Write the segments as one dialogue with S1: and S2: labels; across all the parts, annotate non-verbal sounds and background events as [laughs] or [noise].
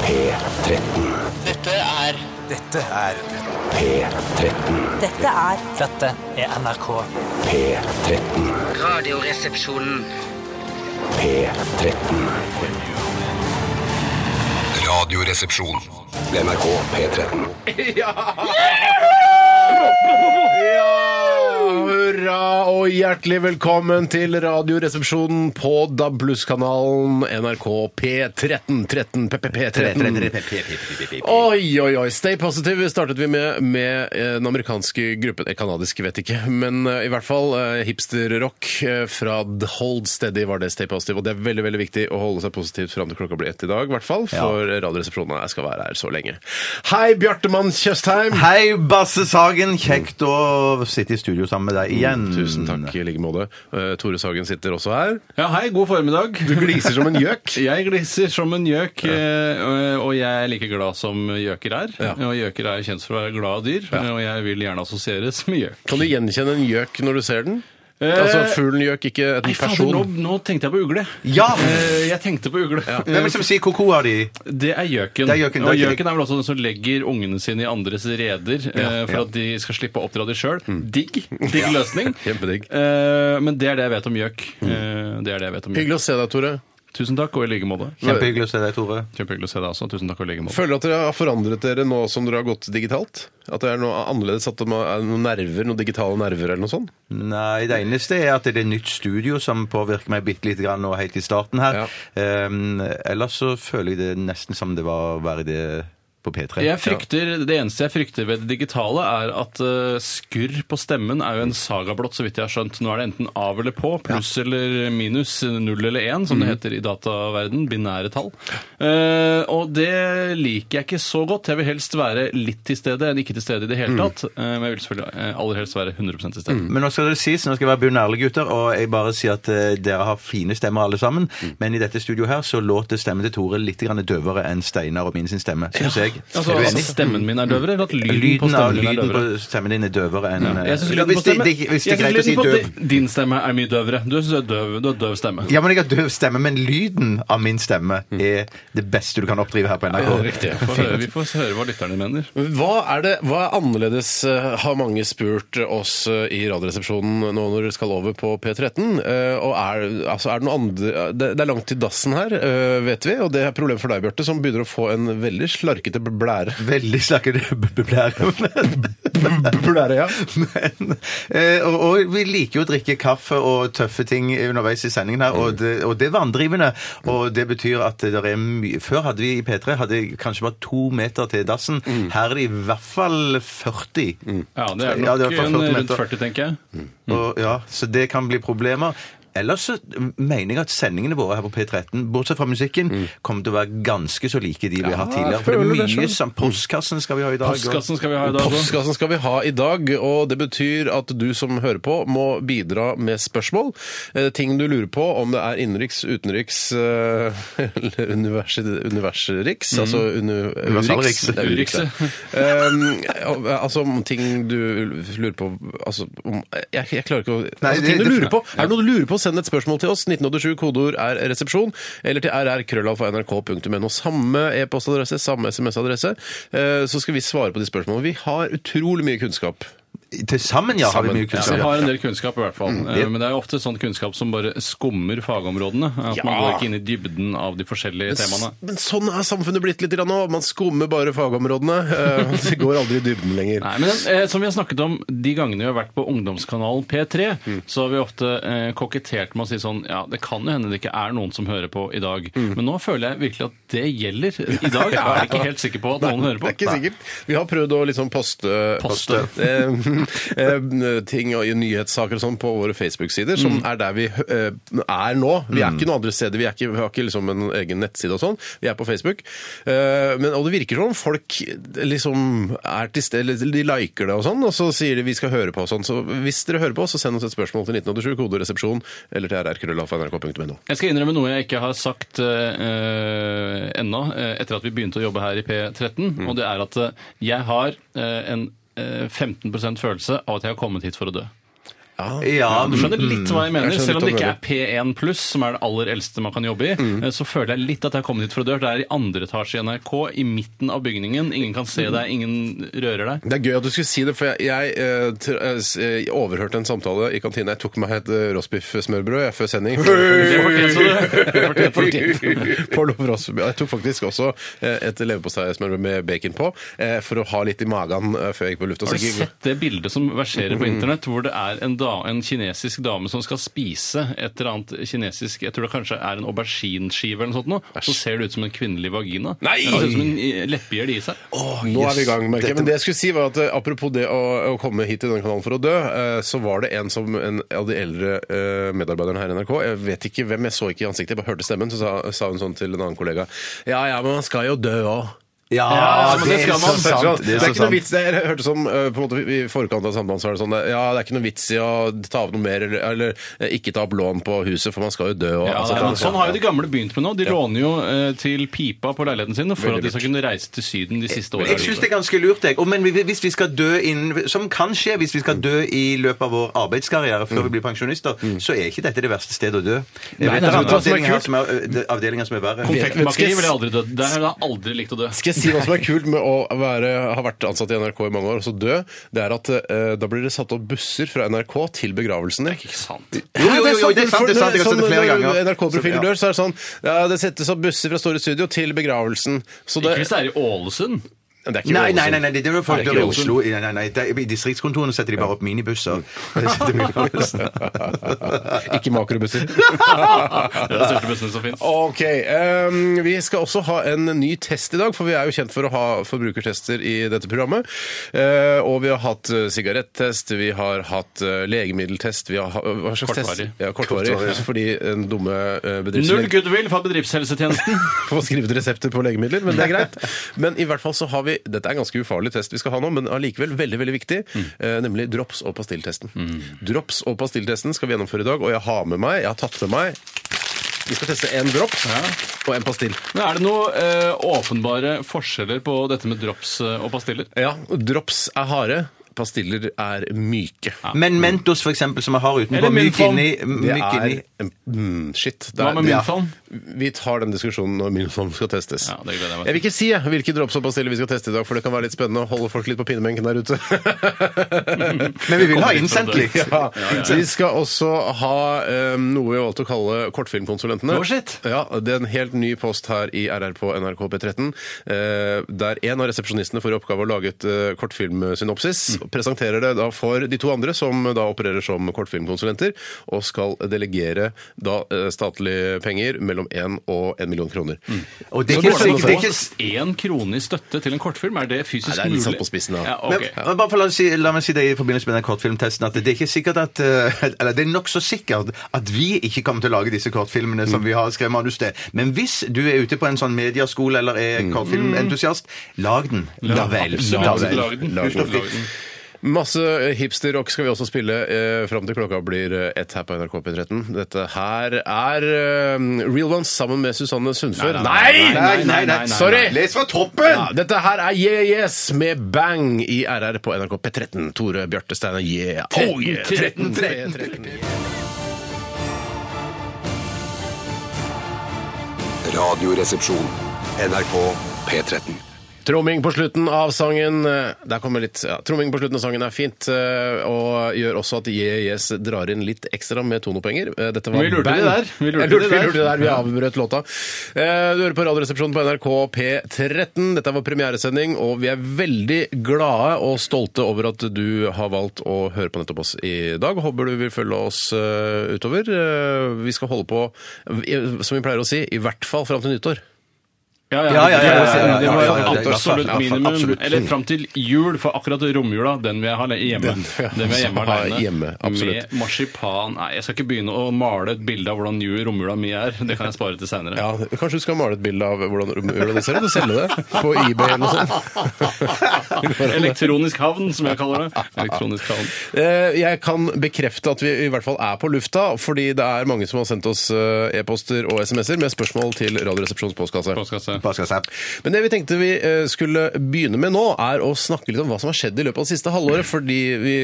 S1: P13.
S2: Dette er
S3: Dette er
S1: P13.
S4: Dette er
S5: Dette er NRK.
S1: P13.
S2: Radioresepsjonen.
S1: P13.
S6: Radioresepsjon.
S1: NRK P13.
S7: Ja, hurra og hjertelig velkommen til Radioresepsjonen på Dablus-kanalen NRK P13 13 PPP13. Oi, oi, oi. Stay Positive startet vi med med eh, den amerikanske gruppen eh, Kanadisk, vet ikke, men eh, i hvert fall eh, hipsterrock eh, fra The Hold Steady var det Stay Positive, og det er veldig, veldig viktig å holde seg positivt fram til klokka blir ett i dag, i hvert fall, for Radioresepsjonen jeg skal være her så lenge. Hei, Bjartemann Tjøstheim!
S3: Hei, Basse Sagen. Kjekt å sitte i studio sammen med deg igjen.
S7: Tusen takk i like måte. Eh, Tore Sagen sitter også her.
S8: Ja, hei, god formiddag.
S7: Du gliser som en [laughs] gjøk.
S8: Jeg gliser som en gjøk, eh, og- og jeg er like glad som gjøker er.
S7: Ja.
S8: Og gjøker er kjent for å være glade dyr, og jeg vil gjerne assosieres med gjøk.
S7: Kan du gjenkjenne en gjøk når du ser den?
S8: Eh,
S7: Altså fuglen gjøk, ikke en
S8: Nei, fader, nå,
S7: person.
S8: nå tenkte jeg på ugle.
S3: Ja!
S8: Eh, Jeg tenkte på ugle.
S3: Hvem er det som sier ko-ko av de?
S8: Det er gjøken.
S3: Det er gjøken, det er
S8: og
S3: ikke-
S8: gjøken er vel også den som legger ungene sine i andres reder eh, for at de skal slippe å oppdra de sjøl. Digg. Digg [laughs] løsning.
S7: Kjempedigg.
S8: Eh, men det er det jeg vet om gjøk. Eh, det er det jeg vet om gjøk.
S7: Hyggelig å se deg, Tore.
S8: Tusen takk, og i like måte.
S3: Kjempehyggelig å se deg, Tore.
S8: Kjempehyggelig å se deg også. Tusen takk, og i like måte.
S7: Føler du at dere har forandret dere nå som dere har gått digitalt? At det er noe annerledes? At det er noen nerver, noen digitale nerver eller noe sånt?
S3: Nei, det eneste er at det er nytt studio som påvirker meg bitte lite grann nå helt i starten her. Ehm, ellers så føler jeg det nesten som det var å være i det på P3.
S8: Jeg frykter, Det eneste jeg frykter ved det digitale, er at eh, skurr på stemmen er jo en sagablått, så vidt jeg har skjønt. Nå er det enten av eller på, pluss eller minus, null eller én,
S3: Mhm.
S8: som det heter i dataverden, binære tall. Eh, og det liker jeg ikke så godt. Jeg vil helst være litt til stede enn ikke til stede i det hele
S3: Mhm.
S8: tatt. Eh, men jeg vil selvfølgelig eh, aller helst være 100 til stede.
S3: Men nå skal det sies, nå skal jeg være bunnærlig gutter, og jeg bare sier at eh, dere har fine stemmer alle sammen, men i dette studio her så låter stemmen til Tore litt grann døvere enn Steinar og min sin stemme, synes jeg.
S8: Altså,
S3: Er du
S8: at
S3: enig? Mhm.
S8: stemmen min er døvere, eller at lyden, på
S3: Lyden, av,
S8: stemmen min er
S3: lyden
S8: døvere?
S3: på stemmen din er døvere enn eh,
S8: Jeg synes lyden på
S3: hvis, det,
S8: stemmen-
S3: det, hvis det
S8: jeg
S3: er
S8: synes
S3: greit å si
S8: lyden på
S3: døv
S8: di- Din stemme er mye døvere. Du synes du er døv, du har døv stemme.
S3: Ja, men jeg har døv stemme, men lyden av min stemme er det beste du kan oppdrive her på NRK.
S8: Riktig. Vi får høre- Vi får høre hva lytterne mener.
S7: Hva er, det, hva er annerledes, eh, har mange spurt oss eh, i Radioresepsjonen nå når dere skal over på P13. eh, Og er, altså er det, noe andre, det, det er langt til dassen her, eh, vet vi, og det er et problem for deg, Bjarte, som begynner å få en veldig slarkete blære.
S3: Veldig [laughs] slakkete blære.
S7: [laughs] Blære, ja.
S3: Men, eh, og, og vi liker jo å drikke kaffe og tøffe ting underveis i sendingen her, og det, og det er vanndrivende. Og det betyr at det er mye Før hadde vi i P3 hadde kanskje bare to meter til dassen. Her er det i hvert fall 40.
S8: Ja, det er
S3: Ja,
S8: nok
S3: det er i hvert fall
S8: en eh,
S3: 40 meter.
S8: rundt 40, tenker jeg.
S7: Mm.
S3: Og, ja, så det kan bli problemer. Ellers så mener jeg at sendingene våre her på P13, bortsett fra musikken, kommer til å være ganske så like de vi har hatt tidligere. For
S7: Mm. føler
S3: det
S7: det
S3: er
S7: selv.
S3: mye som Postkassen skal vi ha i dag. og-
S8: Postkassen skal vi ha i dag òg.
S7: Postkassen skal vi ha i dag, og det betyr at du som hører på, må bidra med spørsmål. Eh, ting du lurer på, om det er innenriks, utenriks eh, [laughs] eller univers, universriks, altså uni,
S3: Universalriks.
S7: Det er Urix, ja. [laughs] um, altså om ting du lurer på altså, om, jeg, jeg klarer ikke å
S3: Nei,
S7: altså,
S3: det-
S7: ting du
S3: det-
S7: lurer på. Er det noe du lurer på, send et spørsmål til oss. 1987, kodeord er resepsjon, eller til rrkrøllalfa.nrk.no. Samme e-postadresse, samme SMS-adresse. Eh, Så skal vi svare på de spørsmålene. Vi har utrolig mye kunnskap.
S3: Til sammen, ja, har vi
S7: Sammen.
S3: mye
S8: Så
S3: kunnskap.
S8: jeg har en del kunnskap, i hvert fall.
S3: Mm.
S8: Eh, Men det er jo ofte sånn kunnskap som bare skummer fagområdene. At man går ikke inn i dybden av de forskjellige temaene.
S7: Men sånn er samfunnet blitt litt grann nå. Man skummer bare fagområdene. eh, [laughs] og Det går aldri i dybden lenger.
S8: Nei, men eh, Som vi har snakket om de gangene vi har vært på ungdomskanalen P3,
S3: Mm.
S8: så har vi ofte eh, kokettert med å si sånn Ja, det kan jo hende det ikke er noen som hører på i dag.
S3: Mm.
S8: Men nå føler jeg virkelig at det gjelder. I
S3: [laughs]
S8: dag er jeg ikke helt sikker på at noen hører på.
S7: Det er ikke sikkert. Vi har prøvd å liksom poste,
S8: Poste.
S7: eh, eh, ting og nyhetssaker og sånn på våre Facebook-sider, som er der vi eh, er nå. Vi er ikke noen andre steder. Vi, er ikke, vi har ikke liksom en egen nettside og sånn. Vi er på Facebook. Eh, men, og det virker som om folk eh, liksom er til stede, eller de liker det og sånn, og så sier de vi skal høre på og sånn. Så hvis dere hører på, så send oss et spørsmål til 1987 koderesepsjon eller til rrkrøllalfa.nrk.no.
S8: Jeg skal innrømme noe jeg ikke har sagt eh, ennå, eh, etter at vi begynte å jobbe her i P13.
S7: Mm.
S8: Og det er at eh, jeg har eh, en eh, 15 følelse av at jeg har kommet hit for å dø.
S3: Ja,
S8: Du skjønner litt hva jeg mener.
S7: Mm. Jeg skjønner
S8: Selv om det
S7: litt
S8: ikke
S7: hva Mm.
S8: er P1 pluss, som er det aller eldste man kan jobbe i, eh, så føler jeg litt at jeg har kommet hit fra dør. Det er i andre etasje i NRK, i midten av bygningen. Ingen kan se deg, ingen rører
S7: [laughs]
S8: deg.
S7: Det er gøy at du skulle si det, for jeg, jeg, eh, tr- eh, s- eh, overhørte en samtale i kantina. Jeg tok meg et eh, roastbiff-smørbrød jeg, før sending.
S8: Det fortjente du. Det
S7: [laughs]
S8: fortjente du.
S7: På Lov Roastbiff. Jeg tok faktisk også eh, et leverposteismørbrød med bacon på eh, for å ha litt i magen eh, før jeg gikk på lufta.
S8: Har
S7: Så
S8: du
S7: ikke- Mm.
S8: sett det bildet som verserer på internett, hvor det er en, da, en kinesisk dame som skal spise et eller annet kinesisk Jeg tror det kanskje er en aubergineskive eller noe sånt, nå, så ser det ut som en kvinnelig vagina.
S7: Nei!
S8: Det ser ut som en eh, leppegjør det i seg.
S7: Nå er vi i gang, merker jeg.
S3: Dette-
S7: Men det jeg skulle si var at eh, apropos det å, å komme hit til denne kanalen for å dø, eh, så var det en som en av de eldre eh, medarbeiderne her i NRK, jeg vet ikke hvem, jeg så ikke i ansiktet, jeg bare hørte stemmen, så sa, sa hun sånn til en annen kollega, ja, ja, men man skal jo dø også.
S3: Ja,
S7: Ja, men
S3: Ah, det er
S7: skal
S3: så
S7: man.
S3: sant.
S7: Det er
S3: så
S7: ikke noe
S3: sant.
S7: vits Jeg hørte som eh, på en måte i forkant av samtalen så er det sånn eh, Ja, det er ikke noe vits i å ta opp noe mer, eller, eller eh, ikke ta opp lån på huset, for man skal jo dø. Og,
S8: Ja,
S7: altså,
S8: det er-
S7: sånn-
S8: sånn har jo de gamle begynt med nå. De låner jo eh, til pipa på leiligheten sin for at de skal kunne reise til Syden de siste årene.
S3: Jeg syns det er ganske lurt, jeg. Og, men vi- hvis vi skal dø innen Som kan skje hvis vi skal dø i løpet av vår arbeidskarriere før vi blir pensjonister, så er ikke dette det verste stedet å dø. Jeg vet
S7: Mm. nei,
S3: at
S7: vet du
S3: avdelinger her
S7: hva som er kult?
S3: som er, ø, det- avdelinger som er verre.
S8: Konfektmakeri ville jeg aldri dødd. Der har jeg aldri likt å dø.
S7: Skal jeg si hva som er kult med å være, ha vært ansatt i NRK i mange år og så dø? Det er at eh, da blir det satt opp busser fra NRK til begravelsen din.
S8: Ikke sant.
S3: Jo, jo, jo, jo, det er sant, det er sant. Jeg har sett det flere ganger.
S7: Når sånn, eh,
S3: Så,
S7: NRK-profilen
S3: ja.
S7: dør, så er det sånn ja, Det settes opp busser fra Store Studio til begravelsen. Så det,
S8: Ikke hvis det er i Ålesund.
S7: det er ikke
S3: Nei,
S7: Ålesund.
S3: nei, nei, nei, det er jo folk
S8: det er
S3: dør i
S8: ikke
S3: Oslo. Nei, nei, nei, det er- I distriktskontorene setter de bare opp minibusser. Mm. [laughs] Det setter vi på bussen.
S7: [laughs] ikke makrobusser.
S8: Det er den største bussen som finnes.
S7: Ok, ehm, Vi skal også ha en ny test i dag, for vi er jo kjent for å ha forbrukertester i dette programmet. Eh, og vi har hatt eh, sigarettest, vi har hatt eh, legemiddeltest vi har, ha- Hva slags
S8: Kortvarig.
S7: test? Ja, kortvarig. [laughs] Fordi den dumme eh,
S8: Null
S7: bedriftslegen
S8: goodwill fra bedriftshelsetjenesten.
S7: får skrevet resepter på legemidler, men det er greit.
S8: [laughs]
S7: Men i hvert fall så har vi Dette er en ganske ufarlig test vi skal ha nå, men allikevel veldig veldig viktig,
S8: Mm.
S7: eh, nemlig drops- og pastilltesten. Drops- og pastilltesten skal vi gjennomføre i dag, og jeg har med meg, jeg har tatt med meg Vi skal teste en drops og en pastill.
S8: Men er det noen eh, åpenbare forskjeller på dette med drops eh, og pastiller?
S7: Ja, drops er harde, pastiller er myke.
S3: [laughs] Men Mentos, for eksempel, som vi har utenpå,
S8: Eller
S3: myk
S8: Milfon.
S3: inni.
S7: Det
S3: myk inni.
S7: er mm, Shit. Det
S8: Hva
S7: er,
S8: med
S7: ja.
S8: Milfon?
S7: Vi tar den diskusjonen når Milfon skal testes.
S8: Ja, det gleder jeg meg til.
S7: jeg vil ikke si jeg, hvilke drops og pastiller vi skal teste i dag, for det kan være litt spennende å holde folk litt på pinebenken der [laughs] ute.
S3: [laughs] Men vi vil ha innsendt litt.
S7: [laughs] Ja.
S3: [laughs]
S7: Vi skal også ha eh, noe vi valgte å kalle Kortfilmkonsulentene.
S8: Oh, shit.
S7: Ja, Det er en helt ny post her i RR på NRK P13, eh, der en av resepsjonistene får i oppgave å lage et eh, kortfilmsynopsis. og Presenterer det da for de to andre, som da opererer som kortfilmkonsulenter, og skal delegere da eh, statlige penger mellom 1 og 1 million kroner.
S3: Og det sånn- er ikke
S7: Så går det
S3: sikkert
S7: an å
S3: det er
S7: få.
S3: ikke
S8: Én krone i støtte til en kortfilm, er det fysisk
S7: Nei,
S8: mulig?
S7: det er litt satt på spissen, da.
S8: Ja,
S3: Men,
S8: ok.
S3: men bare for la, oss si, la meg si det i forbindelse med den kortfilmtesten at det er ikke sikkert at eh, Eller det er nokså sikkert at vi ikke kommer til å lage disse kortfilmene som vi har skrevet manus til. Men hvis du er ute på en sånn medieskole eller er kortfilmentusiast, Mm. lag den. La vel.
S8: Absolutt,
S3: La vel.
S8: lag den.
S7: Lag den.
S8: Lag den.
S7: Masse hipsterrock skal vi også spille eh, fram til klokka blir eh, ett her på NRK P13. Dette her er eh, Real Ones sammen med Susanne Sundfør.
S3: Nei, nei, nei.
S7: Sorry!
S3: Les fra toppen!
S7: Ja, dette her er Yeah Yes med Bang i RR på NRK P13. Tore Bjarte Steinar, yeah! Oh, yeah.
S8: 13,
S7: 13, 13.
S1: Radioresepsjon. NRK P13.
S7: Tromming på slutten av sangen eh, Der kommer litt ja, Tromming på slutten av sangen er fint, eh, og gjør også at YES drar inn litt ekstra med tonopenger. Eh, Dette var
S8: Vi lurte
S7: Bang.
S8: de der. Vi lurte
S7: Jeg lurte,
S8: de
S7: vi
S8: der.
S7: lurte de der. Vi avbrøt låta. Eh, Du hører på Radioresepsjonen på NRK P13. Dette er vår premieresending, og vi er veldig glade og stolte over at du har valgt å høre på nettopp oss i dag. Håper du vil følge oss eh, utover. Eh, Vi skal holde på, eh, som vi pleier å si, i hvert fall fram til nyttår.
S8: Ja, ja,
S3: Ja, ja, ja, ja, ja, ja, ja,
S8: Det
S3: ja,
S8: må
S3: ja,
S8: være
S3: ja, ja, ja,
S8: Absolutt
S3: ja,
S8: minimum.
S3: absolutt.
S8: Eller fram til jul, for akkurat romjula, den vil jeg ha le- hjemme.
S7: Den,
S8: Den,
S7: ja.
S8: vil jeg hjemme
S7: Ha
S8: alene.
S7: hjemme, absolutt.
S8: Med marsipan Nei, jeg skal ikke begynne å male et bilde av hvordan jul- romjula mi er. Det kan jeg spare til seinere.
S7: Ja, Kanskje du skal male et bilde av hvordan hvordan det ser ut, og selge det på eBay eller noe sånt.
S8: Elektronisk havn, som jeg kaller det. Elektronisk havn.
S7: Eh, Jeg kan bekrefte at vi i hvert fall er på lufta, fordi det er mange som har sendt oss eh, e-poster og SMS-er med spørsmål til Radioresepsjonens postkasse.
S8: Postkasse.
S3: Vaskasap.
S7: Men det vi tenkte vi eh, skulle begynne med nå, er å snakke litt om hva som har skjedd i løpet av det siste halvåret. Fordi vi,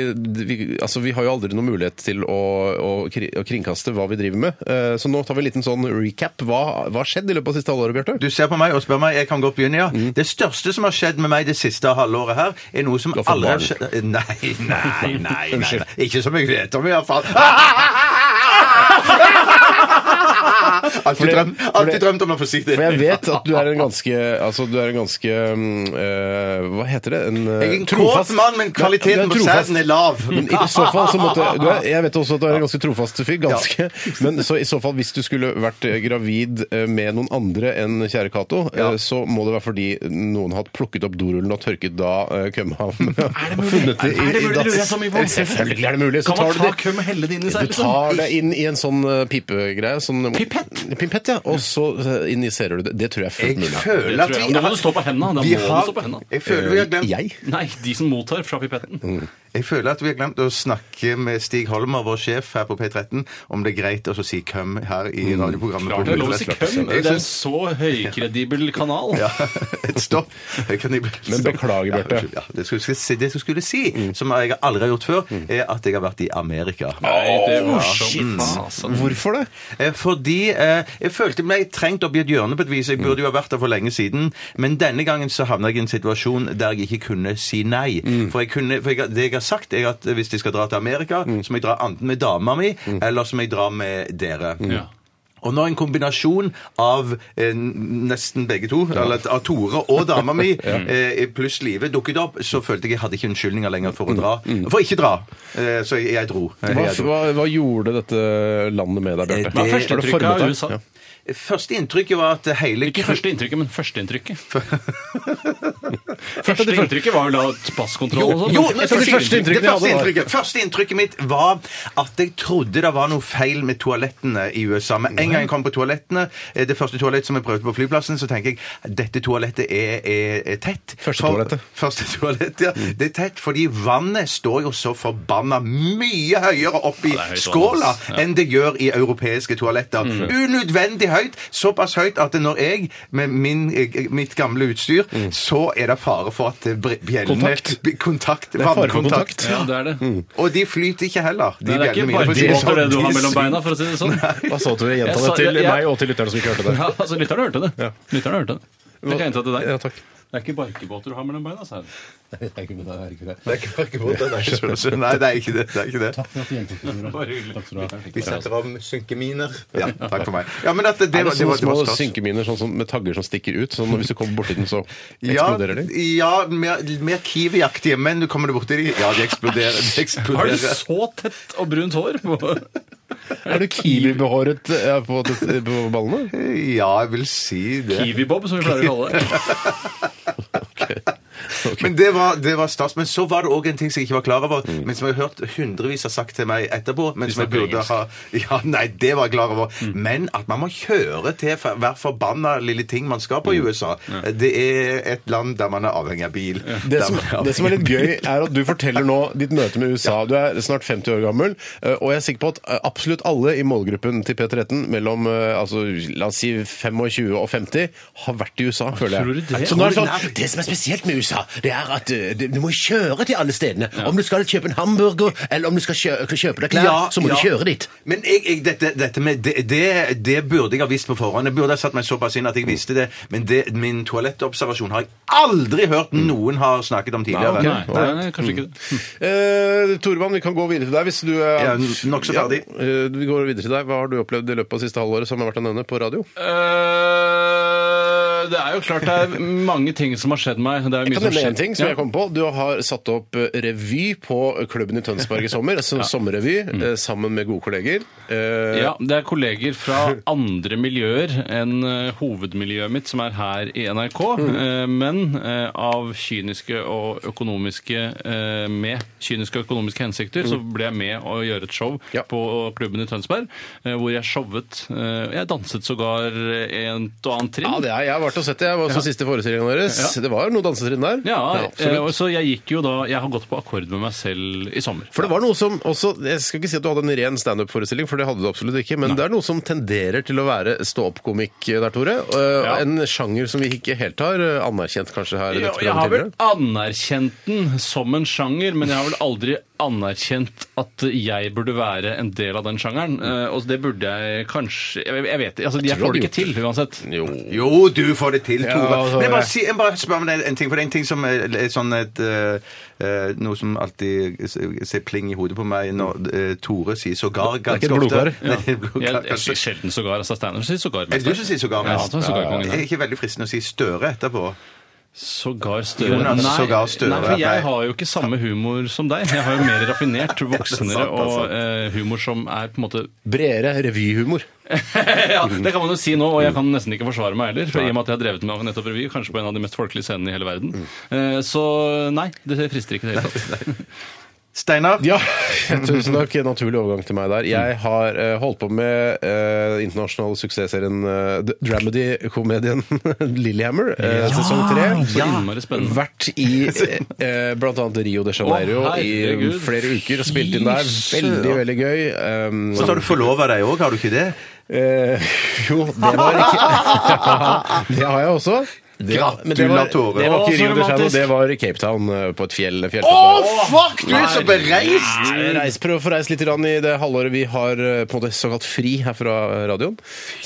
S7: vi, altså, vi har jo aldri noen mulighet til å, å, kri- å kringkaste hva vi driver med. Eh, Så nå tar vi en liten sånn recap. Hva hva har skjedd i løpet av det siste halvåret, Bjarte?
S3: Du ser på meg og spør meg, jeg kan godt begynne, ja.
S7: Mm.
S3: Det største som har skjedd med meg det siste halvåret her, er noe som
S7: har fått
S3: aldri har
S7: barn.
S3: skjedd Nei, nei, nei. nei, nei.
S7: [laughs] Unnskyld.
S3: Ikke som jeg vet om, i hvert
S7: [laughs]
S3: fall.
S7: For
S3: Alltid
S7: det-
S3: drømt,
S7: for det-
S3: alltid drømt om å være forsiktig.
S7: For jeg vet at du er en ganske Altså, du er en ganske mm, eh, Hva heter det? En, eh,
S3: Jeg er en
S7: trofast-
S3: kåt mann, men
S7: Du er- du er
S3: kvaliteten på
S7: trofast.
S3: sæden er lav.
S7: [laughs] Men I så fall så måtte du er, Jeg vet også at du er en ganske trofast fyr. Ganske. Men så i så fall, hvis du skulle vært eh, gravid eh, med noen andre enn kjære Cato, eh, så må det være fordi noen har plukket opp dorullen og tørket da eh, kømma og funnet det i,
S8: Er det
S7: i
S8: mulig, lurer jeg så mye på?
S7: Selvfølgelig er det mulig. Så
S8: Kan man
S7: tar du
S8: ta
S7: det
S8: køm og helle det inn i seg? liksom?
S7: du tar det inn i en sånn eh, pipegreie. Sånn,
S8: Pipett?
S7: Pipett, ja. Og så eh, injiserer du det. Det tror jeg er
S3: Jeg
S7: fullt mulig.
S8: Det
S3: føler at
S8: tror jeg.
S3: vi
S8: Da må du stå på hendene. Da
S3: vi
S8: må du stå på
S3: har,
S8: hendene.
S3: jeg føler vi har
S7: Eh,
S3: glemt
S7: Jeg?
S8: Nei, de som mottar fra pipetten.
S3: Jeg føler at vi har glemt å snakke med Stig Holmer, vår sjef her på P13, om det er greit å så si køm her
S7: Mm.
S3: i radioprogrammet.
S8: Klart det er lov å si køm.
S3: Jeg
S8: Det er en
S3: synes-
S8: så høykredibel kanal.
S3: Ja, [laughs] et stopp. Jeg kan ikke-
S7: Men
S3: stopp.
S7: beklager,
S3: Ja,
S7: Bjarte. Mm.
S3: unnskyld. Ja, det skulle jeg si, det jeg skulle si som jeg aldri har gjort før, er at jeg har vært i Amerika.
S8: Nei, det var så
S7: shit.
S8: fasen.
S7: Hvorfor det?
S3: Eh, Fordi eh, jeg følte meg trengt opp i et hjørne på et vis. Jeg burde jo ha vært der for lenge siden. Men denne gangen så havna jeg i en situasjon der jeg ikke kunne si nei.
S7: Mm.
S3: For, jeg kunne, for jeg, det jeg har sagt, er at hvis jeg skal dra til Amerika,
S7: Mm.
S3: så må jeg dra enten med dama mi, eller så må jeg dra med dere.
S7: Mm.
S8: Ja.
S3: Og når en kombinasjon av eh, nesten begge to, eller av Tore og dama
S7: [laughs]
S3: mi, eh, pluss Live dukket opp, så følte jeg jeg hadde ikke unnskyldninger lenger for å dra. For ikke dra. Eh, så jeg, jeg dro. Eh,
S7: Mm. Hva,
S3: jeg dro.
S7: hva, hva gjorde dette landet med deg, Bjarte?
S8: altså. Hva er
S7: Har du
S8: førsteinntrykket
S7: formet
S8: av
S7: deg?
S8: USA?
S7: Ja.
S3: Første inntrykket var at hele
S8: Ikke førsteinntrykket, men [laughs] førsteinntrykket.
S7: Første-
S8: Førsteinntrykket var vel da passkontroll og sånn?
S3: Jo,
S8: men
S3: men
S7: et av de
S3: første
S7: første
S3: inntrykk- det
S7: inntrykkene jeg
S3: første
S7: hadde var-
S3: inntrykket, første inntrykket mitt var at jeg trodde det var noe feil med toalettene i USA. Men en gang jeg kom på toalettene, eh, det første toalettet som jeg prøvde på flyplassen, så tenker jeg dette toalettet er, er, er tett.
S7: Første
S3: For-
S7: toalettet.
S3: Første toalettet, ja. Det er tett fordi vannet står jo så forbanna mye høyere opp i
S8: det er høyt vann,
S3: skåla
S8: ass.
S3: enn det gjør i europeiske toaletter. Unødvendig høyt. Såpass høyt at når jeg, med min, eh, mitt gamle utstyr, så er det fare for at eh, bre- bjellene
S7: Kontakt.
S3: B- Kontakt.
S7: er fare for
S3: Vannkontakt.
S7: kontakt.
S8: Ja, det er det.
S3: Og de flyter ikke heller. De
S8: Nei, det er
S3: bjellene
S8: ikke
S3: mine, for å si det sånn.
S8: barkbåter det du har
S3: De
S8: mellom
S3: sy-
S8: beina, for å si det [laughs] sånn.
S7: Da sa du det, gjenta
S8: Jeg sa-
S7: det til
S8: jeg- jeg-
S7: meg og til lytterne som ikke hørte det.
S8: Ja, altså, lytterne hørte det. Lytterne hørte det. Det kan jeg gjenta til deg.
S7: Ja, takk.
S8: Det er ikke barkebåter du har mellom beina,
S3: [laughs]
S8: sa jeg.
S3: Det er ikke barkebåter, det er ikke Sølvsund. Nei, det er ikke det. det, er ikke det.
S8: Bare hyggelig.
S3: Vi setter om synkeminer. Ja, takk for meg. Ja, men at det, det,
S7: Er det
S3: var, det
S7: sånne
S3: var, det
S7: små
S3: var stas.
S7: synkeminer sånn, som- med tagger som stikker ut? Sånn, hvis du kommer borti den, så
S3: Ja,
S7: eksploderer de?
S3: ja, mer, mer kiwiaktige, men du kommer borti de Ja, de eksploderer. De
S8: Har du
S3: eksploderer.
S8: så tett og brunt hår? På?
S7: Er du kiwi-behåret eh, på, på ballene?
S3: Ja, jeg vil si det.
S8: Kiwi-bob, som vi pleier å kalle det.
S3: Men det var, det var stas. Men så var det òg en ting som jeg ikke var klar over,
S8: Mm.
S3: men som jeg har hørt hundrevis har sagt til meg etterpå. Men som jeg
S8: snakker
S3: burde
S8: engelsk.
S3: ha Ja, nei, det var jeg klar over.
S8: Mm.
S3: Men at man må kjøre til for- hver forbanna lille ting man skal
S8: Mm.
S3: på i USA. Det er et land der man er avhengig av bil.
S7: Det
S3: Der
S7: som,
S3: man
S7: det som er litt gøy, er at du forteller nå ditt møte med USA. Du er snart 50 år gammel, eh, og jeg er sikker på at eh, absolutt alle i målgruppen til P13 mellom eh, altså, la oss si 25 og 50 har vært i USA, føler
S8: tror
S7: jeg.
S8: du det?
S7: Så nå er det sånn Det som er spesielt med USA, det er at eh, det- du må kjøre til alle stedene. Om du skal kjøpe en hamburger, eller om du skal kjø- kjøpe deg klær,
S3: Ja,
S7: så må
S3: ja.
S7: du kjøre dit.
S3: Men jeg, jeg, dette, dette med, det, det, det burde jeg ha visst på forhånd. Jeg burde ha satt meg såpass inn at
S8: Mm.
S3: jeg visste det. Men det, min toalettobservasjon har jeg aldri hørt noen har snakket om tidligere.
S8: Nei, nei, nei, kanskje ikke det.
S7: Eh, Torvann, vi kan gå videre til deg hvis du er
S3: Jeg er nokså ferdig.
S7: Ja, eh, vi går videre til deg. Hva har du opplevd i løpet av siste halvåret som har vært å nevne på radio?
S8: [laughs] Eh, Det er jo klart det er mange ting som har skjedd meg. Det er
S7: Jeg
S8: mye
S7: kan nevne
S8: som
S7: én ting som
S8: skjer.
S7: jeg kom på. Du har satt opp eh, revy på klubben i Tønsberg i
S8: [laughs]
S7: sommer. altså Sommerrevy eh, sammen med gode kolleger. Eh,
S8: Mm. Ja, det er kolleger fra andre miljøer enn eh, hovedmiljøet mitt, som er her i NRK,
S7: Mm.
S8: eh, men eh, av kyniske og økonomiske eh, med kyniske og økonomiske hensikter, så ble jeg med å gjøre et show
S7: Mm. Ja.
S8: på klubben i Tønsberg, eh, hvor jeg showet. eh, Jeg danset sågar eh, en og annen trinn.
S7: Ja, det er, jeg har vært og og sett det. Jeg var også siste forestillingen deres. Det var noe dansetrinn der.
S8: Ja, eh,
S7: absolutt.
S8: og så jeg gikk jo da Jeg har gått på akkord med meg selv i sommer.
S7: For det var noe som også Jeg skal ikke si at du hadde en ren standup-forestilling, for det hadde du absolutt ikke, men det er noe som tenderer til å være stå-opp-komikk der, Tore. Eh,
S8: Ja.
S7: En sjanger som vi ikke helt har eh, anerkjent, kanskje, her. i dette
S8: Ja, jeg har vel
S7: programmet tidligere.
S8: anerkjent den som en sjanger, men jeg har vel aldri anerkjent at jeg burde være en del av den sjangeren. Eh, og det burde jeg kanskje Jeg, jeg vet ikke. Altså, jeg
S7: tror
S8: får det
S7: du
S8: ikke til uansett.
S3: Jo, du får det til, Tore.
S7: altså,
S3: Men jeg
S7: ja.
S3: bare, si, jeg bare spør om en, en ting. For det er en ting som er, er sånn et eh, eh, Noe som alltid s- ser pling i hodet på meg når eh, Tore sier sågar ganske
S7: ikke et
S3: ofte.
S7: blodkar.
S3: [laughs] Nei, [laughs] det er blodkar,
S8: Jeg, jeg
S3: kanskje.
S8: sier sjelden sågar. Altså, Steinar sier sågar.
S3: Er det du som sier sågar
S8: Ja,
S3: mest?
S8: han er sågarkongen,
S3: Det
S8: ja.
S3: er ikke veldig fristende å si Støre etterpå.
S8: Sågar Støre.
S3: Jonas,
S8: nei,
S3: altså, sågar Støre.
S8: Nei, for
S3: Nei.
S8: jeg har jo ikke samme humor som deg. Jeg har jo mer raffinert, voksnere
S3: sant, [laughs] altså. det er sant.
S8: og eh, humor som er på en måte
S7: Bredere revyhumor.
S8: [laughs] ja, Det kan man jo si nå, og
S7: Mm.
S8: jeg kan nesten ikke forsvare meg heller. For I og med at jeg har drevet med nettopp revy, kanskje på en av de mest folkelige scenene i hele verden.
S7: Mm.
S8: Eh, Så nei, det frister ikke i det
S7: [laughs]
S8: hele tatt.
S3: Steinar?
S7: Ja, [laughs] tusen takk. En Naturlig overgang til meg der.
S8: Mm.
S7: Jeg har eh, holdt på med uh, internasjonal suksessserien eh, The Dramedy-komedien [laughs] Lillehammer, eh, sesong tre.
S8: Så innmari spennende.
S7: Vært i eh, bl.a. Rio de Janeiro
S8: Å,
S7: i
S8: herregud.
S7: flere uker og spilt inn der.
S8: Fy
S7: Veldig,
S8: søren.
S7: veldig gøy. Um,
S3: Så har du forlova deg òg, har du ikke det?
S7: eh, [laughs] jo, det var ikke [laughs] Det har jeg også. Det, men det var,
S3: Gratulatore.
S7: det var
S8: Å,
S7: ikke i
S8: så
S7: Rio de Janeiro,
S8: romantisk.
S7: det var i Cape Town, eh, på et fjell. fjell
S3: fuck! Du er så bereist!
S7: Nei, Reis, prøv å få reist litt grann i det halvåret vi har eh, på en måte såkalt fri her fra eh, radioen.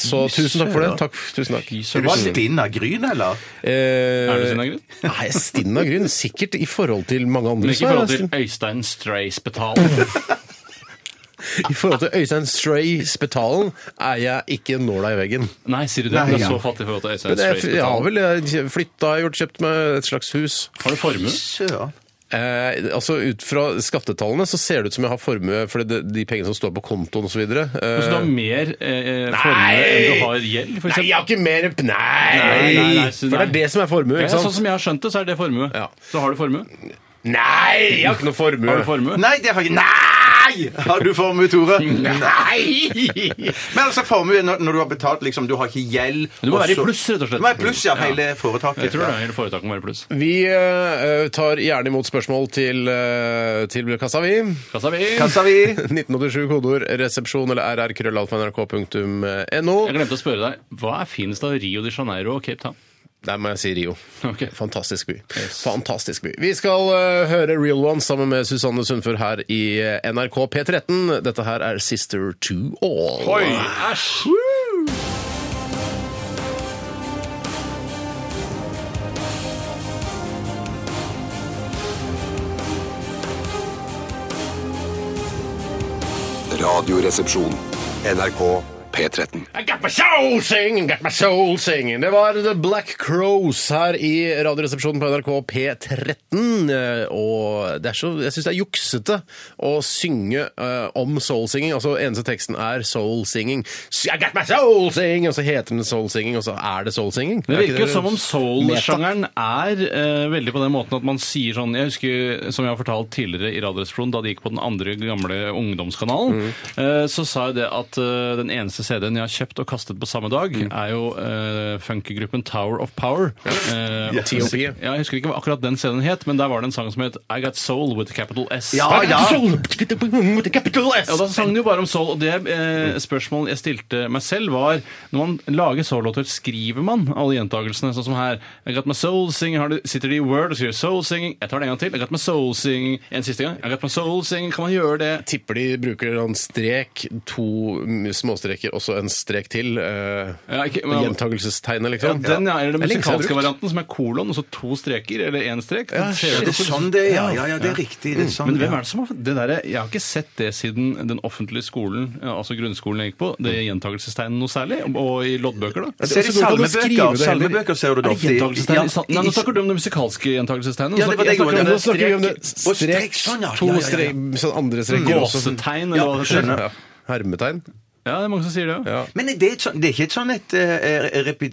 S7: Så tusen takk for det. Takk, tusen takk.
S3: Var det
S7: Tusen-
S3: stinn av gryn, eller?
S7: Eh,
S8: Er du sin egen?
S7: [laughs] Nei, stinn av grunn. Sikkert i forhold til mange andre.
S8: Men ikke i
S7: så er
S8: forhold
S7: jeg
S8: til Øystein [laughs] Streisbetal. Nei,
S7: stinn. I forhold til Øystein Stray Spetalen er jeg ikke nåla i veggen.
S8: sier du det? Du
S3: ja.
S8: er så fattig i forhold til Øystein
S7: Men jeg, jeg har
S8: Streisbetal.
S7: vel jeg flytta, gjort kjøpt meg et slags hus.
S8: Har du formue?
S3: Søren.
S7: Eh, altså Ut fra skattetallene så ser det ut som jeg har formue, for det, de pengene som står på kontoen osv.
S8: Så Altså, du har mer eh, formue enn du har gjeld?
S7: Nei,
S8: For eksempel?
S7: jeg har ikke mer Nei!
S8: Nei, nei, nei, så
S7: For det er
S8: nei.
S7: det som er formue,
S8: Ja,
S7: ikke
S8: sånn
S7: sant?
S8: som jeg har skjønt det, så er det formue.
S7: Ja.
S8: Så har du formue?
S7: Nei, jeg har ikke noe formue.
S8: Har du formue?
S3: Nei, det har jeg Nei! Har du formue, Tore? Nei! Men altså, formue når, når du har betalt, liksom, du har ikke gjeld
S8: Du må
S3: og
S8: være i
S3: så-
S8: pluss, rett og slett.
S3: Du må være i pluss, ja,
S8: Ja.
S3: hele foretaket.
S8: Jeg tror det. Hele foretaket må være pluss.
S7: Vi eh, tar gjerne imot spørsmål til, eh, til kassa, vi.
S8: Kassa mi!
S3: Kassa vi.
S7: 1987 kodeord resepsjon eller rrkrøllalfa.nrk.no.
S8: Jeg glemte å spørre deg, hva er finest av Rio de Janeiro og Cape Town? [laughs]
S7: Der må jeg si Rio.
S8: Ok.
S7: Fantastisk by. Fantastisk by. Vi skal eh, høre Real One sammen med Susanne Sundfør her i eh, NRK P13. Dette her er Sister to All.
S8: æsj!
S1: Radioresepsjon. NRK P13.
S7: I got my soul singing, got my soul singing. Det var The Black Crows her i Radioresepsjonen på NRK P13. eh, Og det er så, jeg syns det er juksete å synge eh, om soul singing. Altså eneste teksten er soul singing. S- I got my soul singing! Og så heter den soul singing, og så er det soul singing.
S8: Det
S7: Er ikke
S8: virker jo som om
S7: meta?
S8: soul-sjangeren er eh, veldig på den måten at man sier sånn Jeg husker, som jeg har fortalt tidligere i Radioresepsjonen, da det gikk på den andre gamle ungdomskanalen,
S7: Mm.
S8: eh, så sa jeg det at eh, den eneste CD-en jeg har kjøpt og kastet på samme dag, er jo eh, funkegruppen Tower of Power. Eh,
S7: Mm. Ja, T.O.P..
S8: ja, Jeg husker ikke hva akkurat den CD-en het, men der var det en sang som het I Got Soul with Capital S.
S3: Ja, ja.
S8: Ja, da sang de jo bare om soul, og det
S7: Mm.
S8: eh, spørsmålet jeg stilte meg selv var Når man lager soul-låter, skriver man alle gjentakelsene sånn som her I got my soul singing, har du, sitter de i Word og skriver soul singing Jeg tar det en gang til, I got my soul singing En siste gang, I got my soul singing, kan man gjøre det?
S7: Tipper de bruker en strek, to mm, småstreker, og så en strek til. eh,
S8: Ja, ikke- men-
S7: Gjentagelsestegnet,
S8: Ja,
S7: liksom.
S8: den ja, eller den
S7: Det er lenge siden jeg har
S8: musikalske
S7: brukt.
S8: varianten som er kolon, og så to streker, eller en strek Det ser
S3: Er
S8: ut
S3: det
S8: som- Mm.
S3: sånn det er? Ja, ja, ja, det er riktig. Det er sånn,
S8: Men hvem er det som har det derre- Jeg har ikke sett det siden den offentlige skolen, ja, altså grunnskolen jeg gikk på, det gjentakelsestegnet noe særlig, og i loddbøker, da.
S3: Ser i
S7: Så går det an å skrive
S3: salmebøker,
S7: det heller.
S3: altså. salmebøker ser du det
S8: Er det
S3: ofte i.
S8: gjentakelsestegn?
S3: Ja,
S8: i sat- Nei, nå snakker du om det musikalske gjentakelsetegnet. Nå
S3: Ja, det var det
S8: snakker- jeg
S3: jeg gjorde.
S7: Nå
S8: snakker om
S3: Det er
S7: snakker vi om det.
S3: strek- og strek, sånn, ja. Ja,
S7: To
S3: ja, ja.
S8: Mm.
S7: strek, sånn andre streker også.
S8: Gåsetegn, eller hva det
S7: Ja,
S8: heter.
S7: Hermetegn.
S8: Ja, det er mange som sier det òg.
S7: Ja.
S3: Men er det, et sånn- det er ikke et sånn et eh,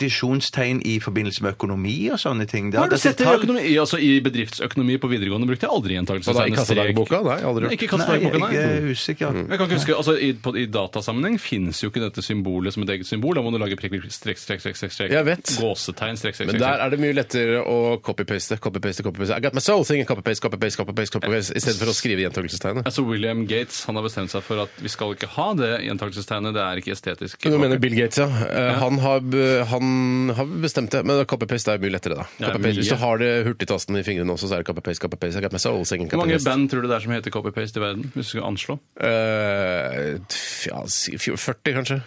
S3: repetisjonstegn i forbindelse med økonomi og sånne ting? Det
S8: Har du
S3: altså
S8: sett det i
S3: tall-
S8: økonomi? I- Altså, I bedriftsøkonomi på videregående brukte jeg aldri
S7: Og da i
S8: gjentagelsestegn.
S7: kassadagboka? Nei, aldri gjort.
S8: Ikke
S3: Nei, jeg
S8: kassadagboka, nei.
S3: er usikker.
S8: Jeg kan ikke huske, altså I, på, i datasammenheng fins jo ikke dette symbolet som et eget symbol. Da må du lage prikk, prikk, strek, strek, strek, strek, strek.
S7: Jeg vet.
S8: gåsetegn, strek, strek,
S7: Men
S8: strek.
S7: der er det mye lettere å copypaste, copypaste, copypaste. I got my soul singing copypaste, copypaste, copypaste, copypaste, istedenfor å skrive gjentagelsestegnet.
S8: Altså William Gates han har bestemt seg for at vi skal ikke ha det gjentakelsestegnet. Det er ikke estetisk.
S7: Du mener Bill Gates, ja. Eh, Han, har, b- han har bestemt det, men copypaste er mye lettere, da.
S8: Det er
S7: Copy-paste. Hvis
S8: mye.
S7: du har det hurtigtasten i fingrene også, så er det copypaste, copypaste. I got my soul singing
S8: Hvor mange
S7: copypaste.
S8: band tror du det er som heter copy-paste i verden? Hvis du skulle anslå.
S7: Eh, f- ja, si- fj- 40, kanskje?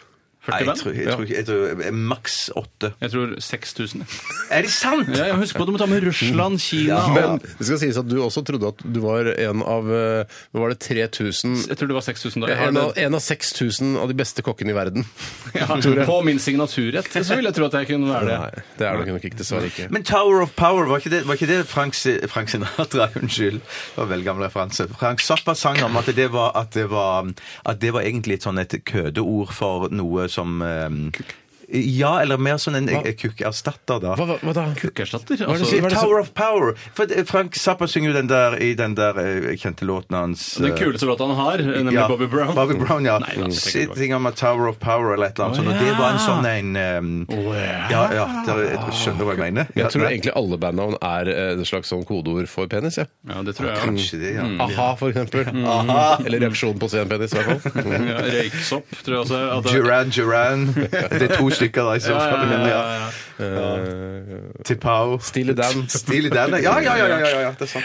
S3: Nei,
S8: 40
S3: jeg tror,
S8: band?
S3: jeg tror, ikke- jeg tror maks åtte.
S8: Jeg tror 6000.
S3: Er det sant?!
S8: Ja, jeg husker på at du må ta med Russland, Kina
S3: Ja.
S7: Men
S8: og
S7: det skal sies at du også trodde at du var en av eh, hva var det 3000
S8: Jeg tror det var 6000 da. Jeg har
S7: en av,
S8: det.
S7: en av 6000 av de beste kokkene i verden.
S8: Ja, på min signaturrett så ville jeg tro at jeg kunne være det.
S7: Nei, det er det nok ikke, dessverre ikke.
S3: Men Tower of Power, var ikke det, var ikke det Frank, Si- Frank Sinatra? [laughs] Unnskyld. Det var veldig gammel referanse. Frank Zappa sang om at det var, at det var, at det var egentlig et sånn et kødeord for noe som eh, ja, eller mer sånn en eh, kukkerstatter, da.
S7: Hva, hva, hva da?
S8: Kukkerstatter.
S7: Hva er det du
S8: Altså,
S7: sier? hva er det som-
S3: Tower of Power! For det- Frank Zappa synger jo den der i den der eh, kjente låten hans
S8: den
S3: eh,
S8: kuleste låta han har, nemlig
S3: ja,
S8: Bobby Brown.
S3: Bobby Brown, ja.
S8: Nei, la oss tenke tilbake.
S3: Sitting on a Tower of Power eller et eller annet sånt. Og det var en sånn en eh, Ja, ja. der- Skjønner du hva jeg mener? Ja,
S7: Jeg tror
S3: nei.
S7: egentlig alle bandnavn er eh, et slags sånn kodeord for penis. Ja.
S8: Ja, det tror jeg også.
S3: Kanskje det, ja.
S7: Aha, for eksempel. Eller reaksjon på å se en penis, i hvert [laughs] fall.
S8: Ja, røyksopp, tror jeg også. At det-
S3: Duran
S8: [laughs]
S3: Duran. Det er to stykker der i så
S8: Ja, ja,
S3: fall.
S8: ja,
S3: men
S8: ja,
S3: ja.
S8: ja.
S7: Eh,
S3: Til Pau.
S7: Steely
S3: [laughs]
S7: Dan.
S3: Steely Dan. Ja, ja, ja, ja, ja, ja, det er sant.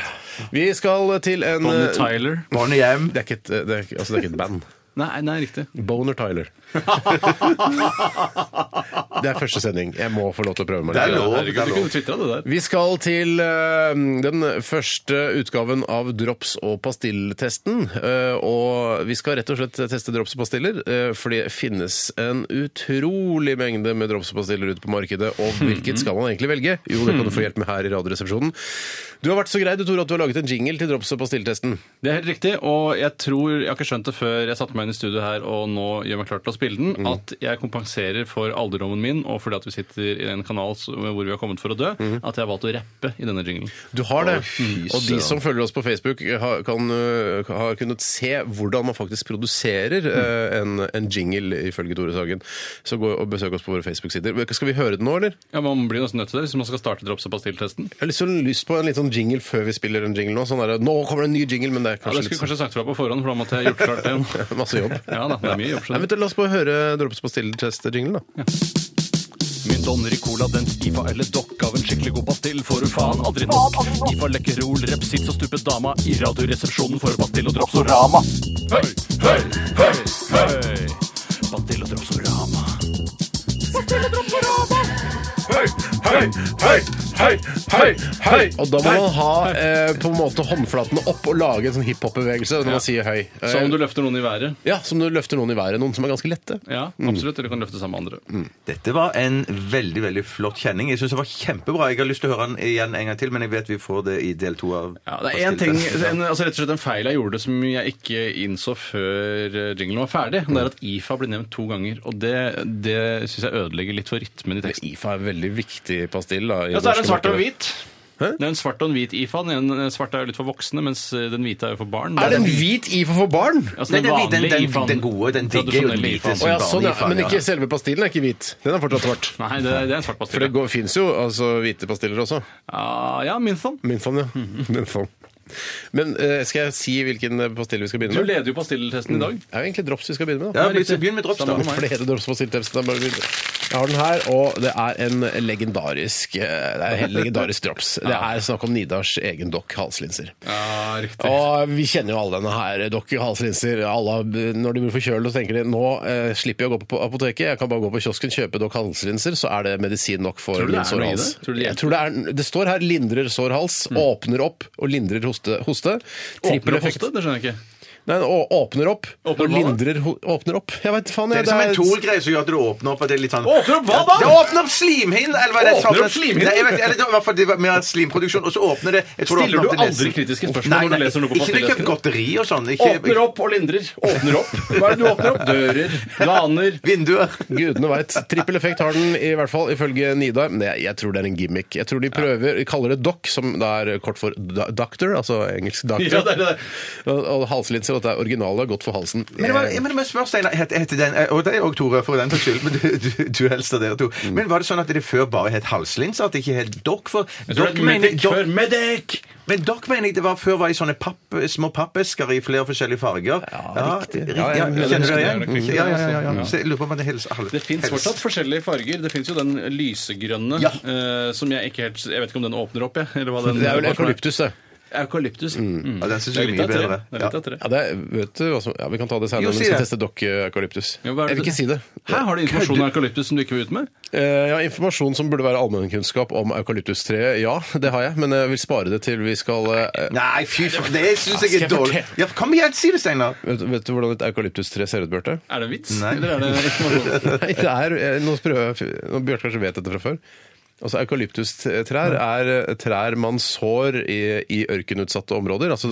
S7: Vi skal til en
S8: Bonnie
S7: eh,
S8: Tyler.
S3: Bonnie Hjem.
S7: Det er ikke et, det er, ikke- altså det er ikke et band.
S8: Nei, nei, riktig.
S7: Boner Tyler.
S3: [laughs]
S7: det er første sending. Jeg må få lov til å prøve meg.
S3: Det er
S7: litt.
S3: lov.
S8: Herregud,
S3: det er
S8: du
S3: lov.
S8: kunne twittra det der.
S7: Vi skal til eh, den første utgaven av drops- og pastilltesten. eh, og vi skal rett og slett teste drops og pastiller, eh, for det finnes en utrolig mengde med drops og pastiller ute på markedet. Og hvilket skal man egentlig velge? Jo, det kan du få hjelp med her i Radioresepsjonen. Du har vært så grei du, Tore, at du har laget en jingle til drops og pastilltesten.
S8: Det er helt riktig, og jeg tror, jeg har ikke skjønt det før jeg satte meg inn i studio her og nå gjør meg klar til å spille den, at jeg kompenserer for alderdommen min og fordi at vi sitter i en kanal s- hvor vi har kommet for å dø, at jeg har valgt å rappe i denne jinglen.
S7: Du har det.
S3: fy
S7: og de som følger oss på Facebook, har, kan, øh, har kunnet se hvordan man faktisk produserer øh, en, en jingle, ifølge Tore Sagen. Så gå og besøk oss på våre Facebook-sider. Skal vi høre den nå, eller?
S8: Ja, Man blir nesten nødt til det hvis man skal starte drops- og pastilltesten.
S7: Jeg har litt sånn lyst på en litt sånn jingle før vi spiller en jingle nå. Sånn der, nå kommer det en ny jingle, men det er
S8: Ja,
S7: kanskje
S8: det skulle jeg
S7: litt
S8: kanskje sagt fra på forhånd, for da måtte jeg gjort klart det.
S7: sånn- masse jobb.
S8: [laughs] Ja da, det er mye jobb.
S7: Nei,
S8: skjønner du.
S7: vent, La oss bare høre Drops på stille-test-jinglen, da.
S4: Min donner i cola, den skifa eller dokk av en skikkelig god pastill får du faen aldri nok. Skifa lekkerol, repsits og stupe dama i radioresepsjonen for pastill og dropsorama. Høy, høy, høy, høy. Pastill og dropsorama.
S7: Og da må man ha eh, på en måte håndflatene opp og lage en sånn hiphop-bevegelse når man sier høy. Eh,
S8: Som om du løfter noen i været.
S7: Ja, Som du løfter noen i været. Noen som er ganske lette.
S8: Ja, absolutt. Eller du kan løfte sammen med andre.
S3: Dette var en veldig veldig flott kjenning. Jeg syns det var kjempebra. Jeg har lyst til å høre den igjen en gang til, men jeg vet vi får det i del to av
S8: Ja, det er en ting, en, altså rett og slett en feil jeg gjorde som jeg ikke innså før eh, jinglen var ferdig. Det er at IFA blir nevnt to ganger, og det, det syns jeg ødelegger litt for rytmen i teksten.
S7: IFA er en veldig viktig pastill. Da, i
S8: Ja, så er
S7: det
S8: det en
S7: norske
S8: svart og en
S7: markedet.
S8: hvit. Det er en svart og en hvit IFA. Den ene- den svarte er jo litt for voksne, mens eh, den hvite er jo for barn.
S7: Er det en hvit IFA for barn?
S8: Altså,
S3: Nei,
S8: den
S3: den hvite- den-
S8: vanlige
S3: den-
S8: IFA-en.
S3: den gode, den digge, jo, den
S8: Tradisjonelle
S3: hvite
S8: IFA-en.
S3: som-
S7: Å ja, sånn, ja.
S3: barn-IFA,
S7: Men
S3: ja.
S7: ikke selve pastillen er ikke hvit. Den er fortsatt svart.
S8: Nei, det, det er en svart
S7: For
S8: pastille.
S7: det fins jo altså, hvite pastiller også.
S8: Ah, ja, Minthon.
S7: [laughs] Minfon, ja. Minfon. Men eh, skal jeg si hvilken pastille vi skal
S8: Du
S7: begynne med?
S8: leder jo pastilletesten i dag.
S7: Det er jo egentlig drops vi skal begynne med. da.
S3: Ja, begynn- begynn med drops, da.
S8: Samme for meg.
S7: Flere drops på stilltepsen. det er bare å begynne. Jeg har den her, og det er en legendarisk eh, Det er en helt legendarisk drops. Det er snakk om Nidars egen dokk halslinser.
S8: Ja, riktig.
S7: Og vi kjenner jo alle denne her dokk i halslinser. Alle, har- når de blir forkjølet, så tenker de nå eh, slipper jeg å gå på apoteket, jeg kan bare gå på kiosken, kjøpe dokk halslinser, så er det medisin nok for
S8: Tror du det
S7: min
S8: er
S7: sår
S8: noe i
S7: hals.
S8: det? Tror du det
S7: jeg tror det, er, det står her 'lindrer sår hals', åpner opp og lindrer hoste. hoste.
S8: Åpner
S7: Trippel
S8: opp
S7: effekt.
S8: hoste? Det skjønner jeg ikke.
S7: Nei, og åpner opp.
S8: Åpner
S7: og
S8: hva da?
S7: lindrer ho- Åpner opp. Jeg veit faen,
S3: Det
S7: jeg.
S3: er som en
S7: det er-
S3: Thor-greie som gjør at du åpner opp. at det er litt sånn...
S8: Åpner opp hva da?
S3: Det åpner opp slimhinnen! Eller hva er det?
S8: Åpner opp slimhinnen?
S3: Nei, jeg vet, eller det var i hvert fall det var mer slimproduksjon, og så åpner det jeg tror det
S8: Stiller
S3: åpner
S8: du
S3: opp til
S8: aldri
S3: nesen.
S8: kritiske spørsmål
S3: Nei,
S8: når du
S3: nei,
S8: leser noe på
S3: ikke når det ikke
S8: pastillesken?
S3: er godteri og sånn. Ikke,
S8: Åpner opp og lindrer. Åpner opp. [laughs] Hva er det du åpner opp? Dører, ganer.
S3: Vinduer.
S7: [laughs] Gudene veit. Trippel effekt har den i hvert fall, ifølge Nidar. Men jeg, jeg tror det er en gimmick. Jeg tror de prøver, de kaller det doc, som da er kort for do- doctor, altså engelsk doctor.
S8: [laughs] [laughs] Ja, det er det.
S7: Og, og halslinser, og at det er originale, godt for halsen.
S3: Men det var, men det må jeg spørre, Steinar, het, het den, eh, og det er òg Tore, for den saks skyld, men du, du, du helst av dere to.
S8: Mm.
S3: Men var det sånn at det før bare het halslinser? At det ikke het dokk? For dokk mener, dokk,
S8: Medic!
S3: men dokk mener jeg det var før var i sånne papp, små pappesker i flere forskjellige farger. Ja,
S7: riktig.
S3: riktig.
S7: Ja,
S3: Ja,
S7: jeg mener
S3: kjenner du
S8: det
S3: det
S8: er
S3: igjen?
S8: nok ikke
S3: Ja, ja, ja.
S8: det,
S3: ja.
S8: altså.
S3: Så jeg lurer på om det er hels... hals-
S8: Det fins
S3: hels-
S8: fortsatt forskjellige farger. Det fins jo den lysegrønne
S3: Ja.
S8: eh, som jeg ikke helt Jeg vet ikke om den åpner opp, jeg. Eller hva den
S7: Det er vel eukalyptus, det.
S8: Eukalyptus. Mm.
S3: Ja, den synes
S8: Det
S3: jeg er
S8: er litt
S3: mye
S8: av tre.
S3: bedre.
S8: Det er litt
S3: Ja.
S8: av tre.
S7: Ja, det er, vet du, hva som- ja, Vi kan ta det senere
S3: Jo,
S7: når vi
S3: si
S7: skal
S3: det.
S7: teste dokk eukalyptus.
S8: Ja, hva er
S7: jeg vil
S8: det-
S7: ikke si det.
S8: Her har du informasjon om eukalyptus som du ikke vil ut med.
S7: Eh, ja, Informasjon som burde være allmennkunnskap om eukalyptustreet. Ja, det har jeg, men jeg vil spare det til vi skal eh,
S3: Nei, fy faen, det syns jeg
S7: Skal jeg
S3: er dårlig.
S7: fortelle?
S3: Ja, kom igjen, si det, Steinar.
S7: Vet, vet du hvordan et eukalyptustre ser ut, Bjarte?
S8: Er det en vits?
S3: Nei.
S8: Eller er det informasjon?
S7: [laughs] Nei, det er, eh, nå prøver jeg nå Bjarte kanskje vet dette fra før. Altså Eukalyptustrær er eh, trær man sår i, i ørkenutsatte områder. Altså,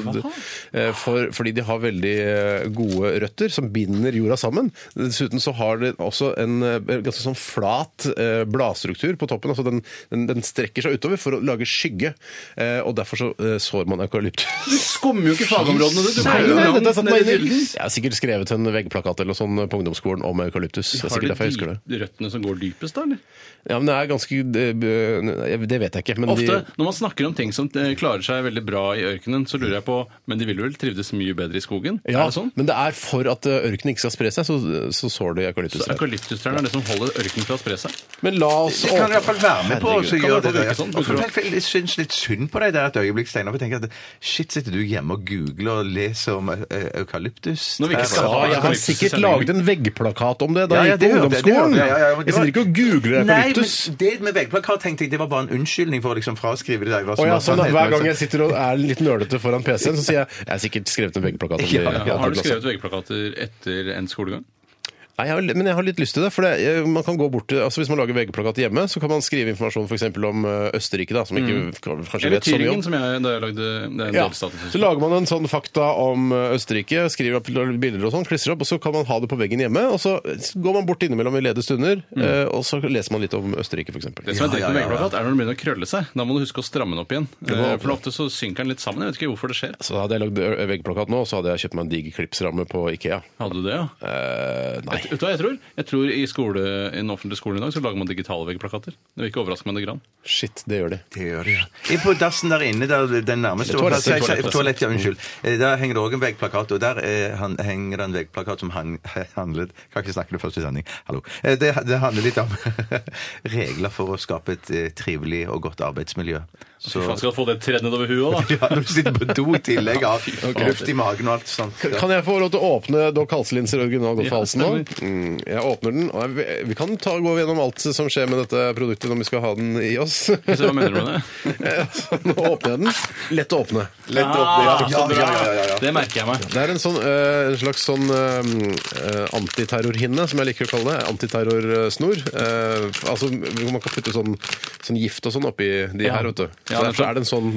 S7: eh, for, fordi de har veldig eh, gode røtter som binder jorda sammen. Dessuten så har det også en eh, ganske sånn flat eh, bladstruktur på toppen. Altså den, den, den strekker seg utover for å lage skygge. Eh, Og derfor så eh, sår man
S8: [laughs]
S7: eukalyptus.
S8: Du skummer jo ikke fagområdene, du. Du
S7: Nei,
S8: kommer jo
S7: nei,
S8: langt
S7: dette satt
S8: ned i
S7: meg inn i.
S8: hyllen.
S7: Jeg har sikkert skrevet en veggplakat eller noe sånt på ungdomsskolen om eukalyptus. Det er
S8: Har
S7: sikkert derfor jeg husker
S8: du
S7: det.
S8: de røttene som går dypest, da? eller?
S7: Ja, men det er ganske Det, eh, det vet jeg ikke. Men
S8: Ofte
S7: de,
S8: når man snakker om ting som eh, klarer seg veldig bra i ørkenen, så lurer jeg på Men de ville vel trivdes mye bedre i skogen?
S7: ja,
S8: Er det sånn?
S7: Men det er for at eh, ørkenen ikke skal spre seg, så, så sår de eukalyptus.
S8: Så
S7: her.
S8: Eukalyptustrærne er det som holder ørkenen fra å spre seg?
S7: Men la oss
S3: Det kan i hvert fall være med på å
S7: Herregud.
S8: Kan
S3: gjøre
S8: det
S3: det. der.
S8: virke sånn?
S3: Og for meg- Jeg syns litt synd på deg der et øyeblikk, Steinar. for Jeg tenker at shit, sitter du hjemme og googler og lesker om eh, eukalyptus?
S8: Når vi ikke skal
S7: Ja,
S8: ha
S7: jeg har sikkert laget en veggplakat om det da
S3: Ja, ja,
S7: jeg gikk på
S3: hørte jeg, det hørte
S7: ungdomsskolen.
S3: jeg, ja, ja, men det
S7: Jeg sitter
S3: var-
S7: ikke og googler eukalyptus.
S3: Nei, men det med veggplakat tenkte jeg det var bare en unnskyldning for å liksom fraskrive det der. hva
S7: Å
S3: som
S7: ja,
S3: var
S7: sånn, da,
S3: sannheten,
S7: hver gang
S8: altså?
S3: liksom.
S7: jeg sitter og er litt nølete foran PC-en, så sier jeg jeg har sikkert skrevet en
S8: [laughs]
S7: veggplakat. om det i
S3: Ja, ja.
S7: andre
S8: Har du
S7: klasse».
S8: skrevet veggplakater etter endt skolegang?
S7: Nei, jeg har, men jeg har litt lyst til det. for det, eh, man kan gå bort til, altså Hvis man lager VG-plakat hjemme, så kan man skrive informasjon for eksempel om eh, Østerrike, da, som ikke kanskje
S8: Mm. Eller
S7: vet så mye om.
S8: Tyringen, som jeg da jeg lagde det er en
S7: Ja.
S8: delstatus.
S7: Så lager man en sånn fakta om eh, Østerrike, skriver opp bilder og sånn, klistrer opp, og så kan man ha det på veggen hjemme. Og så går man bort innimellom i ledige stunder, eh, og så leser man litt om Østerrike, f.eks.
S8: Det som er dritt
S3: Ja, ja,
S8: med
S3: ja, ja.
S8: veggplakat, er når den begynner å krølle seg. Da må du huske å stramme den opp igjen. Eh,
S7: må-
S8: For ofte så synker den litt sammen. Jeg vet ikke hvorfor det skjer.
S7: Så hadde jeg lagd ø- veggplakat nå, så hadde jeg kjøpt meg en diger klipsramme på Ikea.
S8: Hadde du det, ja?
S7: Eh, nei.
S8: Vet du hva jeg tror? Jeg tror i, skole, i den offentlige skolen i dag så lager man digitale veggplakater. Det vil ikke overraske meg det grann.
S7: Shit, det gjør de.
S3: Det gjør det, ja. Inn på dassen der inne, der den nærmeste
S7: Toalett,
S3: plassen-
S7: toalett,
S3: Toalett, toalett, ja, unnskyld. Eh, Der henger det òg en veggplakat, og der eh, han, henger det en veggplakat som han, [laughs] handlet Kan ikke snakke det første i sending. Hallo. Eh, det, det handler litt om [laughs] regler for å skape et eh, trivelig og godt arbeidsmiljø. Så
S8: Fy faen, skal du få det tredd nedover
S7: [laughs]
S8: huet òg, da?
S3: [laughs] ja, når du sitter på do i tillegg av
S8: faen.
S3: luft i magen og alt sånt. Ja.
S7: Kan jeg få lov til å åpne Doc Halslinser original godt for
S8: Ja,
S7: halsen nå? Mm, jeg åpner den, og jeg, vi kan ta, gå gjennom alt som skjer med dette produktet når vi skal ha den i oss. Eh, [laughs]
S8: Så Hva mener du med det?
S7: nå åpner jeg den. Lett å åpne. Lett å åpne,
S8: Ah,
S7: ja.
S8: så bra.
S3: ja, ja, ja, ja.
S8: Det merker jeg meg.
S7: Det er en, sånn, eh, en slags sånn eh, antiterrorhinne, som jeg liker å kalle det. Antiterrorsnor. Eh, altså, man kan putte sånn, sånn gift og sånn oppi de
S8: Ja.
S7: her, vet du. Så
S8: Ja,
S7: derfor er det en sånn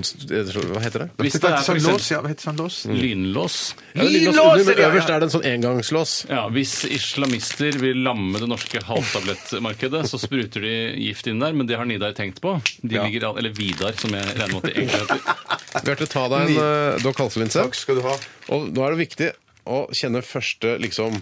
S7: Hva heter det?
S8: Hvis det er for
S3: sånn lås,
S8: eksempel
S3: ja, hva heter sånn lås?
S8: lynlås
S7: Ja, det er lynlås
S3: Lynlås,
S7: under, men
S3: ja, ja.
S7: Øverst er det en sånn engangslås.
S8: ja, Hvis islamister vil lamme det norske halvtablettmarkedet, så spruter de gift inn der, men det har Nidar tenkt på. De
S7: Ja.
S8: ligger, al- eller Vidar, som jeg regner med at de
S7: [laughs]
S8: egentlig heter.
S7: Bjarte, ta deg en uh, Doc Halslinse.
S3: Takk skal du ha.
S7: Og nå er det viktig å kjenne første liksom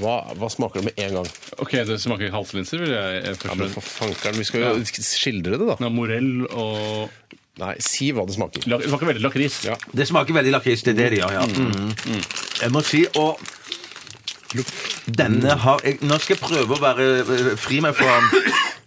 S7: hva, hva smaker det med en gang?
S8: Ok, det smaker halslinser, vil jeg eh, først
S7: Ja,
S8: og
S7: men
S8: fremst.
S7: for fankeren, Vi skal jo skildre det, da.
S8: Ja, Morell og
S7: Nei, si hva det smaker.
S8: lak- Det smaker veldig lakris.
S7: Ja.
S3: Det smaker veldig lakris. Det er det det gjør, ja. Mm. Jeg må si og denne har jeg, Nå skal jeg prøve å være eh, fri meg fra,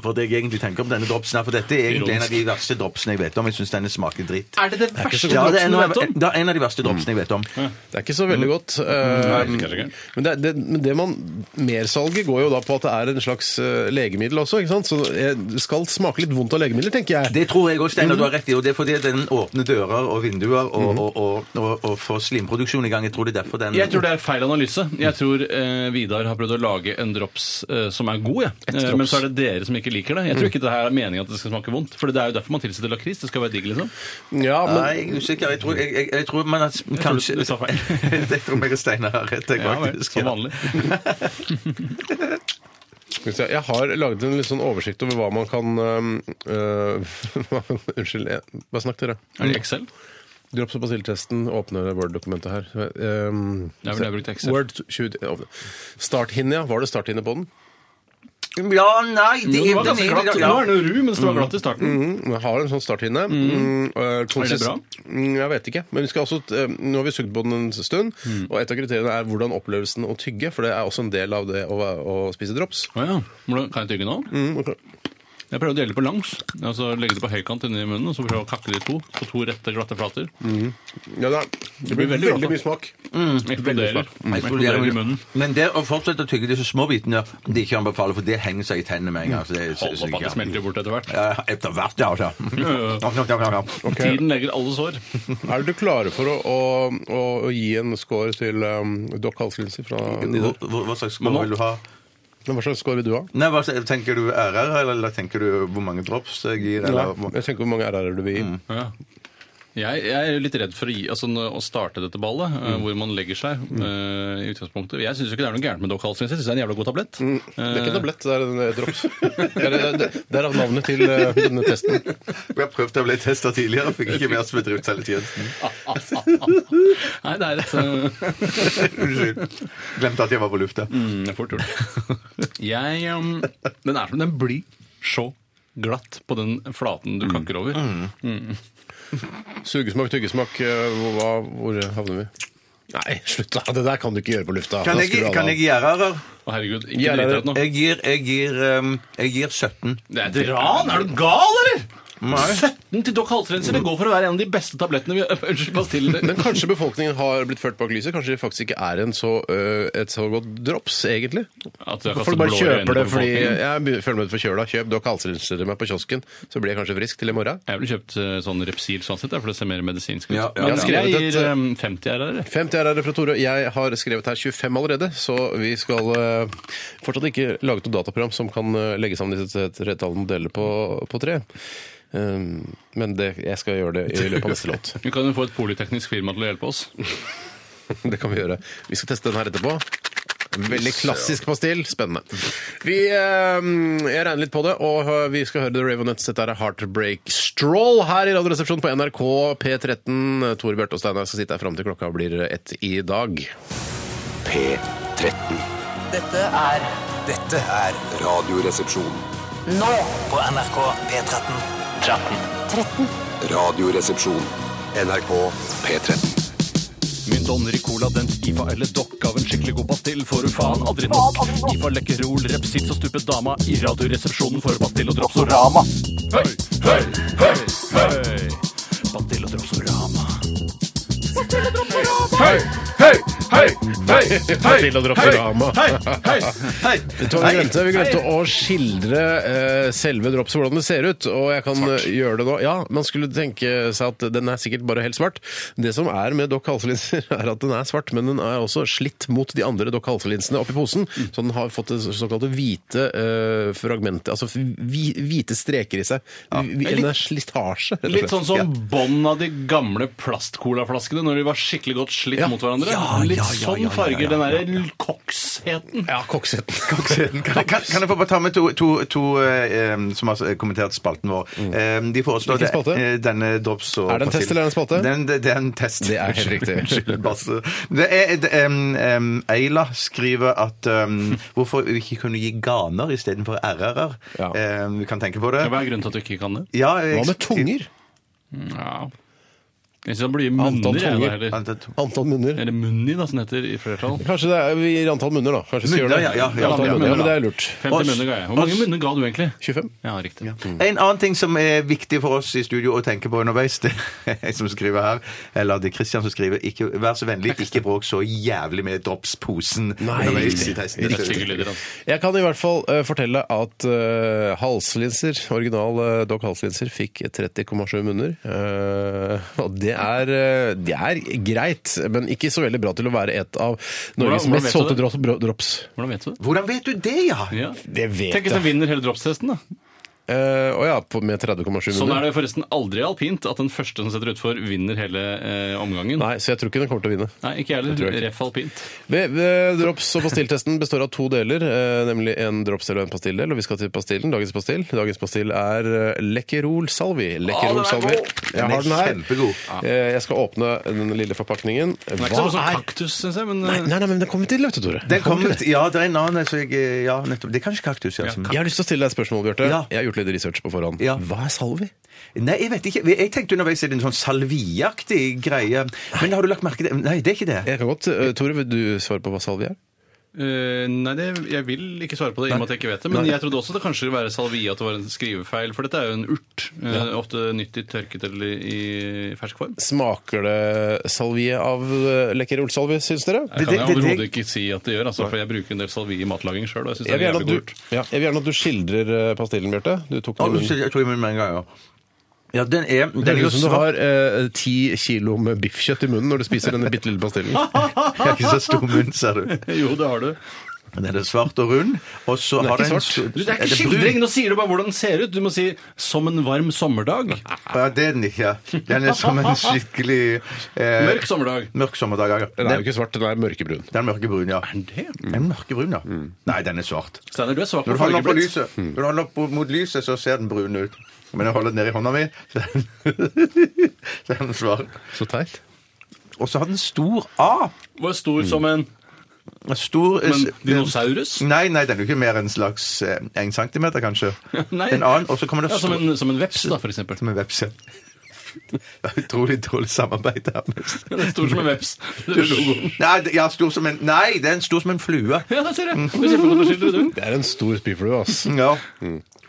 S3: for det jeg egentlig tenker om denne dropsen her, for dette er egentlig en av de verste dropsene jeg vet om. Jeg syns denne smaker dritt.
S8: Er det den verste
S3: Ja, det er en
S8: dropsen du
S3: av,
S8: vet om? Mm.
S3: det er en av de verste dropsene jeg vet om.
S7: Det er ikke så veldig godt.
S8: Nei,
S7: Eh,
S8: kanskje ikke.
S7: men det, er- det, men det man Mersalget går jo da på at det er en slags eh, legemiddel også, ikke sant? Så eh, det skal smake litt vondt av legemidler, tenker jeg.
S3: Det tror jeg òg, Steinar. Du har rett i. Og det er fordi den åpner dører og vinduer og, og, og, og, og får slimproduksjon i gang. Jeg tror det er derfor den
S8: Mm. Jeg tror det er feil analyse. Jeg tror eh, Vidar har prøvd å lage en drops eh, som er god, jeg. Eh, men så er det dere som ikke liker det. Jeg tror ikke det her er meningen at det skal smake vondt. For det er jo derfor man tilsetter lakris. Det skal være digg, liksom.
S7: Ja,
S3: Nei,
S7: men
S3: jeg er usikker. Jeg tror, jeg, jeg, jeg tror man at kanskje
S8: du sa feil.
S3: [laughs] Jeg tror meg og Steinar har rett, jeg,
S8: Ja, vel,
S3: faktisk.
S8: som vanlig.
S7: skal vi se, jeg har laget en litt sånn oversikt over hva man kan eh, eh, [laughs] Unnskyld, jeg- hva snakket dere?
S8: Er det Excel?
S7: Drops og basiltesten åpner Word-dokumentet her. Um,
S8: Det er vel det jeg brukte Excel.
S7: Word 20, åpne. Starthinne, ja. Var det starthinne på den?
S3: Ja, ja nei det,
S8: Jo, det var
S3: den
S8: ganske
S3: er-
S8: glatt.
S3: ja.
S8: Nå er den jo ru, mens det var glatt i starten.
S7: Mm, jeg har en sånn starthinne. Mm. øh, konsist-
S8: bra?
S7: Mm, jeg vet ikke. Men vi skal også, t- øh, nå har vi sugd på den en stund, og et av kriteriene er hvordan opplevelsen å tygge, for det er også en del av det å, væ- å spise drops.
S8: Å ja. Hvordan- Kan jeg tygge nå? Jeg prøver å dele på langs. Altså Legge det på høykant inni munnen, og så prøve å kakke det i to. På to rette, glatte flater.
S7: Ja, det, er, det blir veldig,
S8: veldig godt, da.
S7: mye smak.
S8: Eksploderer. Eksploderer i munnen.
S3: Men det å fortsette å tygge disse små bitene, det ikke anbefaler, for det henger seg i tennene med en gang. Så det,
S8: Hold opp, at det smelter bort etter hvert.
S3: Ja, etter hvert, ja. Altså.
S8: Tiden legger alle sår.
S7: Er dere klare for å, å, å, å gi en score til um, Dokk Halsgrense fra
S3: Hva,
S7: Nidar?
S3: hva- hva slags score vil du ha?
S7: Hva slags score vil du ha?
S3: Nei, hva, Tenker du RR, eller tenker du hvor mange drops jeg gir? Eller,
S7: Jeg tenker hvor mange RR-er du vil gi.
S8: Ja. Jeg, jeg er litt redd for å, gi, altså, nå- å starte dette ballet,
S7: Mm.
S8: eh, hvor man legger seg. eh, i utgangspunktet. Jeg syns ikke det er noe gærent med Doc Halsgrense. Jeg syns det er en jævla god tablett.
S7: Mm. Det er ikke en tablett, det er en eh, drops. [laughs] Det er, det er- det er av navnet til eh, denne testen.
S3: Jeg har prøvd å bli testa tidligere, fikk ikke mer som
S8: [laughs]
S3: bedriftselvtjenesten.
S8: [laughs] Nei, det er et eh,
S3: Unnskyld. Glemte at jeg var på lufta.
S8: mm, Fort gjort. [laughs] Jeg um, Den er som den blir så glatt på den
S7: Mm.
S8: flaten du kakker over.
S7: Sugesmak, tyggesmak, eh, hvor, hva- hvor havner vi? Nei, slutt da. Det der kan du ikke gjøre på lufta.
S3: Kan
S7: Da
S3: jeg,
S7: skrur alle
S3: kan
S7: av.
S3: jeg gi RR-er?
S8: Å, herregud, ikke
S7: Ja, det er
S8: drit
S7: det.
S8: deg ut nå.
S3: Jeg gir, jeg gir, ehm, jeg gir Mm. 17.
S8: Det er et ran! Er du gal, eller?!
S3: Nei.
S8: 17 til Doc Halsgrense! Det går for å være en av de beste tablettene vi [laughs] Unnskyld, Bastille.
S7: Men kanskje befolkningen har blitt ført bak lyset? Kanskje det faktisk ikke er en så, øh, et så godt drops, egentlig?
S8: At du har kastet
S7: Folk bare
S8: blår i øynene
S7: kjøper det
S8: på
S7: fordi
S8: befolkningen.
S7: Jeg be- føler meg litt forkjøla. Kjøp Doc Halsrensere meg på kiosken, så blir jeg kanskje frisk til i morgen.
S8: Jeg ville kjøpt eh, sånn Repsil sånn sett, ja, for det ser mer medisinsk ut.
S3: Ja, ja,
S8: Men
S7: ja. Jeg
S8: jeg
S7: skrevet et,
S8: gir um, 50 RR. jeg.
S7: 50 RR fra Tore. Jeg har skrevet her 25 allerede, så vi skal eh, fortsatt ikke lage et dataprogram som kan eh, legge sammen disse tre tallene og dele på, på tre. Um, men det, jeg skal gjøre det i løpet av neste låt.
S8: Vi kan jo få et polyteknisk firma til å hjelpe oss.
S7: [laughs] Det kan vi gjøre. Vi skal teste den her etterpå. En Veldig klassisk pastill. Spennende. Vi, eh, jeg regner litt på det, og eh, vi skal høre The Ravenettes. Dette er Heartbreak Stroll her i Radioresepsjonen på NRK P13. Tore Bjarte og Steinar skal sitte her fram til klokka blir ett i dag.
S1: P13.
S5: Dette er
S6: Dette er
S1: Radioresepsjon.
S5: nå på NRK P13.
S1: Radioresepsjon. NRK P13.
S4: Mynt, donner i cola, dent, IFA eller dokk av en skikkelig god pastill får du faen aldri nok. IFA lekkerol, repsits og stupet dama i radioresepsjonen for pastill og dropsorama. Høy, høy, høy, høy. Pastill og dropsorama. Hei, hei, hei, hei,
S7: [laughs]
S4: hei,
S7: Pastill og dropsorama.
S4: hei, hei, hei.
S7: Vet du hva Vi glemte, vi glemte å skildre eh, selve dropset, hvordan det ser ut. Og jeg kan eh, gjøre det nå. Ja, Man skulle tenke seg at den er sikkert bare helt svart. Det som er med Doc Halselinser, [laughs] er at den er svart, men den er også slitt mot de andre Doc Halselinsene oppi posen. Så den har fått det såkalte hvite eh, fragmentet, altså hvi, hvite streker i seg. Hvi- Den er slitasje, rett og
S8: Litt
S7: slett.
S8: sånn som bånd av de gamle plastcolaflaskene når de var skikkelig godt slitt
S7: Ja.
S8: mot hverandre.
S7: Ja,
S8: Litt
S7: ja, ja,
S8: sånn
S7: ja, ja,
S8: farger.
S7: ja, ja,
S8: Den derre koksheten.
S7: Ja, kokseten.
S3: Kan, kan, kan jeg få bare ta med to, to, to eh, em, som har kommentert spalten vår? Em, de foreslår
S7: Mm. Hvilken spalte?
S3: eh, denne drops og
S7: Er det en test, eller er det en spalte?
S3: Den, det, det er en test.
S7: Det er helt riktig.
S3: Unnskyld, Basse. Det er, det, em, em, Eila skriver at em, hvorfor vi ikke kunne gi ganer istedenfor RR-er.
S7: Ja.
S3: Em, Ehm, vi kan tenke på det.
S8: Hva er grunnen til at du ikke kan det?
S3: Ja, jeg-
S7: Hva med tunger?
S8: Mm, Ja. Jeg synes han blir munner,
S7: Antall
S8: jeg, da,
S7: tunger.
S8: heller.
S7: Antall munner.
S8: Eller munni, da, som det heter i flertall.
S7: Kanskje det er, vi gir antall munner, da. Kanskje vi skal
S3: Munner,
S7: gjøre det.
S3: ja, ja, ja,
S7: antall
S3: ja,
S7: munner,
S3: ja.
S7: men det er lurt.
S8: 50
S3: Oss-
S8: munner ga jeg. Hvor mange
S3: oss-
S8: munner ga du egentlig?
S7: 25?
S8: Ja, riktig.
S3: Mm. En annen ting som er viktig for oss i studio å tenke på underveis, [laughs] det er jeg som skriver her, eller det er Christian som skriver, ikke, vær så vennlig, ikke bråk så jævlig med dropsposen underveis i testen.
S8: Riktig lyder altså. han.
S7: Jeg kan i hvert fall eh, fortelle at eh, halslinser, original uh, Doc halslinser, fikk 30,7 munner. Eh, og det er, eh, det er greit, men ikke så veldig bra til å være et av Norges
S8: Hvordan- hvordan
S7: mest
S8: vet du
S7: solgte
S8: det?
S7: dro- dro- drops.
S8: Hvordan vet du det?
S3: Hvordan vet du det, ja?
S8: Ja.
S7: Det vet
S8: Tenk hvis han vinner hele dropstesten, da.
S7: Eh, Å ja, på, med 30,7
S8: Sånn er
S7: munner.
S8: det forresten aldri i alpint at den første som setter utfor, vinner hele eh, omgangen. Nei,
S7: Nei, så jeg tror ikke den kommer til å vinne.
S8: ikke jeg
S7: Det tror
S8: heller.
S7: jeg ikke.
S8: Ref alpint.
S7: Ved- ved Drops- og pastilltesten består av to deler, eh, nemlig en dropsdel og en pastilldel. Og vi skal til pastillen, dagens pastill. Dagens pastill er eh, Lekkerol Salvi. Lekkerol Salvi. Jeg
S3: Den
S7: har
S3: er
S7: den her.
S3: kjempegod.
S7: Eh, Jeg skal åpne den lille forpakningen.
S8: Den er ikke
S7: Hva
S8: sånn som
S7: er
S8: kaktus, syns jeg, men eh,
S7: Nei, nei, nei, men den kommer til, vet du, Tore.
S3: Den kom
S7: til
S3: ut, ja, det er en annen, så jeg, eh, ja, nettopp, det er kanskje kaktus, ja. Som,
S7: Jeg har lyst til å stille deg et spørsmål, Bjarte.
S3: Ja.
S7: Jeg har gjort litt research på forhånd.
S3: Ja.
S7: Hva er salvi?
S3: Nei, jeg vet ikke, jeg tenkte underveis er det en sånn salviaktig greie, men har du lagt merke til det? Nei, det er ikke det.
S7: Jeg kan godt, eh, Tore, vil du svare på hva salvi er?
S8: Eh, nei, det, jeg vil ikke svare på det, i og med at jeg ikke vet det. Men
S7: Nei.
S8: jeg trodde også det kanskje ville være salvia at det var en skrivefeil, for dette er jo en urt. eh, Ofte nyttig tørket eller i fersk form.
S7: Smaker det salvie av eh, Lekkerol Salvi, syns dere?
S8: Jeg kan
S3: det-
S8: jeg
S3: det-
S8: overhodet ikke si at det gjør, altså, for jeg bruker en del salvie i matlaging sjøl. Og jeg synes
S7: Jeg vil
S8: det er
S7: gjerne at
S8: jævlig
S7: du,
S8: godt.
S7: ja, jeg vil gjerne at du skildrer eh, pastillen, Bjarte. Du
S3: Å,
S7: tok den i munnen.
S3: unnskyld, jeg tror jeg må med en gang, ja. Ja, den er, den
S7: Det
S3: er jo
S7: høres ut som
S3: [laughs]
S7: du
S3: svart.
S7: har eh, ti kilo med biffkjøtt i munnen når du spiser denne bitte lille pastillen.
S3: Jeg har ikke så stor munn, ser du.
S8: Jo, det har du.
S3: Den er svart og rund, og så har den...
S7: ikke
S3: en
S7: svart.
S3: stor-
S8: Du, Det er
S3: brun?
S8: ikke skildring! Nå sier du bare hvordan den ser ut. Du må si 'som en varm sommerdag'.
S3: Ja, det er den ikke. Den er som en skikkelig eh,
S8: Mørk sommerdag.
S3: mørk sommerdag. ja.
S7: Den er
S3: Den,
S7: jo ikke svart, den er mørkebrun.
S3: den er mørkebrun, ja. Den er mørkebrun, ja. Nei, den er svart.
S8: Steinar, Mm. du er
S3: Når
S8: svak på Mm.
S3: du holder den opp mot
S8: fargeblindhet.
S3: lyset, når du holder den opp mot lyset, så ser den brun ut. Men jeg holder den ned i hånda mi, [laughs] så er den, så er den svart.
S7: Så teit.
S3: Og så har den stor A.
S8: Var stor som en
S3: Stor eh,
S8: men,
S3: s-
S8: dinosaurus.
S3: Nei, nei, den er jo ikke mer enn en slags eh, en centimeter, kanskje.
S8: [laughs] Nei.
S3: En annen, og så kommer det
S8: Ja, som,
S3: stor-
S8: en, som en veps, da, for eksempel.
S3: som en veps. ja. Det er utrolig dårlig samarbeid her. men-
S8: Den er [laughs] stor som en veps. Det er logoen.
S3: Nei, det- ja, stor som en, nei, det er en stor som en flue.
S8: Ja, der ser jeg. Du ser på hvordan du skildrer det.
S7: Det er en stor spyflue, ass.
S3: Ja.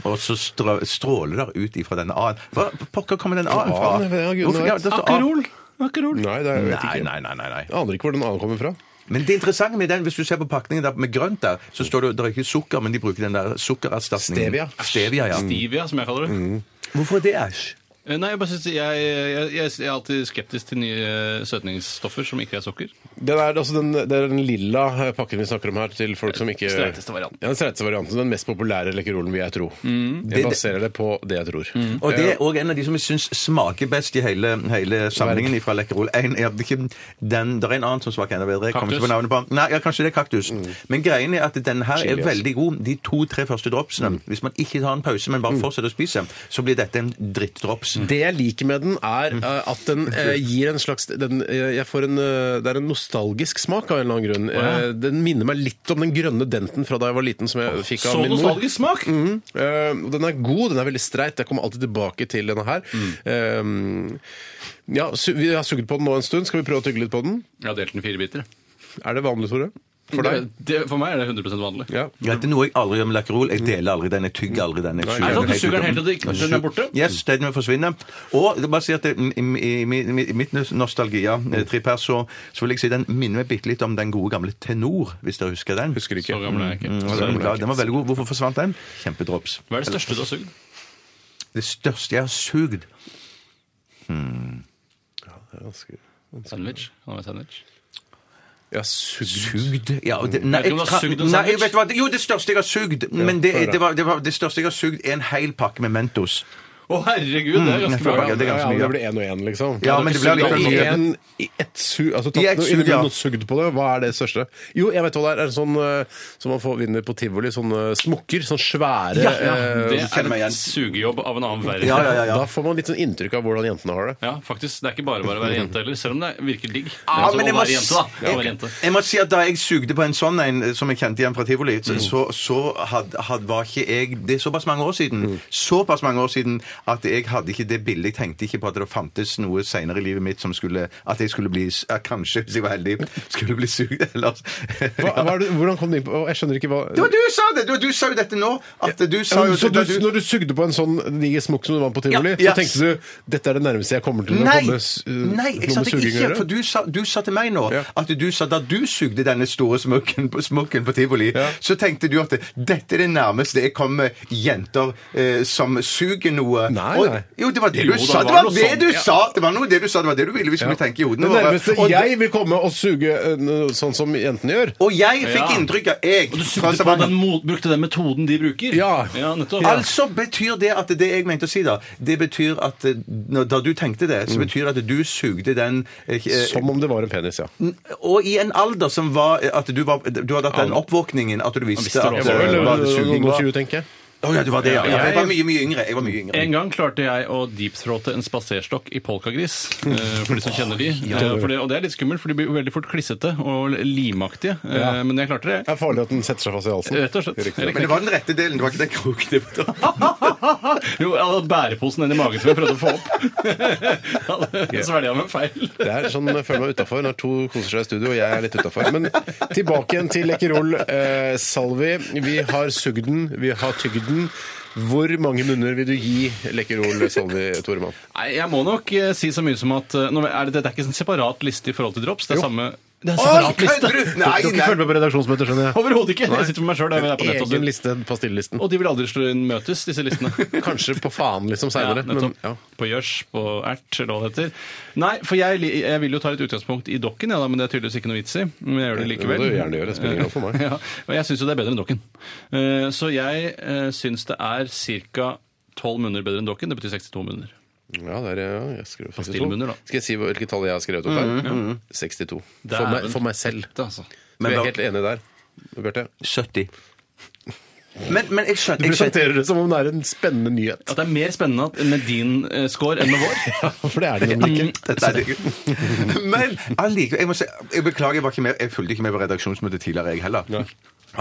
S3: Og så strå, stråler det ut ifra denne A-en. Hva pokker kommer den A-en fra?
S7: A-en, ja, gudene
S3: Hvorfor- ja,
S7: vet.
S3: det står A.
S8: Akerol. Akerol.
S7: Nei, det er, jeg vet
S3: Nei,
S7: ikke.
S3: nei, nei, nei, nei.
S7: Jeg aner ikke hvor den andre kommer fra.
S3: Men det interessante med den, hvis du ser på pakningen der med grønt der, så står det, det er ikke sukker, men de bruker den der sukkererstatningen.
S7: Stevia.
S3: Stevia, ja.
S8: Divia, som jeg kaller det.
S3: Hvorfor er det æsj?
S8: Eh, Nei, jeg, bare synes, jeg, jeg, jeg, jeg er alltid skeptisk til nye søtningsstoffer som ikke er sukker.
S7: Den er, altså den, det er den lilla eh, pakken vi snakker om her, til folk som ikke
S8: Streiteste varianten.
S7: Ja, den streiteste varianten. Den mest populære lekkerolen, vil jeg tro.
S3: Det-
S7: Jeg baserer det på det jeg tror.
S3: Og det er òg en av de som jeg syns smaker best i hele, hele samlingen fra Lekkerol. En, er det ikke den, det er en annen som smaker enda bedre. Jeg kommer ikke på navnet på den. Nei, ja, Kanskje det er kaktus. Men greien er at den her
S7: Chili,
S3: er
S7: altså.
S3: veldig god. De to-tre første dropsene. Hvis man ikke tar en pause, men bare fortsetter å spise, så blir dette en drittdrops.
S7: Det jeg liker med den, er eh, at den eh, gir en slags den, eh, jeg får en, eh, Det er en nostalgisk smak av en eller annen grunn. Eh, den minner meg litt om den grønne denten fra da jeg var liten, som jeg fikk av
S8: Så
S7: min mor.
S8: nostalgisk smak!
S7: Mm. Eh, og den er god, den er veldig streit. Jeg kommer alltid tilbake til denne her. Eh,
S8: Mm.
S7: ja, su Vi har sugd på den nå en stund. Skal vi prøve å tygge litt på den?
S8: Jeg har delt den i fire biter.
S7: Er det vanlig, Tore?
S8: For,
S7: For deg?
S8: Det, for meg er det 100 vanlig.
S7: Ja.
S3: Ja, det er noe jeg aldri gjør med Lekkerol. Jeg deler aldri den. Jeg tygger aldri den. Jeg
S8: Er det sånn at du
S3: helt ut.
S8: suger den helt til det ikke- til den er borte?
S3: Yes, den vil forsvinne. Og det er bare å si at det- i, i, i, i mitt nostalgia-tripp her, så, så vil jeg si den minner meg bitte litt om den gode gamle Tenor, hvis dere husker den.
S7: Husker
S8: Så
S7: ikke.
S8: gammel er jeg
S3: Mm,
S8: ikke.
S3: den, var glad. den var veldig god. Hvorfor forsvant den? Kjempedrops.
S8: Hva er det største du har sugd?
S3: Det største jeg har sugd
S8: Sandwich? Han var sandwich.
S7: Jeg har sugd
S3: Sugd? Ja, og det, nei,
S8: Vet du om
S3: jeg
S8: du har
S3: kan-
S8: sugd en
S3: nei,
S8: sandwich?
S3: vet du hva? Jo, det største jeg har sugd. Men det,
S7: hør da.
S3: det, var, det, var, det største jeg har sugd, er en hel pakke med Mentos.
S8: Å, herregud, det er
S3: Mm, jeg
S8: ganske
S3: får
S8: bra.
S3: ikke- det er
S7: Ja,
S3: ganske
S7: ja,
S3: mye.
S7: det blir én og én, liksom.
S3: Ja, men det blir
S7: Ja,
S3: allikevel
S7: I
S3: mye.
S7: en, i ett sug, altså tatt
S3: I ett
S7: noe,
S3: sug, ja.
S7: noe sugd på det, hva er det største? Jo, jeg vet hva det er, er det sånn eh, som man får vinner på Tivoli, sånne smukker, sånn svære
S3: Ja, ja,
S7: eh,
S8: Det
S3: kjenner meg igjen.
S8: er en sugejobb av en annen verden.
S3: Ja, ja, ja, ja.
S7: Da får man litt sånn inntrykk av hvordan jentene har det.
S8: Ja, faktisk. Det er ikke bare bare å være jente heller, selv om det virker digg.
S3: Ja,
S8: Altså,
S3: Ah, men jeg
S8: å
S3: må,
S8: være jente, da. Ja, å være jente.
S3: jeg må si at da jeg sugde på en sånn en eh, som jeg kjente igjen fra
S7: Mm.
S3: tivoli,
S7: Mm.
S3: så, så, så had, had, var ikke jeg Det er såpass mange år siden såpass mange år siden at jeg hadde ikke det bildet. Jeg tenkte ikke på at det fantes noe senere i livet mitt som skulle At jeg skulle bli ja, Kanskje, hvis jeg var heldig, skulle bli sugd. Eller
S7: Hva, hva er det, hvordan kom du inn på Jeg skjønner ikke hva
S3: [laughs] Det var du som sa det! Du, du sa jo dette nå. At du
S7: Ja,
S3: sa jo
S7: men så du,
S3: da
S7: når du sugde på en sånn diger smokk som du vant på tivoli,
S3: Ja, ja.
S7: så tenkte du dette er det nærmeste jeg kommer til å
S3: Nei,
S7: komme s- eh,
S3: nei, jeg
S7: noe
S3: sa
S7: med
S3: det
S7: suging å
S3: ikke.
S7: gjøre?
S3: For du sa, du sa til meg nå
S7: Ja.
S3: at du sa da du sugde denne store smokken på, smokken på tivoli,
S7: Ja.
S3: så tenkte du at dette er det nærmeste jeg kommer jenter eh, som suger noe.
S7: Nei,
S3: Og-
S7: nei.
S3: Jo, det var det
S8: Jo,
S3: du
S8: det
S3: sa!
S8: var
S3: Det var
S8: noe
S3: det
S8: sånt,
S3: du
S8: ja.
S3: sa! Det var noe det du sa, det var det du ville vi skulle tenke i hodene
S7: Det nærmeste
S3: Og det-
S7: jeg vil komme og suge eh, noe sånn som jentene gjør.
S3: Og jeg fikk
S8: Ja.
S3: inntrykk av jeg
S8: Og du
S3: fra
S8: sugde på
S3: Stavanger-
S8: den, mo- brukte den metoden de bruker?
S7: Ja.
S8: nettopp.
S3: Altså betyr det at det jeg mente å si, da, det betyr at eh, når- da du tenkte det, så betyr det at du sugde den eh, eh,
S7: Som om det var en penis, ja.
S3: Og i en alder som var at du, var, du hadde hatt den oppvåkningen at du visste
S8: visste det
S3: at
S8: også.
S3: eh,
S8: Jeg
S3: hva det
S7: Noen
S3: suging
S7: og
S3: var.
S7: tjue, tenker jeg.
S3: Å ja, du var det, ja.
S8: Ja,
S3: Jeg
S8: jeg-
S3: var mye, mye yngre. Jeg var mye yngre.
S8: En gang klarte jeg å deepthroate en spaserstokk i polkagris. eh, For de som kjenner de. Eh, For det, og det er litt skummelt, for de blir jo veldig fort klissete og limaktige. Eh,
S7: Ja.
S8: Men jeg klarte
S7: Det
S8: det.
S7: er farlig at den setter seg fast i halsen.
S8: Rett og slett. Jeg
S3: Men det var den rette delen, det var ikke den kroken. [laughs] det var-
S8: [laughs] Jo, jeg hadde bæreposen inn i magen som [laughs] jeg prøvde å få opp. Jeg Svelga med feil.
S7: Det er sånn jeg føler meg utafor når to koser seg i studio og jeg er litt utafor. Men tilbake igjen til Lekkerol eh, Salvi. Vi har sugd den, vi har tygd den. Hvor mange munner vil du gi Lekkerol Salvi, Toremann?
S8: Nei, jeg må nok eh, si så mye som at eh, nå er det, Dette er ikke en separat liste i forhold til drops. Det er samme det er en
S3: Oi,
S8: separat liste.
S3: kødder du? Nei,
S7: Du har ikke
S3: nei.
S7: følt med på redaksjonsmøtet, skjønner jeg.
S8: Overhodet ikke! Jeg sitter med meg sjøl. Jeg er på nettet
S7: Egen
S8: også.
S7: liste, pastillelisten.
S8: Og de vil aldri slå inn møtes, disse
S7: [laughs]
S8: listene.
S7: Kanskje på faen, liksom,
S8: Ja,
S7: seinere. men
S8: nettopp.
S7: ja.
S8: På gjørs, på ert, eller hva det heter. Nei, for jeg, li- jeg vil jo ta litt utgangspunkt i dokken, ja, da, men det er tydeligvis ikke noe vits i. Men jeg gjør det
S7: Det må
S8: likevel.
S7: du gjerne gjøre, det spiller ingen rolle for meg.
S8: [laughs] ja, og jeg syns jo det er bedre enn dokken. Eh, Så jeg eh, syns det er ca. 12 munner bedre enn dokken. Det betyr 62 munner.
S7: Ja, der, ja. Jeg skrev faktisk
S8: Pastillmunner, da. Mm,
S7: to. Skal jeg si hvilket tall jeg har skrevet opp der? 62. For
S8: Dæven.
S7: meg, for meg selv.
S8: Det, altså.
S7: Men vi
S3: da-
S7: er helt enige der. Bjarte?
S3: 70. Men, men jeg skjønner, jeg skjønner.
S7: det som om det er en spennende nyhet.
S8: At det er mer spennende at- med din eh, score enn
S7: [laughs]
S8: med vår.
S7: For det er det nemlig ikke.
S3: Mm, Dette er det. [laughs] Men allikevel jeg, må si, jeg beklager, jeg, var ikke med, jeg fulgte ikke med på redaksjonsmøtet tidligere, jeg heller. Det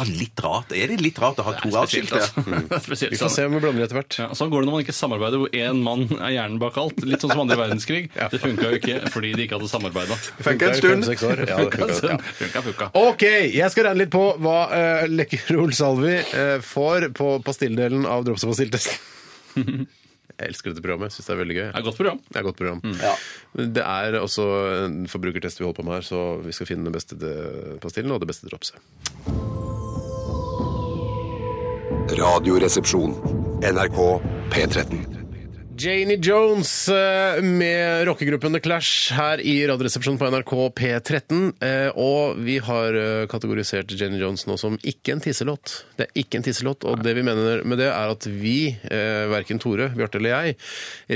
S3: var litt rart. Er det litt rart å ha to avskilte?
S8: [laughs] Spesielt,
S7: Vi får
S8: altså.
S7: se om vi blander etter hvert.
S8: Ja, sånn går det når man ikke samarbeider, hvor én mann er hjernen bak alt. Litt sånn som andre verdenskrig. Det funka jo ikke fordi de ikke hadde Sånn. samarbeida.
S7: [laughs]
S3: Funka en
S7: Det er jo
S3: stund.
S7: fem-seks år. Ja, det funker. Ja.
S8: Funka, funka.
S7: OK, jeg skal regne litt på hva uh, Lekkerol Salvi eh, får på pastilledelen av Drops og pastilltesten. [laughs] Jeg elsker dette programmet. Syns det er veldig gøy.
S8: Det er et godt program.
S7: Det er et godt Mm. program. Men Det er også en forbrukertest vi holder på med her, så vi skal finne den beste eh, pastillen og det beste dropset.
S1: Radioresepsjon. NRK P13.
S7: Janie Jones eh, med rockegruppen The Clash her i Radioresepsjonen på NRK P13. eh, Og vi har eh, kategorisert Janie Jones nå som ikke en tisselåt. Det er ikke en tisselåt, og det vi mener med det er at vi, eh, verken Tore, Bjarte eller jeg,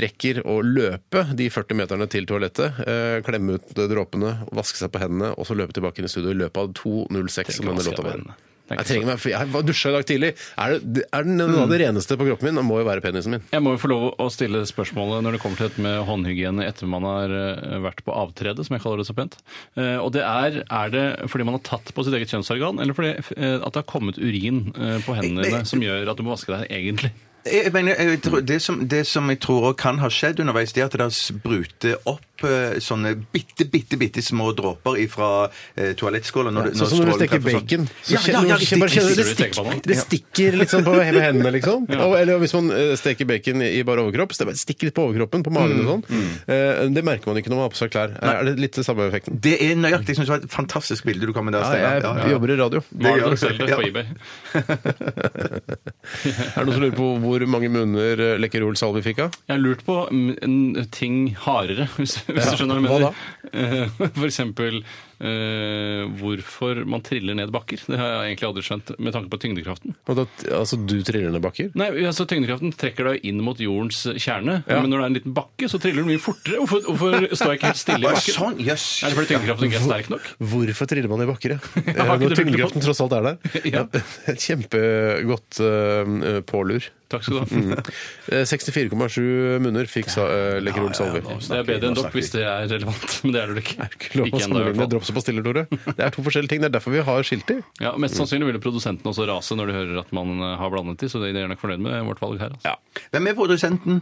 S7: rekker å løpe de 40 meterne til toalettet, eh, klemme ut dråpene, vaske seg på hendene, og så løpe tilbake inn i studio i løpet av 2.06 som denne
S8: vaske
S7: låta
S8: på
S7: var.
S8: hendene. Det er
S7: Jeg
S8: ikke
S7: trenger meg, for jeg var dusja i dag tidlig. Er det, er det noe
S8: Mm.
S7: av det reneste på kroppen min? Det må jo være penisen min.
S8: Jeg må jo få lov å stille spørsmålet når det kommer til dette med håndhygiene etter man har eh, vært på avtredet, som jeg kaller det så pent. Eh, Og det er Er det fordi man har tatt på sitt eget kjønnsorgan, eller fordi eh, at det har kommet urin eh, på hendene dine som gjør at du må vaske deg, egentlig?
S3: Jeg mener, eh, jeg tror, det, som, det som jeg tror også kan ha skjedd underveis, det er at det har sprutet opp eh, sånne bitte, bitte bitte små dråper fra eh, toalettskåla. Når, det-
S7: Sånn som når du
S3: strålen
S7: steker
S3: treffer sånn.
S7: bacon.
S3: Ja,
S7: Så
S3: ja,
S7: kjenner,
S3: ja,
S7: du- bare kjenner, du det,
S8: Visste du det tenker
S7: stikker,
S8: på nå?
S7: det stikker liksom på he- på hendene, liksom. Og, eller hvis man eh, steker bacon i bare overkropp, så det bare stikker litt på overkroppen, på magen og sånn. Eh, Det merker man ikke når man har på seg klær. Er det litt det samme effekten?
S3: Det er nøyaktig. Jeg synes det var et fantastisk bilde du kom med der.
S7: Ja,
S3: Steinar.
S7: jeg
S3: Ja, ja.
S7: jobber i radio.
S3: Det
S8: Har
S3: gjør
S8: du
S3: du.
S8: selv det
S3: Ja.
S8: på eBay?
S7: Er det noen som lurer på hvor mange munner eh, Lekkerol Salvi fikk av?
S8: Jeg har lurt på mm, en ting hardere, [laughs] hvis, hvis du skjønner hva jeg
S7: hva
S8: mener. Eh, For eksempel eh, hvorfor man triller ned bakker. Det har jeg egentlig aldri skjønt, med tanke på tyngdekraften.
S7: Og da, altså, du triller ned bakker?
S8: Nei, altså Tyngdekraften trekker deg inn mot jordens kjerne, men når det er en liten bakke, så triller du mye fortere. Hvorfor, hvorfor står jeg ikke helt stille i
S3: Å,
S8: bakken?
S3: Sånn, jøss.
S8: Er det fordi tyngdekraften ikke er sterk nok?
S7: Hvorfor triller man i bakker, ja? Eh,
S8: Jeg har ikke
S7: Når
S8: det lurt på.
S7: tyngdekraften tross alt er der.
S8: Ja.
S7: [laughs] Et Kjempegodt eh, pålur.
S8: Takk skal du ha.
S7: [laughs] Eh, 64,7 munner fikk sa, uh, Lekkerol Salvi.
S8: Det er bedre enn dokk hvis det er relevant, men det er det ikke.
S7: Lov å
S8: ennå, i hvert
S7: sammenligne
S8: fall.
S7: drops og pastiller, Tore. Det er to forskjellige ting. Det er derfor vi har skilter.
S8: Ja, Mest sannsynlig vil jo produsenten også rase når de hører at man eh, har blandet de, så de er nok fornøyd med vårt valg her. altså.
S3: Hvem er produsenten?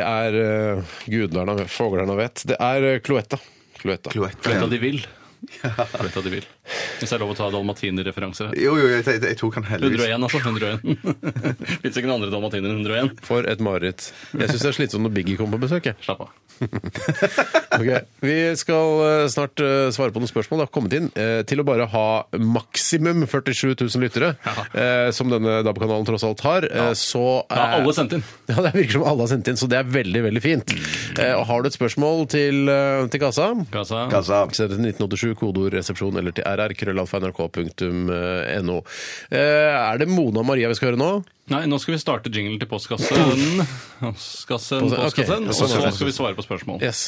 S7: Det er uh, gudene og fuglene vet. Det er eh, kloetta. Kloetta.
S8: Fløyta de vil. Fløyta de vil. Hvis det er lov å ta dalmatinerreferanser her.
S3: Jo, jo, jeg, jeg, jeg tok han heldigvis.
S8: 101, altså. 101. [laughs] Fins ikke noen andre dalmatiner enn 101.
S7: For et mareritt. Jeg syns det er slitsomt når Biggie kommer på besøk. jeg.
S8: Slapp av.
S7: Ok, Vi skal eh, snart eh, svare på noen spørsmål. Det har kommet inn eh, til å bare ha maksimum 47 000 lyttere, eh, som denne DAB-kanalen tross alt har. eh, Så
S8: Da
S7: eh,
S8: har alle sendt inn.
S7: [laughs] Ja, Det virker som alle har sendt inn, så det er veldig veldig fint. Eh, og Har du et spørsmål til, eh, til kassa?
S8: Kassa.
S3: Kassa.
S7: Send det til 1987, kodeord 'resepsjon' eller til rr.krøllalfa.nrk.no. Eh, Er det Mona Maria vi skal høre nå?
S8: Nei, nå skal vi starte jinglen til postkassen. Postkassen,
S7: Ok,
S8: postkassen. Og
S7: sånn er
S8: så
S7: det.
S8: skal vi svare på spørsmål.
S7: Yes.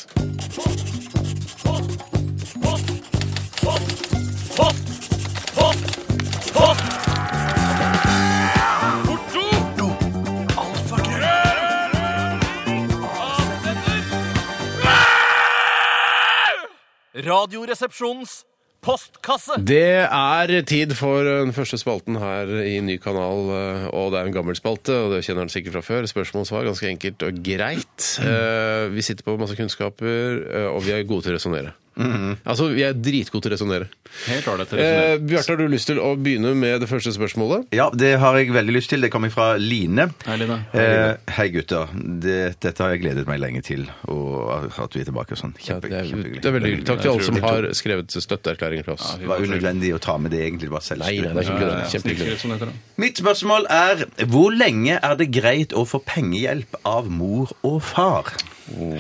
S9: Radioresepsjonens postkasse.
S7: Det er tid for den første spalten her i Ny kanal, eh, og det er en gammel spalte, og det kjenner han sikkert fra før. Spørsmål og svar, ganske enkelt og greit. Eh, Vi sitter på masse kunnskaper, eh, og vi er gode til å resonnere.
S8: Mm-hmm.
S7: Altså, vi er dritgode til å resonnere.
S8: Helt ålreit.
S7: Eh,
S8: resonert.
S7: Bjarte, har du lyst til å begynne med det første spørsmålet?
S3: Ja, det har jeg veldig lyst til. Det kommer fra Line.
S8: Hei, Line.
S3: Eh, hei, gutter. Det, dette har jeg gledet meg lenge til, og at vi er tilbake og sånn. Kjempe,
S7: det, er,
S3: kjempehyggelig.
S7: det er veldig hyggelig. Takk
S8: Jeg
S7: til alle
S8: tror
S7: som
S8: vi to-
S7: har skrevet støtteerklæringer til oss.
S3: Det var unødvendig å ta med det egentlig. Det var
S7: Nei,
S3: selvskryt.
S7: nei, det er ikke
S8: Ja, ja,
S7: det. Kjempehyggelig.
S8: snikskritt, som det heter, da.
S3: Mitt spørsmål er hvor lenge er det greit å få pengehjelp av mor og far?
S7: Oh,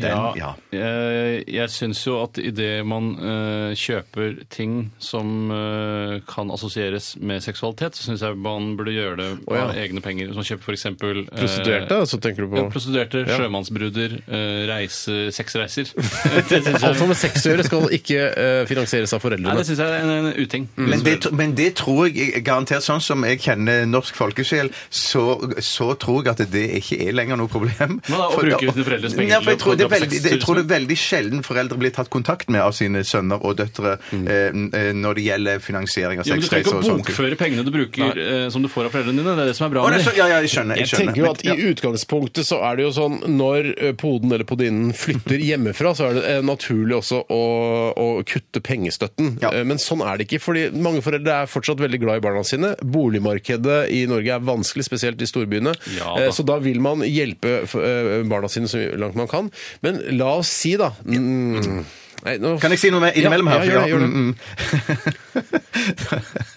S3: Den, ja.
S8: Jeg, Eh, jeg syns jo at idet man eh, kjøper ting som eh, kan assosieres med seksualitet, så syns jeg man burde gjøre det av
S7: ja.
S8: egne penger. Hvis man kjøper f.eks. Uh,
S7: Prostituerte, så tenker du
S8: Ja,
S7: på
S8: prostituerte,
S7: Ja.
S8: sjømannsbruder, eh, reise,
S3: [laughs]
S8: sexreiser.
S7: Alt som har med sex å gjøre, skal ikke eh, finansieres av
S8: Nei,
S7: foreldrene.
S8: det syns jeg er en, en uting.
S3: Men det, tro- men det tror jeg garantert, sånn som jeg kjenner norsk folkesjel, så, så tror jeg at det ikke er lenger noe problem.
S8: Hva da, å
S3: For-
S8: bruke sine foreldres penger
S3: Nei, for jeg
S8: til å
S3: tror det, er
S8: plukke opp
S3: veldig, det, jeg tror det
S8: sexturisme?
S3: er veldig sjelden foreldre blir tatt kontakt med av sine sønner og døtre eh, eh, når det gjelder finansiering av
S8: Mm. ja, men du trenger
S3: sexreiser
S8: ikke
S3: og
S8: å
S3: sånt.
S8: bokføre pengene du bruker eh, som du får av foreldrene dine. Det er det som er bra
S3: Å, nei,
S8: med
S3: så,
S8: det.
S3: ja, ja, jeg skjønner. Jeg
S7: Jeg
S3: skjønner.
S7: tenker jo at I
S3: Men- ja.
S7: utgangspunktet så er det jo sånn når eh, poden eller podinnen
S3: Mm.
S7: flytter hjemmefra, så er det eh, naturlig også å, å kutte pengestøtten.
S3: Ja.
S7: Eh, Men sånn er det ikke, fordi mange foreldre er fortsatt veldig glad i barna sine. Boligmarkedet i Norge er vanskelig, spesielt i storbyene.
S8: Ja,
S7: Eh,
S8: da.
S7: Så da vil man hjelpe eh, barna sine så langt man kan. Men la oss si, da mm, nei, nå-
S3: Kan jeg si noe med innimellom
S7: Ja,
S3: her? mm,
S7: ja, gjør det, gjør det.
S3: gjør det. [laughs]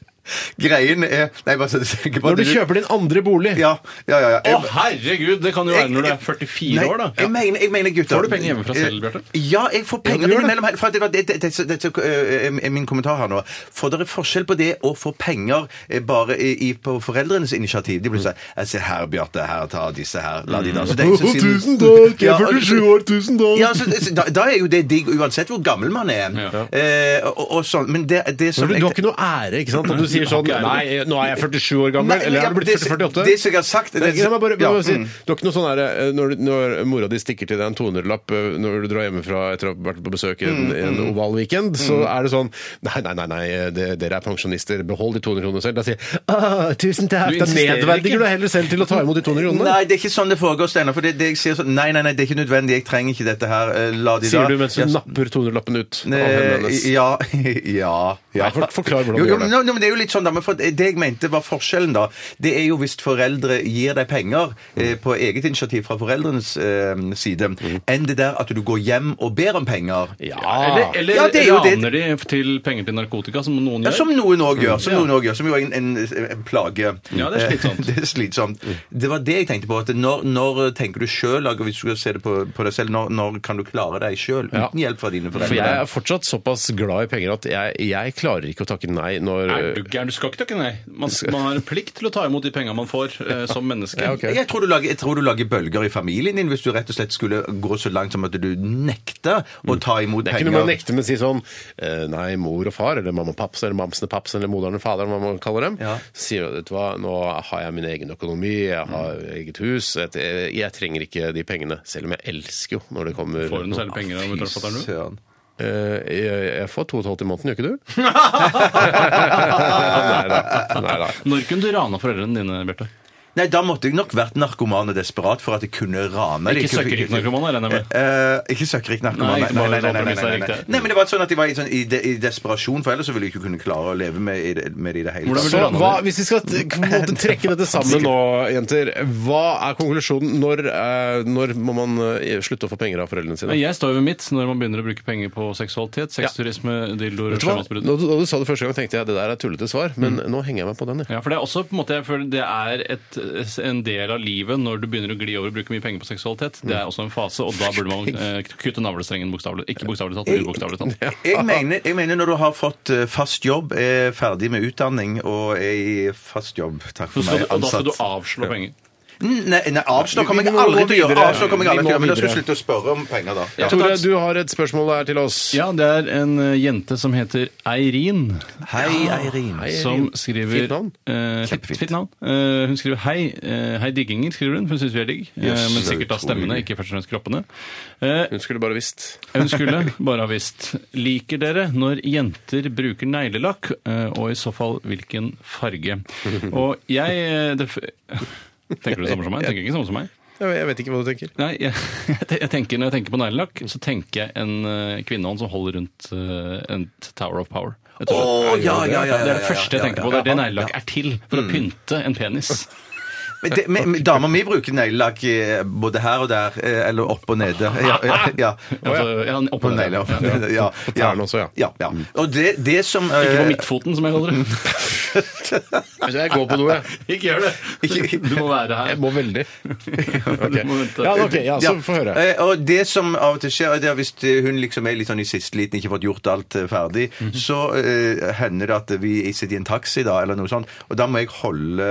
S3: Greien er Nei, bare så du tenker på
S7: Når du kjøper din andre bolig
S3: Ja, ja, ja. ja.
S8: Å,
S3: Jeg-
S8: herregud! Det kan jo være når du er 44
S3: Nei,
S8: år, da.
S3: Jeg mener, jeg mener gutter.
S8: Får du penger hjemmefra selv, Bjarte?
S3: Ja, jeg får
S7: Ja,
S3: penger
S7: du gjør det.
S3: innimellom. her, For det, var- det, det, det, det, det er min kommentar her nå. For det er forskjell på det å få penger eh, bare i, i, på foreldrenes initiativ. De blir sånn Jeg ser her, Bjarte. Her, ta disse her. La de da. Så det er ikke så
S7: Å,
S3: siden-
S7: tusen takk! Jeg
S3: Ja,
S7: er 47 år, tusen takk!
S3: ja, så, så da, da er jo det digg uansett hvor gammel man er. Eh, og, og sånn, men det, det som
S7: Men
S3: jeg-
S7: du, du har ikke noe ære, ikke sant? Om du sier sånn
S8: ikke ære.
S7: Nei, nå er jeg 47 år gammel,
S3: Nei, men
S7: eller
S3: ja,
S7: er du blitt
S3: det-
S7: 48?
S3: det som jeg har sagt,
S7: det, er
S3: det-
S7: ikke sant, jeg bare, bare
S3: ja,
S7: si,
S3: mm.
S7: Du har ikke noe sånn her eh, når, når mora di stikker til deg en 200-lapp eh, når du drar hjemmefra etter å ha vært på besøk i en, i en oval weekend, så er det sånn Nei, nei, nei, nei det, dere er pensjonister, behold de 200 kronene selv. Da sier jeg «Åh, tusen takk,
S8: Du
S7: da
S8: insisterer ikke.
S7: nedverdiger du deg heller selv til å ta imot de 200 kronene.
S3: Nei, det er ikke sånn det foregår, Steinar. For det, det jeg sier sånn Nei, nei, nei, det er ikke nødvendig. Jeg trenger ikke dette her. Eh, La de da
S7: Sier du mens
S3: Ja,
S7: du napper 200-lappen ut av hendene
S3: Eh,
S7: hennes.
S3: ja, [laughs] ja, ja.
S7: Nei, for- forklar hvordan
S3: Jo,
S7: du
S3: jo,
S7: gjør det.
S3: men- jo, men det er jo litt sånn, da, men for Det jeg mente var forskjellen, da, det er jo hvis foreldre gir deg penger
S7: Mm.
S3: eh, på eget initiativ fra foreldrenes eh, side, enn det der at du går hjem og ber om penger.
S8: Eller, eller
S3: Ja, det er jo det.
S8: raner de til penger til narkotika, som noen
S3: Ja,
S8: gjør.
S3: som noen òg gjør. Som
S7: Mm.
S3: noen også gjør, som jo er en, en, en plage.
S8: Ja, det er slitsomt.
S3: [laughs] det er slitsomt.
S7: Mm.
S3: Det var det jeg tenkte på. at Når, når tenker du sjøl, hvis du skal se det på, på deg selv, når, når kan du klare deg sjøl
S7: Ja.
S3: uten hjelp fra dine
S7: For jeg
S3: foreldre?
S7: er fortsatt såpass glad i penger at jeg, jeg klarer ikke å takke nei når
S8: Er du gæren? Du skal ikke takke nei. Man, man har en plikt til å ta imot de penga man får eh, som menneske.
S7: Ja, ok.
S3: Jeg tror, du lager, jeg tror du lager bølger i familien din hvis du rett og slett skulle gå så langt som at du nekter å ta imot
S7: Mm. Det er ikke noe man
S3: penger.
S7: nekter, men si sånn eh, Nei, mor og far, eller mamma og paps, eller mamsen og papsen, eller moderen og faderen, hva man kaller dem.
S3: Ja.
S7: Så sier du, vet du hva, nå har jeg min egen økonomi, jeg har eget hus, et, jeg trenger ikke de pengene. Selv om jeg elsker jo når det kommer
S8: Får du noe særlig penger av mutterfatter'n, du?
S3: Søren.
S7: Eh, jeg, jeg får to og et halvt i måneden, gjør ikke du? nei da. Nei da.
S8: Når kunne du rana foreldrene dine, Bjarte?
S3: Nei, da måtte jeg nok vært narkoman og desperat for at jeg kunne rane.
S8: Ikke
S3: Jeg kunne-
S8: søkkrik narkoman, regner jeg med.
S3: Eh, ikke søkkrik narkoman.
S8: Nei,
S3: Nei,
S8: ikke
S3: nei,
S8: bare
S3: nei, nei, nei, nei,
S8: alkoholist, det
S3: nei,
S8: er
S3: nei.
S8: riktig.
S3: nei, men det var sånn at jeg var i, sånn, i, de, i desperasjon, for ellers så ville jeg ikke kunne klare å leve med, i det- med det i det hele
S8: Hvordan vil
S7: Så
S8: du rane
S7: hva, hvis vi skal t- på en måte trekke dette sammen nå, jenter, hva er konklusjonen? Når, eh, når må man eh, slutte å få penger av foreldrene
S8: Men
S7: sine?
S8: jeg står jo ved mitt når man begynner å bruke penger på seksualitet, sexturisme, dildoer
S7: Vet du
S8: og
S7: hva?
S8: sjømatbrudd.
S7: Nå- Da du sa det første gang, tenkte jeg det der er tullete svar, men
S8: Mm.
S7: nå henger jeg meg på den. Jeg.
S8: Ja, for det er også på en måte, jeg føler det er et, en del av livet når du begynner å gli over og bruke mye penger på seksualitet. Det er også en fase, og da burde
S7: [laughs]
S8: man eh, kutte navlestrengen bokstavelig. Ikke bokstavelig talt, men ubokstavelig talt.
S3: Jeg mener, jeg mener når du har fått eh, fast jobb, er ferdig med utdanning og er i fast jobb Takk
S8: Så
S3: for
S8: skal
S3: meg.
S8: du, og da skal du avslå penger.
S3: Nei, nei avstå kommer jeg
S7: Vi må
S3: aldri
S7: gå
S3: til å gjøre.
S7: videre.
S3: Avstå kommer jeg
S7: Vi
S3: aldri
S7: må
S3: til å gjøre, Men da skal jeg
S7: videre.
S3: slutte å spørre om penger, da. Ja.
S7: Tore, du har et spørsmål der til oss.
S8: Ja, det er en eh, jente som heter Eirin,
S3: Hei, Eirin.
S8: som skriver
S7: Fint navn.
S8: Eh,
S3: Kjempefint.
S8: fint, fint navn. Eh, hun skriver hei, eh, hei digginger, skriver hun, for hun syns vi er digg. Eh,
S3: Yes,
S8: men
S3: det er
S8: sikkert av
S3: utrolig
S8: stemmene, ikke først og fremst kroppene. Eh,
S7: Hun skulle bare visst.
S8: Hun skulle bare ha visst. Liker dere når jenter bruker neglelakk, eh, og i så fall hvilken farge? Og jeg eh, det, f- Tenker du det samme som meg? Tenker ikke det samme som meg?
S7: Jeg jeg vet ikke hva du tenker.
S8: Nei, jeg, jeg tenker, Når jeg tenker på neglelakk, så tenker jeg en eh, kvinnehånd som holder rundt eh, et Tower of Power. Jeg tror-
S3: Å, ja, ja, ja, ja,
S8: det er
S3: ja,
S8: det første jeg
S3: ja,
S8: tenker
S3: ja,
S8: på. Det er det
S3: ja, Mm.
S8: neglelakk er til. For å pynte en penis.
S3: Men det- men- men Dama mi bruker neglelakk eh, både her og der, eh, eller opp og nede. Ja, ja, ja.
S8: Altså, ja,
S3: Opp og
S8: oppå
S3: ned,
S8: der.
S3: ja. ja.
S7: tærne også, ja.
S3: ja, ja. Og det, det som
S8: Ikke på
S3: eh,
S8: midtfoten, som jeg kaller
S3: [laughs]
S8: det.
S7: Jeg går på do, jeg.
S8: [laughs] Ikke gjør det! [laughs] Du må være her.
S7: Jeg må
S8: [laughs]
S7: veldig.
S8: Du må vente.
S7: Ja, ok, ja, så få høre.
S3: Eh, Og det som av og til skjer, det er hvis eh, hun liksom er litt sånn i siste liten, ikke fått gjort alt eh, ferdig,
S7: Mhm.
S3: så eh, hender det at vi sitter i en taxi da, eller noe sånt, og da må jeg holde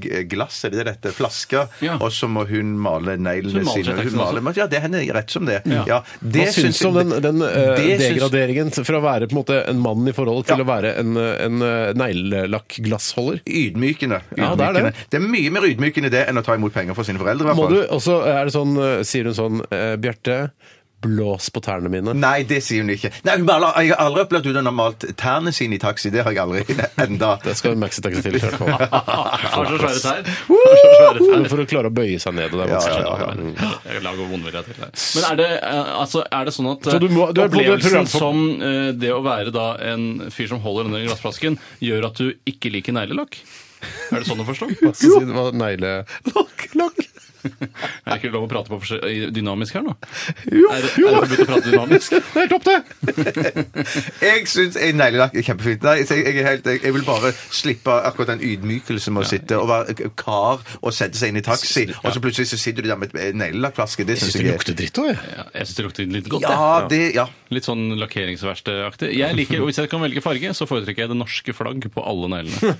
S3: g- glass, er det det dette, flaska,
S8: Ja.
S3: og så må hun male
S8: Så
S3: neglene
S8: hun maler
S3: sine.
S8: seg teksten også?
S3: men ja, det hender rett som det. Ja.
S7: Hva
S3: det
S7: syns du om den, den eh,
S3: det syns-
S7: degraderingen fra å være på en måte en mann i forholdet til
S3: Ja.
S7: å være en, eh, en eh, neglelakkglassholder?
S3: Ydmykende.
S7: Ja, det er det.
S3: Ydmykende. Det er mye mer ydmykende det enn å ta imot penger fra sine foreldre, i hvert
S7: Må
S3: fall.
S7: du, og så er det sånn, eh, sier hun sånn eh, Bjarte, blås på tærne mine.
S8: Mm.
S3: Nei, det sier hun ikke. Nei, hun bare, Jeg har aldri opplevd at hun har malt tærne sine i taxi. Det har jeg aldri [laughs] enda.
S7: Det skal en maxitaxi til. i hvert fall.
S8: [laughs] Ah, Har så svære tær. Har så svære tær.
S7: Men For å klare å bøye seg ned. Og det er
S3: Ja,
S7: vanskelig.
S3: ja, ja.
S8: Jeg kan lage vondvilje til deg. Men er det, eh, altså, er det sånn at eh,
S7: Så du må- du er på det
S8: opplevelsen
S7: program for-
S8: som eh, det å være da en fyr som holder denne glassflasken, gjør at du ikke liker neglelakk? Er det sånn å forstå?
S7: [laughs] Hva skal jeg si? Det var Negle... Lokk, lokk.
S8: Er det ikke lov å prate på forskjell- i- dynamisk her nå?
S7: Jo,
S8: Er, det-
S7: jo.
S8: er det forbudt å prate dynamisk?
S7: Det er topp, det!
S3: Jeg syns en neglelakk er kjempefint. Nei, så jeg, jeg, er helt, jeg, jeg vil bare slippe akkurat den ydmykelsen med å sitte og være k- kar og sette seg inn i taxi, og så plutselig så sitter du der med et neglelakkflaske. Det syns
S7: Det
S3: jeg er
S7: lukter dritt òg,
S3: [laughs]
S7: jeg.
S8: Ja, jeg syns det lukter litt godt. jeg.
S3: Ja, det Ja.
S8: Litt sånn lakkeringsverksted-aktig. Jeg liker, og Hvis jeg kan velge farge, så foretrekker jeg det norske flagg på alle
S7: [laughs]
S8: neglene.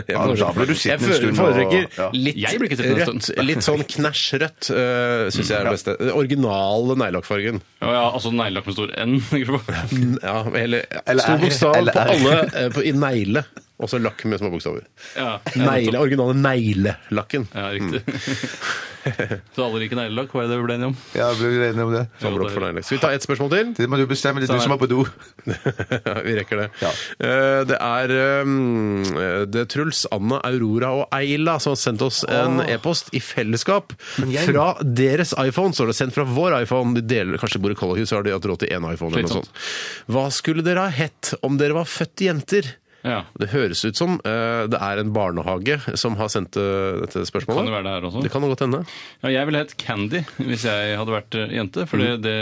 S7: Jeg
S3: Ja, da blir du
S7: foretrekker- jeg
S3: sittende en stund og- ja.
S7: foretrekker
S8: Jeg blir ikke
S7: litt
S8: sittende en
S7: rødt.
S8: stund.
S7: Litt sånn knæsj rødt uh,
S3: Mm,
S7: syns jeg er det beste. Den originale neglelakkfargen.
S8: Ja, ja, altså neglelakk med stor N. tenker du på?
S7: Ja, eller,
S3: Eller
S7: stor
S3: R.
S7: bokstav
S3: Eller
S7: på
S3: R.
S7: alle eh, på, i negle. Og så lakk med små bokstaver.
S8: Ja,
S7: Negle, originale neglelakken.
S8: Ja, riktig.
S7: Mm.
S8: så alle liker neglelakk, hva er det vi ble enige om?
S3: ja blir vi enige om det?
S7: Tommel opp for negle. Skal vi ta ett spørsmål til?
S3: Det må du bestemme. Det er du som er på do.
S7: [laughs] Vi rekker det.
S3: Ja.
S7: Eh, Det er eh, det er Truls, Anna, Aurora og Eila som har sendt oss en e-post i fellesskap. Fra deres iPhone, står det. Sendt fra vår iPhone. De deler kanskje bor i kollektiv, så har de hatt råd til én iPhone eller noe
S8: Slitsomt.
S7: sånt. Hva skulle dere ha hett om dere var født jenter?
S8: Ja.
S7: Det høres ut som eh, det er en barnehage som har sendt eh, dette spørsmålet.
S8: Kan det være det her også?
S7: Det kan jo godt hende.
S8: Ja, jeg ville hett Candy hvis jeg hadde vært eh, jente. For det, det,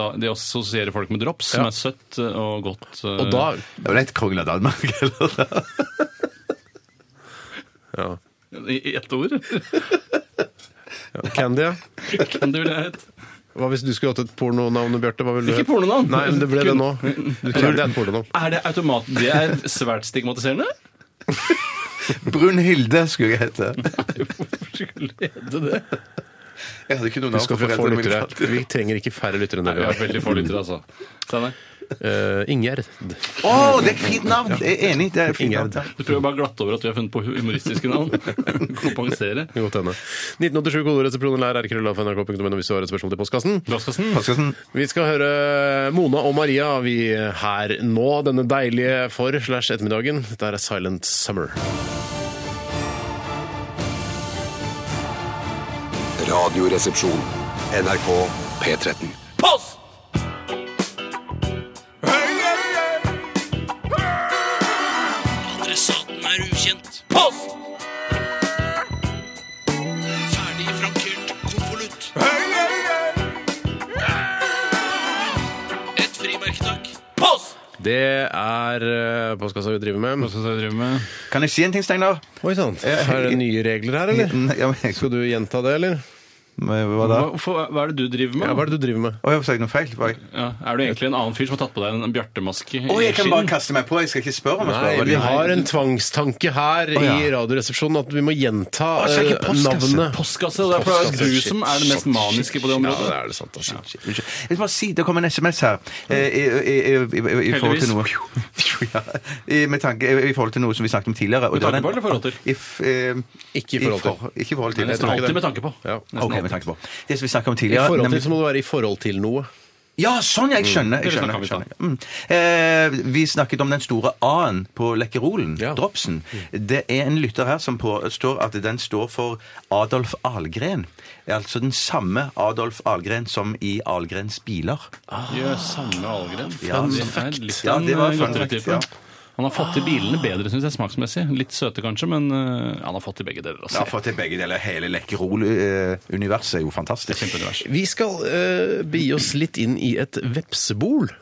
S8: da, det assosierer folk med drops, som
S7: Ja.
S8: er søtt eh, og godt. eh,
S7: Og da
S3: Det var helt kongen av Danmark, [laughs] eller?
S7: ja.
S8: I i ett ord. [laughs]
S7: Candy, ja.
S8: Candy ville jeg hett.
S7: Hva hvis du skulle hatt et pornonavn, Bjarte? Hva ville du
S8: Ikke
S7: hett?
S8: pornonavn.
S7: Nei, men det ble det nå.
S8: [laughs]
S7: Du, Candy er et pornonavn.
S8: Er det automat... Det er svært stigmatiserende.
S3: Brunhilde skulle jeg hete.
S8: Hvorfor skulle jeg hete det?
S3: Jeg hadde ikke noe
S7: Du
S3: navn
S7: skal
S3: for
S7: få få
S3: foreldrene mine.
S7: lyttere. Vi trenger ikke færre lyttere enn det
S8: Vi
S7: vi
S8: har
S7: har.
S8: veldig få lyttere, altså. Steinar,
S7: [laughs] Eh, Ingjerd.
S3: Å, det er et fint navn! Jeg er enig. Det er et fint navn. ja.
S8: du prøver bare å glatte over at vi har funnet på humoristiske [laughs] navn. Kompensere.
S7: Godt hende. 1987 kodoresepsjonen lær rkrøllalfa.nrk.no hvis du har et spørsmål til postkassen.
S8: Glaskassen.
S3: Paskassen.
S7: Vi skal høre Mona og Maria vi her nå, denne deilige for slash ettermiddagen. Dette er Silent Summer.
S1: Radioresepsjon. NRK P13.
S9: Post! Adressaten er ukjent. Post! Ferdig frankert konvolutt. Et frimerke, takk. Post!
S7: Det er eh, postkassa vi driver med.
S3: Kan jeg si en ting, Steinar?
S7: Oi
S3: sånn.
S7: sann. Er det nye regler her, eller?
S3: Ja, men jeg-
S7: Skal du gjenta det, eller?
S3: Hva da?
S8: Hva, for, hva er det du driver med?
S7: Ja, hva er det du driver med?
S3: Å, jeg har sagt noe feil. Var jeg-
S8: Ja, er du egentlig en annen fyr som har tatt på deg en bjørtemaske? i
S3: Å, jeg kan
S8: skinn?
S3: bare kaste meg på. Jeg skal ikke spørre om jeg skal.
S7: Nei, vi har en tvangstanke her
S3: ja.
S7: i Radioresepsjonen at vi må gjenta
S3: Å, så er ikke
S7: eh,
S3: postkasse-
S7: navnet.
S8: Postkasse, det er for det er du
S7: Postkasse,
S8: som er det mest maniske på det
S7: Ja, det
S8: området.
S7: er det sant. da.
S3: Unnskyld. Jeg vil bare si, Det kom en SMS her eh, i, i, i, i, i forhold til noe [laughs] ja, i, med tanke, i, I forhold til noe som vi snakket om tidligere. og det
S8: Med
S3: var den-
S8: tanke på eller forhold til?
S3: I f- eh,
S7: Ikke i forhold til.
S3: ikke i forhold til.
S8: Nesten
S7: ikke
S8: alltid
S7: det.
S8: med tanke på.
S7: Ja.
S8: Nesten
S3: Ok, med
S8: alltid.
S3: tanke på. Det som vi snakket om
S7: I
S3: tidligere
S7: forhold til
S3: nemlig-
S7: så må det være i forhold til noe.
S3: Ja, sånn! Jeg skjønner. Jeg
S8: Det
S3: skjønner, jeg
S8: snakket
S3: skjønner. Mm. Eh, vi snakket om den store A-en på Lekkerolen,
S7: Ja.
S3: dropsen. Det er en lytter her som påstår at den står for Adolf Algren. Altså den samme Adolf Algren som i Algrens biler.
S8: Gjør samme Algren.
S3: Ja,
S8: Ah. Fun
S3: det-
S8: fact. Litt
S3: Ja, det var
S8: en,
S3: fun
S8: eh,
S3: fact,
S8: godteritype.
S3: ja.
S8: Han har fått til bilene bedre, syns jeg, smaksmessig. Litt søte kanskje, men eh, han har fått til begge deler.
S3: Ja,
S8: Altså.
S3: for til begge deler. Hele Lekkerol-universet er jo fantastisk.
S8: Kjempeunivers.
S7: Vi skal eh, begi oss litt inn i et vepsebol.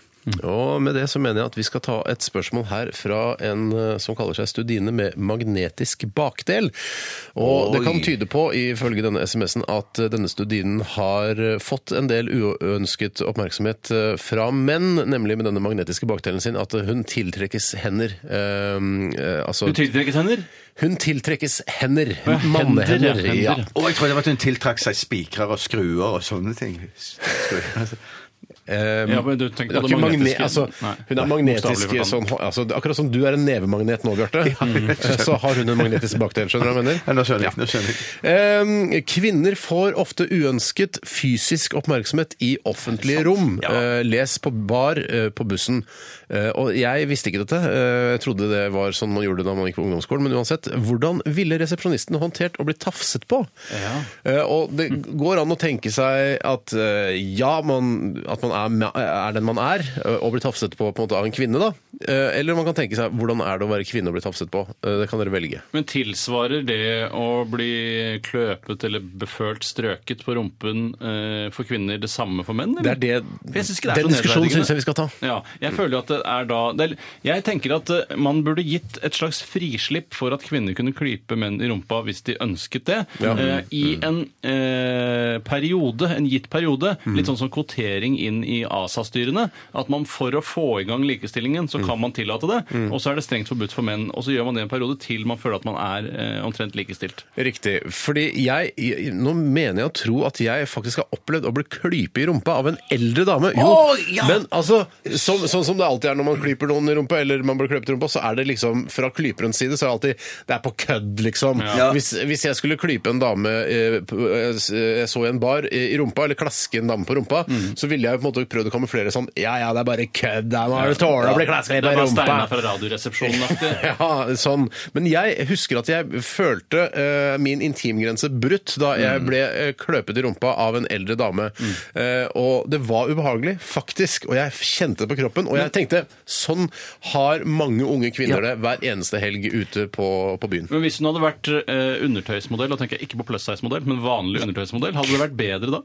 S7: Og med det så mener jeg at vi skal ta et spørsmål her fra en eh, som kaller seg Studine med magnetisk bakdel. Og det kan tyde på, ifølge denne SMS-en, at eh, denne studinen har eh, fått en del uønsket oppmerksomhet eh, fra menn, nemlig med denne magnetiske bakdelen sin, at eh, hun tiltrekkes hender. Eh, eh, altså,
S8: Du tiltrekkes hender?
S7: hun tiltrekkes hender.
S8: ja, hender, ja,
S7: Mannehender.
S8: hender,
S7: Ja.
S8: ja.
S3: Og jeg trodde det var at hun tiltrakk seg spikrer og skruer og sånne [laughs] ting. Skruer.
S7: Eh,
S8: Ja, men du tenker
S7: Det er
S8: på det
S7: ikke magne
S8: magnetiske.
S7: altså,
S8: Nei.
S7: hun er
S8: Nei,
S7: magnetisk
S8: bokstavelig
S7: sånn,
S8: forstand.
S7: altså, det- Akkurat som du er en nevemagnet nå, Bjarte, [laughs] så har hun en magnetisk bakdel. Skjønner du hva jeg mener?
S3: Ja, nå skjønner jeg. Nå skjønner jeg.
S7: Eh, Kvinner får ofte uønsket fysisk oppmerksomhet i offentlige rom. Eh, Les på bar, eh, på bussen. Eh, Og jeg visste ikke dette. Eh, Jeg trodde det var sånn man gjorde det da man gikk på ungdomsskolen. Men uansett, hvordan ville resepsjonisten håndtert å bli tafset på? Eh, Og det går an å tenke seg at eh, ja, man, at man er, ma- er den man er, eh, og blir tafset på, på en måte, av en kvinne, da. Eh, Eller man kan tenke seg hvordan er det å være kvinne og bli tafset på? Eh, Det kan dere velge.
S8: Men tilsvarer det å bli kløpet eller befølt strøket på rumpen eh, for kvinner det samme for menn?
S7: Det
S8: Eller?
S7: er det,
S8: Jeg synes ikke det er så
S7: den diskusjonen
S8: nedverdigende.
S7: syns jeg vi skal ta.
S8: Ja, jeg føler at det er da det er, Jeg tenker at eh, man burde gitt et slags frislipp for at kvinner kunne klype menn i rumpa hvis de ønsket det. Eh, I en eh, periode, en gitt periode, litt sånn som kvotering inn i ASA-styrene. At man for å få i gang likestillingen, så kan man tillate det. Og så er det strengt forbudt for menn. Og så gjør man det en periode til man føler at man er eh, omtrent likestilt.
S7: Riktig. Fordi jeg, jeg- nå mener jeg å tro at jeg faktisk har opplevd å bli klype i rumpa av en eldre dame. Jo, men altså, som, sånn som det alltid er når man klyper noen i rumpa, eller man blir kløpet i rumpa, så er det liksom fra klyperens side så er det alltid Det er på kødd, liksom. Hvis, hvis jeg skulle klype en dame eh, på- eh, s- eh, jeg så i en bar eh, i rumpa, eller klaske en dame på rumpa,
S8: Mm.
S7: så ville jeg på en måte prøvd å kamuflere sånn Ja ja, det er bare kødd. Det er bare tåler å bli klaska i
S8: Det er bare
S7: rumpa.
S8: Steinar fra Radioresepsjonen-aktig.
S7: [laughs]
S8: [laughs]
S7: Ja, sånn. Men jeg husker at jeg følte eh, min intimgrense brutt da
S8: Mm.
S7: jeg ble eh, kløpet i rumpa av en eldre dame. Eh, og det var ubehagelig, faktisk. Og jeg kjente det på kroppen. Og jeg tenkte sånn har mange unge kvinner det hver eneste helg ute på, på byen.
S8: Men hvis hun hadde vært eh, undertøysmodell, og tenker jeg ikke på plus size-modell, men vanlig undertøysmodell, hadde det vært bedre da?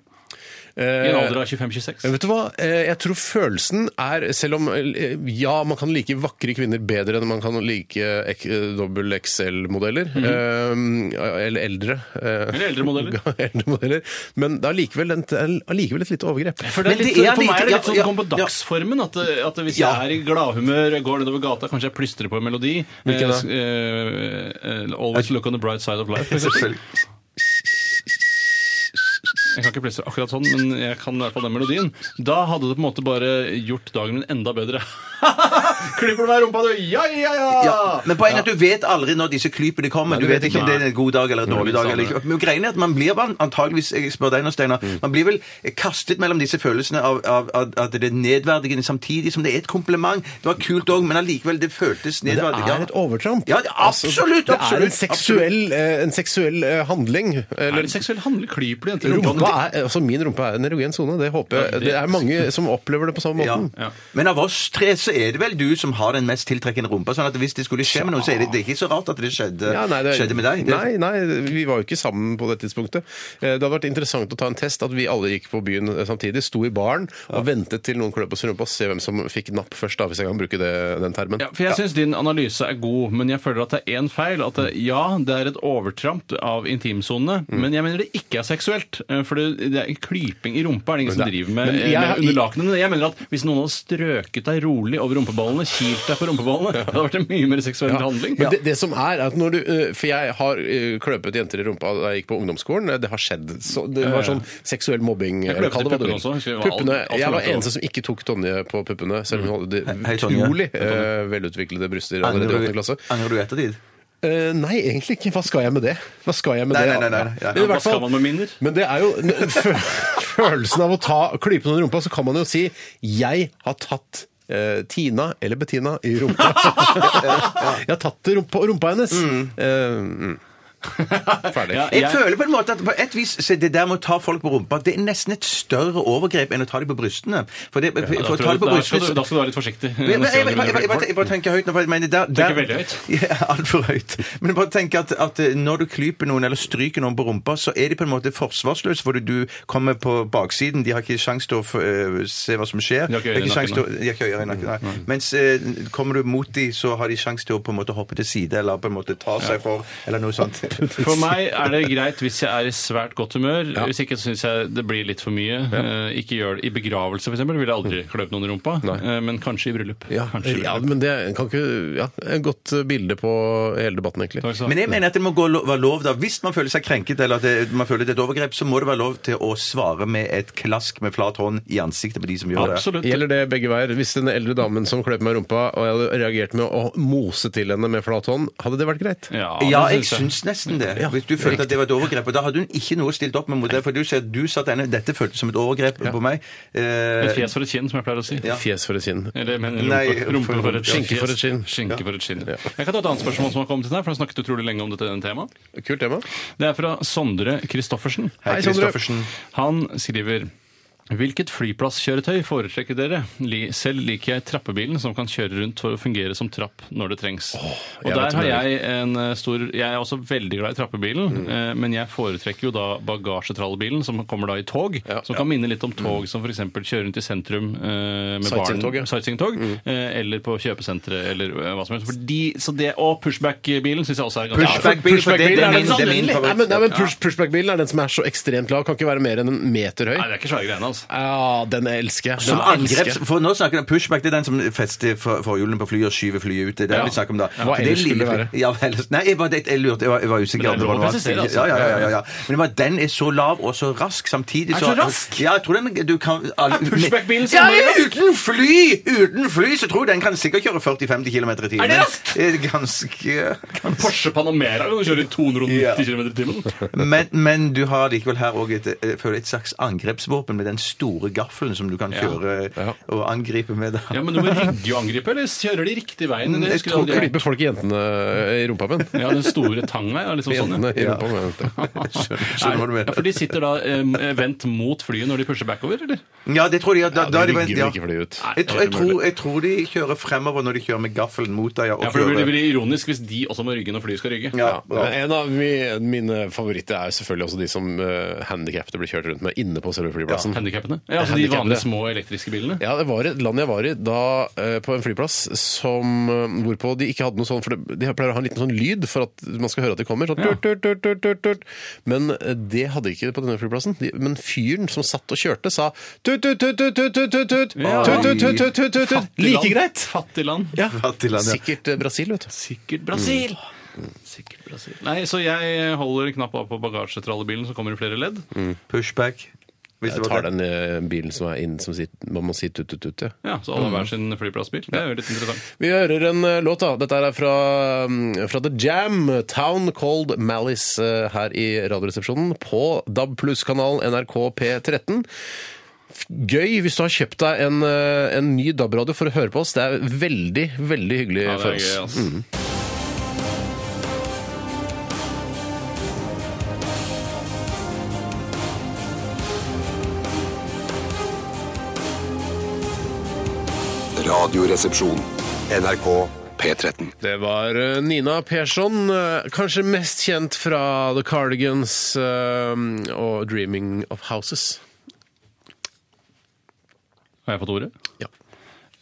S8: I en alder av 25-26?
S7: Men Vet du hva? Eh, Jeg tror følelsen er, selv om eh, ja, man kan like vakre kvinner bedre enn man kan like ek- eh, dobbel XL-modeller, eh, eller eldre. eh,
S8: Mhm. Eller eldre
S7: [laughs]
S8: modeller.
S7: eldre modeller. Men det er allikevel den- det er allikevel et lite overgrep.
S8: For, det er
S3: Men
S8: litt,
S3: det er
S8: for meg er det
S3: litt-
S8: litt sånn
S3: ja,
S8: det kommer på
S3: ja.
S8: dagsformen. At, det- at det hvis
S3: Ja.
S8: jeg er i gladhumør, jeg går nedover gata, kanskje jeg plystrer på en melodi.
S7: Hvilken da?
S8: eh, eh, eh, always look on the bright side of [laughs] life. liksom. for eksempel. Jeg kan ikke plystre akkurat sånn, men jeg kan i hvert fall den melodien. Da hadde det på en måte bare gjort dagen min enda bedre. [laughs] Klipper du meg i rumpa, du? Ja, ja, ja!
S3: Ja,
S7: Ah!
S3: men poenget er at du vet aldri når disse klypene kommer.
S8: Nei,
S3: Du vet ikke om
S8: Nei.
S3: det er en god dag eller en
S8: Nei,
S3: dårlig
S8: det er
S3: dag. Eller
S8: sant,
S3: ikke. Men greien er at man blir vel antageligvis, jeg spør deg nå, Steinar,
S7: Mm.
S3: man blir vel kastet mellom disse følelsene av, av, av at det er nedverdigende samtidig som det er et kompliment. Det var kult òg, men allikevel, det føltes
S7: Det
S8: sånn-
S3: nedverdig.
S7: er et overtramp.
S3: Ja, det- absolutt,
S7: Altså, Det er
S3: absolutt,
S7: en seksuell, eh, en seksuell eh, handling.
S8: Er
S7: Eller,
S8: det seksuell handling? Klyper du jenter i
S7: rumpa
S8: rumpa?
S7: er, altså, min rumpe er en erogen sone. Det håper
S8: Ja,
S7: jeg.
S8: det-
S7: Det er mange som opplever det på samme
S3: Ja.
S7: måten.
S8: Ja.
S3: Men av oss tre så er det vel du som har den mest tiltrekkende rumpa. sånn at hvis det skulle skje med noe, så er det, det er ikke så rart at det skjedde,
S7: Ja, nei, det,
S3: skjedde med deg. Det-
S7: Nei, nei, vi var jo ikke sammen på det tidspunktet. Eh, Det hadde vært interessant å ta en test at vi alle gikk på byen eh, samtidig, sto i baren og ventet til noen kløp oss i rumpa og se hvem som fikk napp først, da, hvis jeg kan bruke det, den termen.
S8: Ja, for jeg syns din analyse er god, men jeg føler at det er én feil. At det, ja, det er et overtramp av intimsonene,
S3: Mm.
S8: men jeg mener det ikke er seksuelt. eh, For det, det er klyping i rumpa er det ingen som
S7: det-
S8: driver med,
S7: men
S8: eh,
S7: jeg-
S8: med under lakenet. Men Jeg mener at hvis noen hadde strøket deg rolig over rumpeballene, kilt deg på
S3: [laughs]
S8: rumpeballene, det hadde vært en mye mer seksuell handling.
S7: Men det, det som er, er at når du eh, For jeg har eh, kløpet jenter i rumpa da jeg gikk på ungdomsskolen. eh, Det har skjedd. Så det var sånn seksuell mobbing.
S8: Jeg kløpet
S7: eller kall det hva
S8: i
S7: du vil.
S8: puppene også, husker jeg var alt-
S7: Puppene,
S8: alt Mm. for
S7: jeg
S8: langt
S7: var
S8: over.
S7: eneste som ikke tok Tonje på puppene, selv om hun hadde
S3: Hei, Tonje.
S7: utrolig eh, velutviklede bryster allerede i
S3: Angrer
S7: 8.
S3: du,
S7: klasse.
S3: angrer du i ettertid?
S7: Eh, nei, egentlig ikke. Hva skal jeg med det? Hva skal jeg med
S3: Nei,
S7: det?
S3: nei, nei, nei, nei.
S7: Men, i
S8: Hva
S7: hvert fall,
S8: skal man med minner?
S7: men [laughs] det er jo n- fø- følelsen av å ta, klype noen i rumpa, så kan man jo si 'jeg har tatt eh, Tina eller Bettina i
S3: [laughs]
S7: rumpa. jeg har tatt det rumpa, rumpa hennes. Eh, mm. Ferdig.
S8: Ja,
S3: Jeg
S8: jeg-
S3: føler på en måte at på et vis så det der med å ta folk på rumpa, det er nesten et større overgrep enn å ta dem på brystene. For, det, for,
S8: Da
S3: for å ta
S8: tror
S3: dem på
S8: jeg- da skal
S3: brystene
S8: du- da skal du være litt forsiktig. [laughs]
S3: Men Jeg
S8: neste
S3: jeg-
S8: gang du
S3: jeg- jeg- jeg-
S8: møter
S3: jeg- jeg bare tenker høyt nå, for jeg mener der, der
S8: Tenker veldig
S3: [laughs]
S8: høyt.
S3: Ja, Altfor høyt. Men bare tenk at, at eh, når du klyper noen eller stryker noen på rumpa, så er de på en måte forsvarsløse, fordi du kommer på baksiden. De har ikke sjans til å få, eh, se hva som skjer.
S8: De har ikke øyne
S3: De
S8: i
S3: sjans til å-
S8: nakken, Mm.
S3: de har ikke øyne i nakken. Nei. Mens eh, kommer du mot de, så har de sjans til å på en måte hoppe til side, eller på en måte ta seg for, eller noe sånt.
S8: For meg er det greit hvis jeg er i svært godt humør. Hvis ikke syns jeg det blir litt for mye. Eh, ikke gjør det I begravelse f.eks. ville jeg aldri kløpt noen i rumpa, Eh, men kanskje i bryllup.
S7: Ja,
S8: Kanskje i bryllup.
S7: ja, men det kan ikke ja, Et godt bilde på hele debatten, egentlig.
S8: Takk skal du
S3: Men
S8: ha.
S3: jeg mener at det må gå lo være lov da. Hvis man føler seg krenket eller at det, man føler det er et overgrep, så må det være lov til å svare med et klask med flat hånd i ansiktet på de som gjør det.
S8: Absolutt.
S7: Gjelder det begge veier? Hvis den eldre damen som kløp meg i rumpa, og jeg hadde reagert med å mose til henne med flat hånd, hadde det vært greit?
S8: Ja,
S3: Ja, jeg
S8: det synes
S3: syns nesten det. Hvis du følte at det var et overgrep. Og da hadde hun ikke noe stilt opp med mot det. For du sier at du sa at denne- dette føltes som et overgrep på meg.
S8: Et
S3: Eh,
S8: fjes for et kinn, som jeg pleier å si.
S7: Fjes for et kinn.
S8: Eller men, rumpe,
S3: Nei,
S8: rumpe
S3: for-
S8: for et
S7: Skinke
S8: fjes.
S7: for et kinn.
S8: Skinke for et kinn. Jeg kan ta et annet spørsmål som har kommet inn her, for han snakket utrolig lenge om dette temaet.
S7: Kult tema.
S8: Det er fra Sondre Christoffersen.
S3: Hei,
S7: Sondre.
S3: Kristoffersen.
S8: Han skriver Hvilket flyplasskjøretøy foretrekker dere? Li- Selv liker jeg trappebilen som kan kjøre rundt for å fungere som trapp når det trengs. og
S7: jeg vet
S8: der
S7: hva
S8: har
S7: du
S8: jeg en eh, stor Jeg er også veldig glad i trappebilen,
S3: Mm.
S8: eh, men jeg foretrekker jo da bagasjetrallebilen som kommer da i tog, som kan minne litt om tog
S3: Mm.
S8: som f.eks. kjører rundt i sentrum eh, med
S7: Sightseeingtog, ja.
S8: barn sightseeingtog,
S3: Mm.
S8: eh, eller på kjøpesentre eller eh, hva som helst. For de, så det, og pushback-bilen syns jeg også er ganske
S3: Pushback-bil, for det, det er min, det er min
S7: Nei, men, nei, men
S3: favoritt.
S7: push, Pushback-bilen er den som er så ekstremt lav. Kan ikke være mer enn en meter høy.
S8: Nei, det er ikke svære greiene, altså.
S7: Ja, den elsker jeg. Den
S3: Som
S7: elsker jeg.
S3: angreps, for nå snakker vi om pushback, det er den som fester for- forhjulene på flyet og skyver flyet ut. Det er det
S8: Ja.
S3: vi snakker om da.
S7: Hva
S3: Det er
S7: ellers skulle
S3: lille-
S7: det være?
S3: Ja, hva ellers? Nei, jeg, var, det- jeg lurte, jeg var, jeg var usikker.
S8: Men
S3: om
S8: det er
S3: det var
S8: lov å
S3: noe
S8: presisere,
S3: annet.
S8: altså.
S3: ja, ja, ja, ja, ja. Men det var, den er så lav og så rask samtidig.
S8: Er den så rask?
S3: Ja, jeg tror den du kan... alle-
S8: pushback-bilen så
S3: ja,
S8: rask?
S3: uten fly! Uten fly, så tror jeg den kan sikkert kjøre 40-50 km i timen.
S8: Er det raskt?
S3: Eh, Ganske...
S8: [laughs] Porsche Panamera kan kjøre i 290
S3: Ja.
S8: km i timen.
S3: Men, men du har likevel her òg et, eh, føler jeg, et slags angrepsvåpen med den store gaffelen som du kan kjøre og angripe med. Da.
S8: Ja, men du må rygge og angripe, eller kjører de riktig veien? Eller
S3: Jeg
S8: husker
S3: tror
S8: du aldri-
S7: Klipper folk i jentene eh, i rumpa min?
S3: sånn,
S8: ja, den store tanga, ja, liksom sånn.
S7: Jentene i
S8: ja.
S7: rumpa min.
S3: [laughs] Skjønner hva du
S8: Ja,
S3: mener.
S8: for de sitter da eh, vendt mot flyet når de pusher backover, eller?
S3: Ja, det tror de. Ja, da, da
S7: Ja,
S3: er
S7: de
S3: de vent-
S7: rygger
S3: ja.
S7: vel ikke fly ut.
S3: Jeg, tror, jeg, tror, jeg tror de kjører fremover når de kjører med gaffelen mot deg. og
S8: Ja, for det blir- det
S3: kjører-
S8: blir ironisk hvis de også må rygge når flyet skal rygge.
S3: Ja,
S7: Men
S3: bra.
S7: En av mi- mine favoritter er selvfølgelig også de som uh, handikappede blir kjørt rundt med inne på selve flyplassen.
S8: Handikappene. Ja, altså de
S7: Handikappede.
S8: vanlige små elektriske bilene.
S7: Ja, det var et land jeg var i da eh, på en flyplass som, eh, hvorpå de ikke hadde noe sånn For det, de pleier å ha en liten sånn lyd for at man skal høre at de kommer. Sånn,
S8: Ja.
S7: turt, turt, turt, turt, turt, turt. Men eh, det hadde de ikke på denne flyplassen. De, men fyren som satt og kjørte, sa tut, tut, tut, tut, tut, tut, tut, tut,
S8: Ja.
S7: tut, tut, tut, tut, tut, tut, tut.
S8: Fattig
S7: Like
S8: land.
S7: greit!
S8: Fattig land.
S7: Ja.
S3: Fattig land, ja.
S7: Sikkert eh, Brasil, vet du.
S8: Sikkert Brasil. Mm. Sikkert Mm. Brasil. Nei, så jeg holder knappa på bagasjetrallebilen som kommer i flere ledd.
S3: Pushback. Hvis det
S7: Jeg
S3: var
S7: tar
S3: det.
S7: den eh, bilen som er inn, som sier, man må si tut-tut-tut. Ja.
S8: Ja, så alle har hver sin flyplassbil. Det er jo litt interessant.
S7: Vi hører en eh, låt, da. Dette er fra, mm, fra The Jam, 'Town Called Malice', eh, her i Radioresepsjonen på DAB pluss-kanalen NRK P13. F- Gøy hvis du har kjøpt deg en, eh, en ny DAB-radio for å høre på oss. Det er veldig, veldig hyggelig
S8: Ja, det
S7: for
S8: er
S7: oss.
S8: gøy, ass.
S1: Radioresepsjon. NRK P13.
S7: Det var eh, Nina Persson, eh, kanskje mest kjent fra The Cardigans eh, og 'Dreaming of Houses'.
S8: Har jeg fått ordet?
S7: Ja.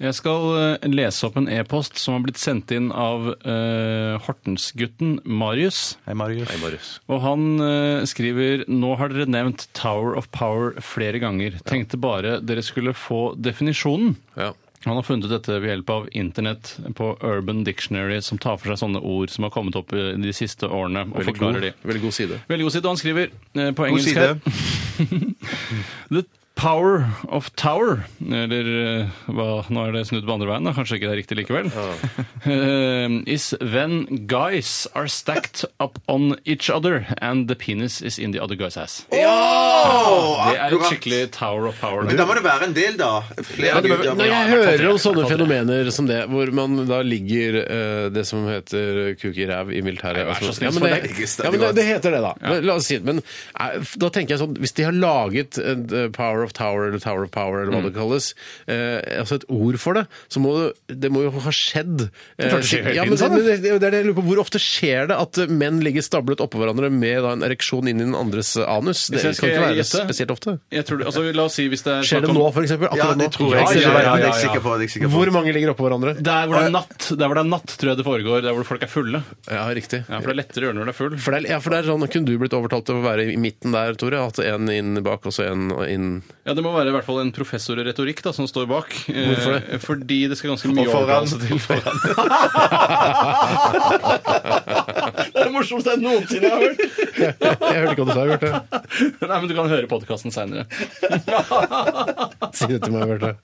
S8: Jeg skal eh, lese opp en e-post som har blitt sendt inn av eh, Hortensgutten Marius.
S3: Hei, Marius.
S8: Og han eh, skriver Nå har dere nevnt Tower of Power flere ganger. Tenkte bare dere skulle få definisjonen.
S7: Ja.
S8: Han har funnet dette ved hjelp av internett på Urban Dictionary, som tar for seg sånne ord som har kommet opp eh, de siste årene, og
S7: Veldig, god,
S8: forklarer de.
S7: veldig god side.
S8: Veldig god side. og Han skriver eh, på
S3: God
S8: engelsk
S3: side.
S8: her The power of tower. Eller eh, hva, nå er det snudd på andre veien, da. kanskje ikke det er riktig likevel. [laughs] Eh, is when guys are stacked up on each other and the penis is in the other guy's ass. det er et
S3: akkurat.
S8: skikkelig tower of power.
S3: Men da må det være en del, da. Flere
S7: Når
S3: gutter.
S7: jeg
S8: i hvert fall
S7: hører
S8: tre,
S7: om
S8: i
S7: sånne
S8: hvert fall tre.
S7: fenomener som det, hvor man da ligger eh, det som heter kuk i ræv i militæret altså-
S8: Nei, vær så snill,
S7: ja, men,
S8: for
S7: det,
S8: det
S3: er ikke stadig
S7: ja, men det,
S3: godt.
S7: det heter det, da. Men, la oss si det. Men eh, f- da tenker jeg sånn Hvis de har laget en, eh, Power of Tower eller Tower of Power eller hva
S8: Mm.
S7: det kalles, eh, altså et ord for det, så må det, det må jo ha skjedd. eh,
S8: klart det skjer hele
S7: ja,
S8: tiden,
S7: men,
S8: sånn,
S7: men det, det er det jeg lurer på. Hvor ofte skjer det at eh, menn ligger stablet oppå hverandre med da, en ereksjon inn i den andres eh, anus? Det
S8: Hvis jeg
S7: kan ikke
S8: skal
S7: være
S8: gjette-
S7: spesielt ofte.
S8: Jeg tror det, altså, la oss si hvis det er
S7: Skjer det
S8: snakk om-
S7: nå, for eksempel?
S3: Ja,
S7: Akkurat
S3: det
S7: nå?
S3: tror jeg.
S8: Ja,
S3: ikke.
S8: ja, ja, ja,
S3: Det er jeg
S8: ja.
S3: sikker på. Det er jeg sikker på.
S7: Hvor mange ligger oppå hverandre?
S8: Der hvor det er
S3: Eh.
S8: natt, der hvor det er natt, tror jeg det foregår. Der hvor folk er fulle.
S7: Ja, riktig.
S8: Ja, For det er lettere å gjøre når du er full.
S7: For det, er- ja, for det er sånn, Kunne du blitt overtalt til å være i midten der, Tore? At en inn bak og så en inn
S8: Ja, Det må være i hvert fall en professor i retorikk da, som står bak. Eh,
S7: Hvorfor det?
S8: Fordi det skal ganske mye
S3: Og foran.
S8: overtalelse til foran. det er det morsomste jeg noensinne har hørt!
S7: Jeg hørte ikke hva du sa, Bjarte.
S8: Nei, men Du kan høre podkasten seinere.
S7: Si det til meg, Bjarte.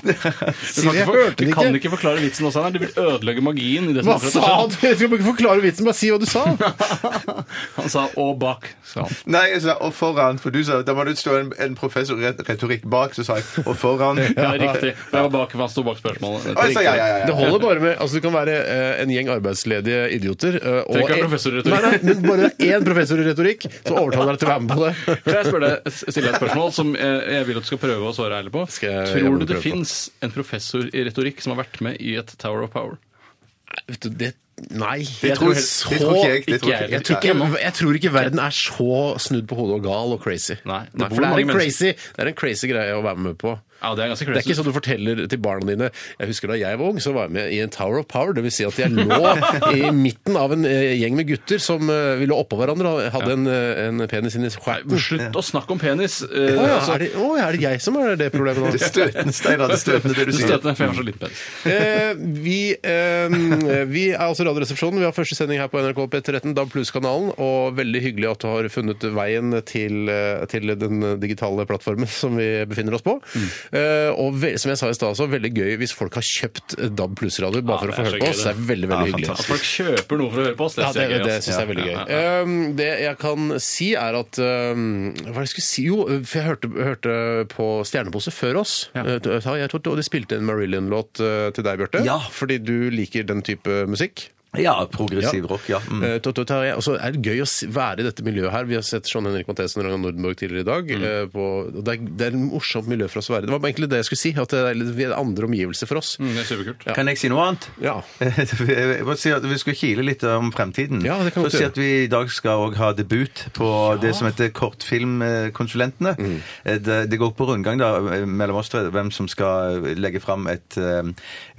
S8: Du, kan
S7: jeg hørte
S8: ikke for- du
S7: det
S8: kan
S7: ikke.
S8: ikke forklare vitsen også, Einar. Du vil ødelegge magien. i det som
S7: Hva
S8: akkurat
S7: sa
S8: har
S7: du?
S8: skjedd.
S7: Jeg skal ikke forklare vitsen, bare si hva du
S8: [laughs]
S7: sa.
S8: Han sa 'og bak', sa han.
S3: Nei, jeg sa og foran, for du sa da må det stå en, en professor i ret- retorikk bak, så sa jeg og foran.
S8: Ja, riktig. For jeg var bak, for han sto bak spørsmålet.
S3: Og jeg sa ja, ja, ja.
S7: Det
S3: ja.
S7: holder bare med altså Du kan være eh, en gjeng arbeidsledige idioter eh, og
S8: Trenger ikke være
S7: en-
S8: professor i retorikk.
S7: Nei, nei, men bare én professor i retorikk, så overtaler deg til å være med på det.
S8: Kan jeg spørre deg, stille deg et spørsmål som eh, jeg vil at du skal prøve å svare ærlig på?
S7: Skal jeg- jeg må
S8: Tror du det
S7: prøve på.
S8: fins en professor i retorikk som har vært med i et Tower of Power?
S7: Nei, Vet du, det Nei.
S3: Det tror, det tror ikke jeg. Det tror ikke jeg.
S7: Jeg tror, ikke, jeg tror ikke verden er så snudd på hodet og gal og crazy.
S8: Nei, det bor
S7: for det er,
S8: mange
S7: en crazy,
S8: mennesker.
S7: det er en crazy greie å være med på.
S8: Ja, det er ganske
S7: Det er
S8: crazy.
S7: ikke sånn du forteller til barna dine Jeg husker da jeg var ung, så var jeg med i en Tower of Power. Det vil si at jeg lå i midten av en eh, gjeng med gutter som eh, vi lå oppå hverandre og hadde en, eh, en penis inni skjerten.
S8: sånn, Slutt å snakke om penis. eh,
S7: Å ja,
S8: altså,
S7: er, det- å, ja, er det jeg som er det problemet nå? [laughs]
S3: Det er støtende, Steinar. Det er støtende,
S8: [laughs]
S3: det du
S8: du
S3: sier.
S8: støter, for jeg har så liten penis.
S7: Eh, vi, eh, vi er altså Radioresepsjonen. Vi har første sending her på NRK P13, DAB Pluss-kanalen. Og veldig hyggelig at du har funnet veien til, eh, til den digitale plattformen som vi befinner oss på.
S8: Mm.
S7: Eh, og ve som jeg sa i stad, så veldig gøy hvis folk har kjøpt DAB Pluss-radio bare
S8: Ja,
S7: for å
S8: det
S7: få
S8: er
S7: høre
S8: så
S7: på
S8: gøy,
S7: oss. Det
S8: det.
S7: er veldig, veldig hyggelig.
S8: At folk kjøper noe for å høre på oss, det
S7: Ja, det,
S8: synes jeg er gøy.
S7: det
S8: ass.
S7: syns jeg er veldig gøy.
S8: Ja, ja, ja.
S7: Um, det jeg kan si, er at um, Hva er det jeg skulle si? Jo, for jeg hørte, hørte på Stjernepose før oss.
S8: Ja.
S7: Eh, ta- Jeg tror, og de spilte en Marillion-låt eh, til deg, Bjarte.
S3: Ja.
S7: Fordi du liker den type musikk.
S3: Ja, progressiv rock, ja. Mm.
S7: Eh, ta- ta- ta- ja, Og så er det gøy å s- være i dette miljøet her. Vi har sett Sean Henrik Mathesen og Ragnar Nordenborg tidligere i dag.
S8: Mm.
S7: eh, På, og det, er, det er et morsomt miljø for oss å være i. Det var egentlig det jeg skulle si. At det er litt vi er andre omgivelser for oss.
S8: Mm, Det er superkult.
S3: Kan jeg si noe annet? [laughs]
S7: Ja.
S3: Jeg må si at Vi skal kile litt om fremtiden.
S7: Ja, det
S3: Så
S7: kan godt
S3: si
S7: gjøre.
S3: at Vi i dag skal også ha debut på det som heter Kortfilmkonsulentene.
S7: Mm.
S3: Eh, Det, det går på rundgang da, mellom oss tre hvem eh, som skal legge fram et eh,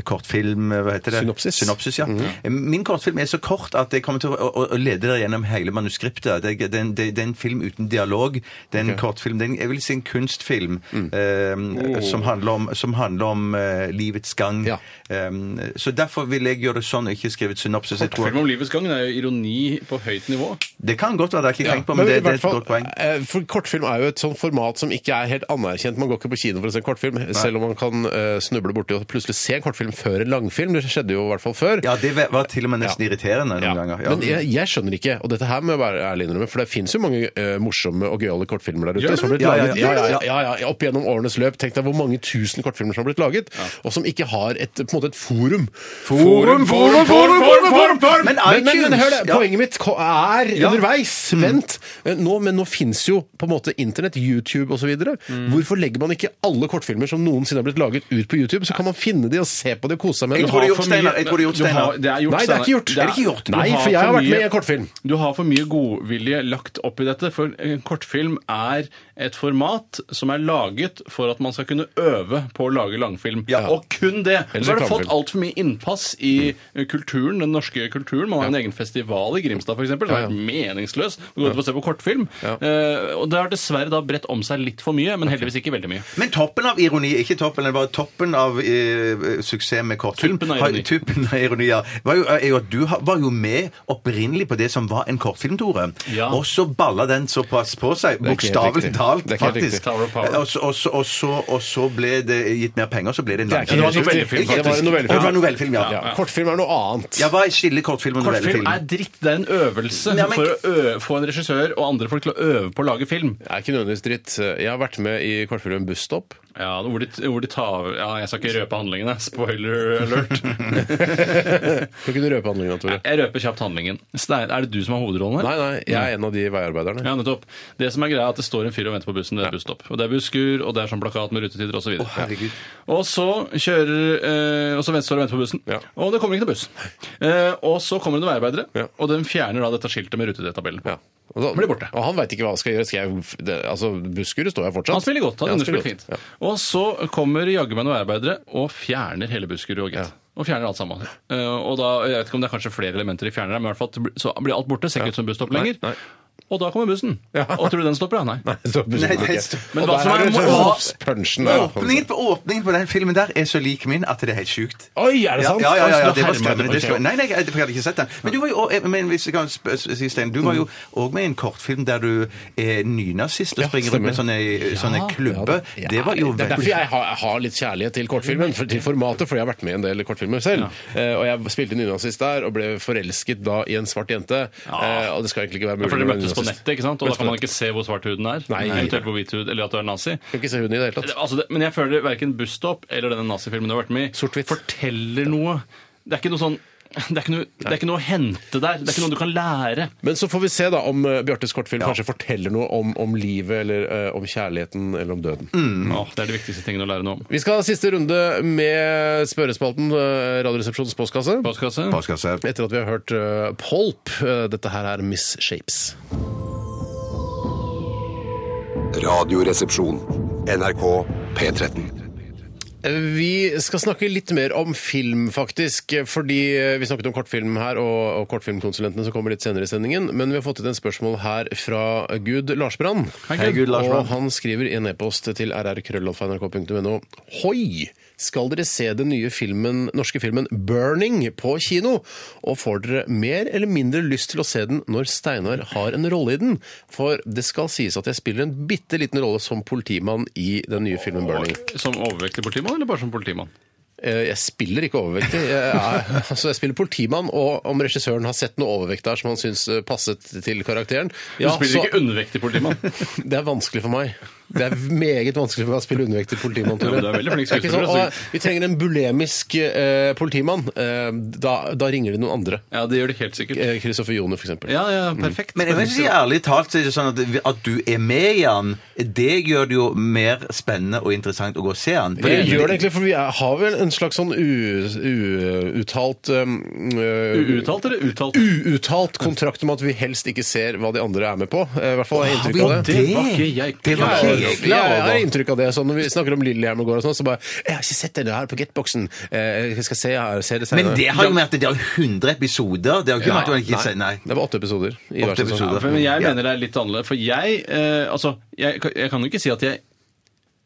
S3: kortfilm Hva heter det?
S7: Synopsis. Mm.
S3: Synopsis ja. Eh, Min Min kortfilm er så kort at jeg kommer til å, å, å lede dere gjennom hele manuskriptet. Det, er- det, er en- det, det er en film uten dialog. Det er en kortfilm. Det er en, jeg vil si en kunstfilm
S7: Mm.
S3: eh, som handler om, som handler om eh, livets gang.
S7: Oh. Ja.
S3: Eh, så derfor vil jeg gjøre det sånn og ikke skrive et synopsis. Jeg tror-
S8: Film om livets gang det er jo ironi på høyt nivå.
S3: Det kan godt være, det har jeg ikke tenkt på, men,
S7: Men i
S3: det, det er
S7: hvert
S3: et
S7: fall,
S3: godt poeng.
S7: eh, For Kortfilm er jo et sånt format som ikke er helt anerkjent. Man går ikke på kino for å se en kortfilm, selv om man kan eh, snuble borti og plutselig se en kortfilm før en langfilm. Det skjedde jo i hvert fall før.
S3: Ja, det var til og med nesten
S7: Ja.
S3: irriterende noen
S7: Ja.
S3: ganger.
S7: Men eh, jeg, jeg skjønner ikke, og dette her må jeg være ærlig innrømme, for det fins jo mange eh, morsomme og gøyale kortfilmer der ute.
S8: det
S7: Som har blitt
S3: Ja, ja,
S7: laget,
S3: ja,
S7: ja, ja,
S3: ja,
S7: ja, ja, ja, Opp gjennom årenes løp. Tenk deg hvor mange tusen kortfilmer som har blitt laget, og som ikke har et, på en måte et forum.
S3: Forum, forum, forum, forum, forum, forum! Men
S7: Men, men, men
S3: iTunes,
S7: hør det,
S3: ja.
S7: poenget mitt ko- er
S3: Ja.
S7: underveis. Vent. Eh, Nå, men nå fins jo på en måte internett, YouTube osv. videre Hvorfor legger man ikke alle kortfilmer som noensinne har blitt laget, ut på YouTube? Så kan man finne de og se på de og kose seg med
S3: Jeg
S7: dem.
S3: tror det er
S8: har
S3: gjort,
S8: for mye-
S3: Steinar. Jeg tror det er gjort,
S8: Du har-
S3: Steinar.
S8: Det er gjort.
S7: Nei, det er ikke gjort.
S8: Steinar.
S7: Er det ikke gjort?
S8: Du
S7: Nei, for
S8: for
S7: jeg har vært
S8: mye-
S7: med i en kortfilm.
S8: Du har for mye godvilje lagt opp i dette, for en kortfilm er et format som er laget for at man skal kunne øve på å lage langfilm.
S3: Ja.
S8: Og kun det!
S7: Eller
S8: Så har
S7: reklamefilm.
S8: det
S7: Mm.
S8: fått altfor mye innpass i kulturen, den norske kulturen. Man har en egen festival i Grimstad, f.eks., som
S7: Ja, ja.
S8: er meningsløs. Du går ut og ser på kortfilm.
S7: Ja.
S8: Eh, Og det har dessverre da bredt om seg litt for mye, men heldigvis ikke veldig mye.
S3: Men toppen av ironi, ikke toppen, men bare toppen av eh, suksess med kortfilm
S8: Tuppen av
S3: har-
S8: ironi.
S3: Tuppen av ironi, ja. Var jo, er jo at du har- var jo med opprinnelig på det som var en kortfilm, Tore.
S8: Ja.
S3: Og så balla den såpass på seg, bokstavelig
S7: riktig.
S3: talt,
S7: Det er ikke helt riktig.
S3: faktisk.
S8: Tower of Power.
S3: Og så- og så- og så- og så ble det gitt mer penger, og så ble det en
S7: Det er ikke
S3: langfilm.
S7: helt riktig. Det
S8: novellefilm,
S7: var en
S8: faktisk.
S7: novellefilm.
S3: Å, det var en novellefilm, ja.
S7: Ja, Kortfilm er noe annet.
S3: Ja, hva er skillet kortfilm og novellefilm?
S8: Kortfilm er dritt. Det er en øvelse
S3: Ja, men-
S8: for å ø- få en regissør og andre folk til å øve på å lage film.
S7: Det er ikke nødvendigvis dritt. Jeg har vært med i kortfilmen Busstopp.
S8: Ja, hvor de, hvor de tar Ja, jeg skal ikke røpe handlingene. Spoiler [laughs] alert.
S7: Skal ikke du røpe handlingen, Tore?
S8: Jeg røper kjapt handlingen. Stein, er det du som har hovedrollen her?
S7: Nei, nei, jeg er en av de veiarbeiderne.
S8: Ja, nettopp. Det som er greia er at det står en fyr og venter på bussen ved et busstopp. Og det er busskur, og det er sånn plakat med rutetider osv. Og, så videre. og så kjører eh, Og så venter- står og venter på bussen,
S7: Ja.
S8: og det kommer ikke noen buss. Eh, og så kommer det noen veiarbeidere,
S7: Ja.
S8: og de fjerner da dette skiltet med rutetidstabellen.
S7: Ja. Og, da,
S8: Blir borte.
S7: og han veit ikke hva han skal gjøre. Skal jeg, det, altså, Buskerud står jeg fortsatt.
S8: Han spiller godt.
S7: Ja,
S8: han underspiller
S7: spiller
S8: fint.
S7: godt.
S8: Og så kommer jaggu meg noen arbeidere og fjerner hele Buskerud og gitt. Og fjerner alt sammen. Eh, og da, Jeg vet ikke om det er kanskje flere elementer de fjerner, men i hvert fall at det blir- så blir alt borte. Ser ikke ut som busstopp lenger.
S7: nei.
S8: Og da kommer bussen.
S7: Ja.
S8: Og tror du den stopper? Ja,
S7: [laughs]
S8: nei.
S7: Ja. Så Buskerud
S3: Nei, det
S7: ikke.
S3: står-
S8: Men
S7: Og
S8: hva
S7: der
S8: som
S7: er
S8: er
S7: det sånn
S8: moro-
S7: punchen der, altså.
S3: Åpningen på, åpningen på den filmen der er så lik min at det er helt sjukt.
S7: Oi, er det sant?
S3: Ja, ja, ja,
S7: Oi, så
S3: ja
S7: da
S3: det var
S7: hermer
S3: skremmende.
S7: du.
S3: Det skal... Nei, nei, jeg hadde ikke sett den. Men du var jo, også- men hvis jeg kan sp- si, Stein,
S7: Mm.
S3: du var jo òg med i en kortfilm der du er nynazist og
S7: Ja,
S3: springer rundt med sånne, sånne klubber.
S7: Ja,
S3: Det var jo
S7: det er derfor
S3: veldig
S7: jeg har, jeg har litt kjærlighet til kortfilmen, for, til formatet, for jeg har vært med i en del kortfilmer selv. Eh, og jeg spilte nynazist der, og ble forelsket da i en svart jente. Eh, og det skal egentlig ikke være mulig.
S8: For
S7: å
S8: dere
S7: være
S8: møttes
S7: nynazist.
S8: på nettet, ikke sant? og da
S7: Møttes på
S8: kan man
S7: nettet.
S8: ikke se hvor svart huden er.
S7: Nei.
S8: Eventuelt hvor hvit hud, eller at du er nazi.
S7: Kan ikke se huden i det hele tatt.
S8: Altså, det, men jeg føler verken Busstopp eller denne nazifilmen du har vært med i,
S7: Sort-hvitt.
S8: forteller noe. Det er ikke noe sånn det er, ikke noe, det er ikke noe å hente der. Det er ikke noe du kan lære.
S7: Men så får vi se da om eh, Bjartes kortfilm kanskje forteller noe om, om livet, eller eh, om kjærligheten, eller om døden.
S3: Mm.
S8: Åh, det er de viktigste tingene å lære noe om.
S7: Vi skal ha siste runde med spørrespalten eh, Radioresepsjonens postkasse.
S8: Postkasse?
S3: Postkasse.
S7: Etter at vi har hørt eh, Polp. Eh, Dette her er Miss Shapes.
S1: Radioresepsjon. NRK P13.
S7: Vi skal snakke litt mer om film, faktisk. Fordi eh, vi snakket om kortfilm her, og, og kortfilmkonsulentene som kommer litt senere i sendingen. Men vi har fått ut en spørsmål her fra Gud Larsbrand.
S3: Hei, Gud Larsbrand.
S7: Og han skriver i en e-post til rrkrøllalfa.nrk.no Hoi! Skal dere se den nye filmen, norske filmen 'Burning' på kino? Og får dere mer eller mindre lyst til å se den når Steinar har en rolle i den? For det skal sies at jeg spiller en bitte liten rolle som politimann i den nye filmen 'Burning'.
S8: Som overvektig politimann, eller bare som politimann?
S7: Eh, Jeg spiller ikke overvektig. Jeg, er, [laughs] altså, jeg spiller politimann, og om regissøren har sett noe overvekt der som han syns eh, passet til karakteren
S8: Du
S7: ja,
S8: spiller
S7: så-
S8: ikke undervektig politimann.
S7: [laughs] Det er vanskelig for meg. Det er meget vanskelig for meg å spille undervektig politimann. Tore.
S8: Ja, men du er veldig flink
S7: Det er ikke
S8: skuespiller,
S7: sånn,
S8: altså.
S7: «Å, vi trenger en bulemisk eh, politimann. Eh, da, da ringer de noen andre.
S8: [laughs] Ja, det gjør det helt sikkert.
S7: Eh, Christopher Jone, for eksempel.
S8: Ja, ja, perfekt.
S3: Men jeg vil si ærlig talt så er det sånn at, at du er med i han, det gjør det jo mer spennende og interessant å gå og se han.
S7: Det gjør det egentlig, for vi er, har vel en slags sånn u- u- uuttalt um,
S8: Uuttalt eller uttalt?
S7: Uuttalt kontrakt om at vi helst ikke ser hva de andre er med på. Eh, I hvert fall har jeg
S3: Har vi
S7: inntrykk av det.
S3: det?
S8: var ikke jeg
S3: Det var
S8: klar
S3: ikke
S8: over.
S7: jeg,
S2: klar over.
S7: har inntrykk av det. Så når vi snakker om Lillehammer gård og sånn, så bare Jeg har ikke sett det her på Get-boksen. Eh, Jeg skal se, her, se det senere.
S2: Men det har jo med at det er 100 episoder. Det har jo ikke med at man ikke sier nei.
S7: Det var åtte episoder. I
S2: Åtte
S7: hver sesong.
S2: episoder.
S8: Men jeg
S2: Ja.
S8: mener det er litt annerledes, for jeg eh, Altså, jeg, jeg kan jo ikke si at jeg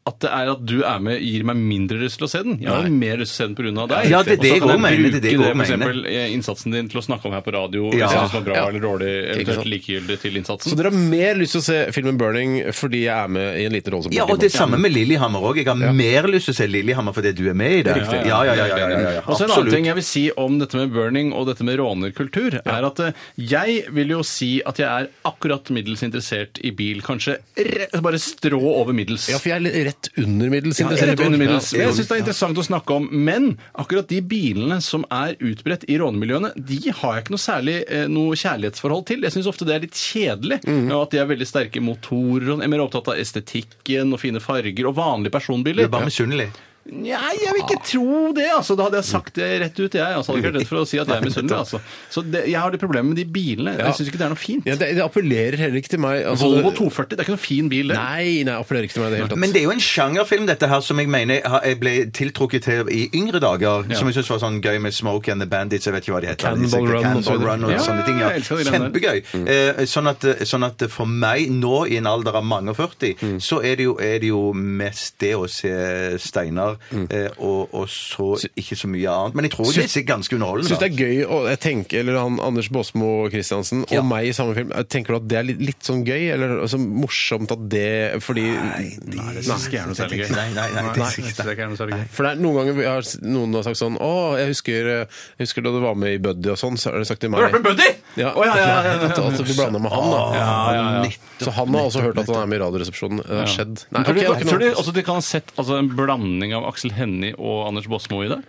S8: at det er at du er med, gir meg mindre lyst til å se den. Jeg har
S7: Nei.
S8: jo mer lyst til å se den pga. deg.
S2: Ja, det er det
S8: og
S2: jeg
S8: så
S2: også
S8: kan
S2: mener,
S8: jeg
S2: det er
S8: bruke
S2: det
S8: det,
S2: jeg også
S8: for
S2: mener.
S8: eksempel, eh, innsatsen din til å snakke om her på radio.
S2: Ja.
S8: Hvis jeg synes det var bra
S7: Ja.
S8: eller dårlig,
S7: Ikke sant.
S8: eventuelt likegyldig til innsatsen.
S7: Så dere har mer lyst til å se filmen 'Burning' fordi jeg er med i en liten rolle som
S2: Ja, og det samme med Lillehammer òg. Jeg har mer lyst til å se Lillehammer fordi du er med i det. Ja, ja, ja. ja, ja, ja, ja.
S8: Og så en annen ting
S2: Absolutt.
S8: jeg vil si om dette med burning og dette med rånerkultur, er at eh, jeg vil jo si at jeg er akkurat middels interessert i bil. Kanskje re bare strå over middels.
S7: Ja, for jeg er rett under middels interessert i
S8: Rett
S7: bil.
S8: under middels.
S7: Ja.
S8: Men Jeg syns det er interessant å snakke om. Men akkurat de bilene som er utbredt i rånemiljøene, de har jeg ikke noe særlig eh, noe kjærlighetsforhold til. Jeg syns ofte det er litt kjedelig.
S7: Mhm.
S8: Og at de er veldig sterke motorer. og sånn. Jeg er mer opptatt av estetikken og fine farger og vanlige
S2: Du
S8: personbiler.
S2: er bare misunnelig.
S8: Nei, jeg vil ikke tro det, altså. Da hadde jeg sagt det rett ut, jeg. Altså, hadde ikke vært redd for å si at jeg er misunnelig, altså. Så det, jeg har det problemet med de bilene. Jeg syns ikke det er noe fint.
S7: Ja, det, det appellerer heller ikke til meg. altså,
S8: Volvo
S7: det-
S8: 240, det er ikke noe fin bil, det.
S7: Nei, nei, appellerer ikke til meg i det hele tatt.
S2: Men det er jo en sjangerfilm, dette her, som jeg mener jeg har- jeg ble tiltrukket til i yngre dager. Som jeg synes var sånn gøy med Smoke and the Bandits, jeg vet ikke hva de heter.
S7: Cannonball
S2: Disse-
S7: Run og så
S2: Cannonball
S7: videre.
S2: Run og
S8: Ja,
S2: sånne ting. Ja.
S8: jeg elsker de greiene der.
S2: Kjempegøy. Eh, Sånn at, sånn at for meg nå, i en alder av mange og 40, så er det, jo, er det jo mest det å se Steinar, eh, og, og så ikke så mye annet. Men jeg tror det er ganske underholdende.
S7: Syns det er gøy å jeg tenker, eller han Anders Baasmo Christiansen og
S2: Ja.
S7: meg i samme film. jeg Tenker du at det er litt, litt sånn gøy, eller altså, morsomt at det Fordi
S2: Nei, det
S8: synes ikke jeg er noe særlig gøy.
S2: Nei, nei, nei, det
S8: Nei,
S2: synes
S8: jeg
S2: ikke
S8: synes det ikke er noe særlig gøy.
S7: For det er noen ganger vi har, noen har sagt sånn Å, jeg husker, jeg husker da du var med i Buddy og sånn, så har du sagt til meg
S8: Har du vært med Buddy?
S7: Ja,
S8: Å, ja, ja, ja, ja, ja.
S7: [laughs] At, at du blander med han, da. Mm. Så han har også hørt at han er med i Radioresepsjonen. Det har skjedd. Nei, ok,
S8: tror
S7: det
S8: du,
S7: var ikke
S8: tror du
S7: noe.
S8: også de kan ha sett altså, en blanding av Aksel Hennie og Anders Bosmo i det?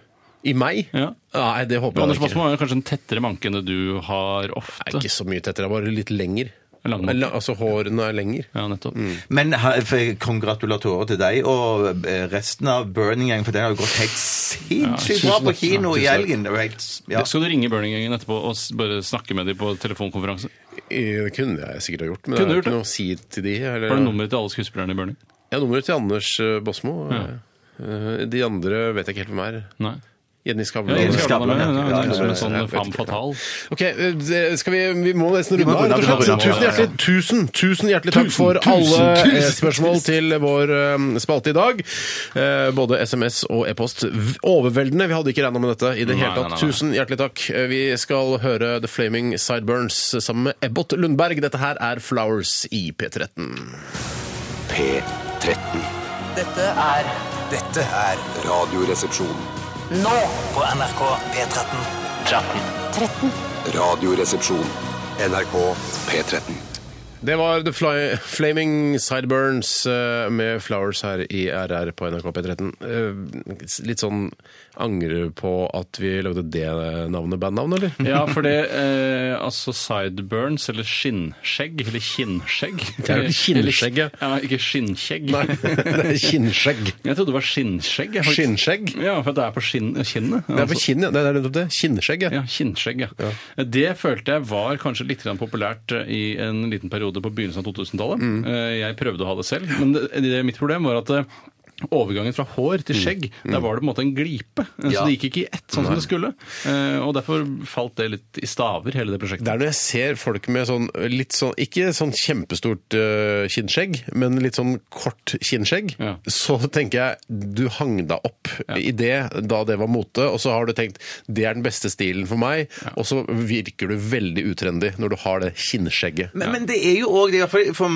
S7: I meg?
S8: Ja.
S7: Nei, det håper jeg
S8: Anders
S7: ikke.
S8: Bosmo er jo kanskje en tettere manke enn det du har
S7: Det
S8: ofte.
S7: er ikke så mye tettere, det er bare litt lenger.
S8: Lange.
S7: Eller, Altså, hårene er lenger.
S8: Ja, nettopp.
S2: Men ha- for- kongratulatorer til deg og eh, resten av Burning Gang, for den har jo gått helt sinnssykt bra på kino i helgen. Det var helt s- ja.
S8: Skal du ringe Burning-gjengen etterpå og s- bare snakke med dem på telefonkonferanse?
S7: Eh, Det kunne jeg sikkert ha gjort, men det er
S8: Kunne
S7: jo
S8: du gjort
S7: ikke noe å si til de. Eller,
S8: Har du nummeret til alle skuespillerne i Burning?
S7: Ja, nummeret til Anders eh, Bosmo.
S8: Ja.
S7: Eh, De andre vet jeg ikke helt hvem er.
S8: Nei.
S7: Jenny
S8: Ja,
S7: Skavlan.
S8: jeg
S2: Jenny
S8: elsker Skavlan,
S2: Skavlan,
S8: ja,
S2: ja.
S8: ja,
S2: Ja,
S8: ja,
S2: ja,
S8: Som
S2: ja,
S8: en sånn
S7: ja, jeg vet
S8: femme
S7: ikke.
S8: fatale.
S7: Ok, eh, det- skal vi, vi må nesten runde
S2: må
S7: av.
S2: runde av,
S7: rett og slett.
S2: vi må runde
S7: Tusen
S2: av, ja, ja, ja.
S7: hjertelig, tusen, tusen hjertelig takk for alle eh, spørsmål til vår eh, spalte i dag. Eh, Både SMS og e-post. V- Overveldende. Vi hadde ikke regna med dette i det
S8: Nei,
S7: hele
S8: nei,
S7: tatt.
S8: nei, nei.
S7: Tusen hjertelig takk. Eh, Vi skal høre The Flaming Sideburns sammen med Ebbot Lundberg. Dette her er Flowers i P13.
S1: P13.
S9: Dette er Dette er
S10: Radioresepsjon.
S9: nå på NRK P13.
S10: Radioresepsjon.
S1: NRK P13.
S7: Det var The Fly, Flaming Sideburns eh, med Flowers her i RR på NRK P13. Eh, litt sånn angre på at vi lagde det navnet, bandnavnet, eller?
S8: Ja, for det eh, Altså sideburns, eller skinnskjegg, eller kinnskjegg.
S7: Det er jo kinnskjegg, ja.
S8: ja. Ikke skinnskjegg.
S7: Nei, [laughs] det
S8: [laughs]
S7: er kinnskjegg.
S8: Jeg trodde det var skinnskjegg. jeg, faktisk.
S7: Skinnskjegg?
S8: Ja, for det er på skinn, kinnet.
S7: Det er på
S8: altså.
S7: kinn, ja. Det er nettopp det. Kinnskjegg, ja.
S8: Ja, Kinnskjegg, ja. Det følte jeg var kanskje litt grann populært eh, i en liten periode på begynnelsen av 2000-tallet.
S7: Mm.
S8: Eh, Jeg prøvde å ha det selv, men det, det, mitt problem var at eh, Overgangen fra hår til
S7: Mm.
S8: skjegg, der var det på en måte en glipe. eh, Så det gikk ikke i ett, sånn som det skulle. Eh, Og derfor falt det litt i staver, hele det prosjektet.
S7: Det er når jeg ser folk med sånn litt sånn Ikke sånn kjempestort eh, kinnskjegg, men litt sånn kort kinnskjegg,
S8: Ja.
S7: så tenker jeg du hang deg opp i det da det var mote, og så har du tenkt det er den beste stilen for meg, og så virker du veldig utrendy når du har det kinnskjegget.
S2: Men, men det er jo òg det, iallfall for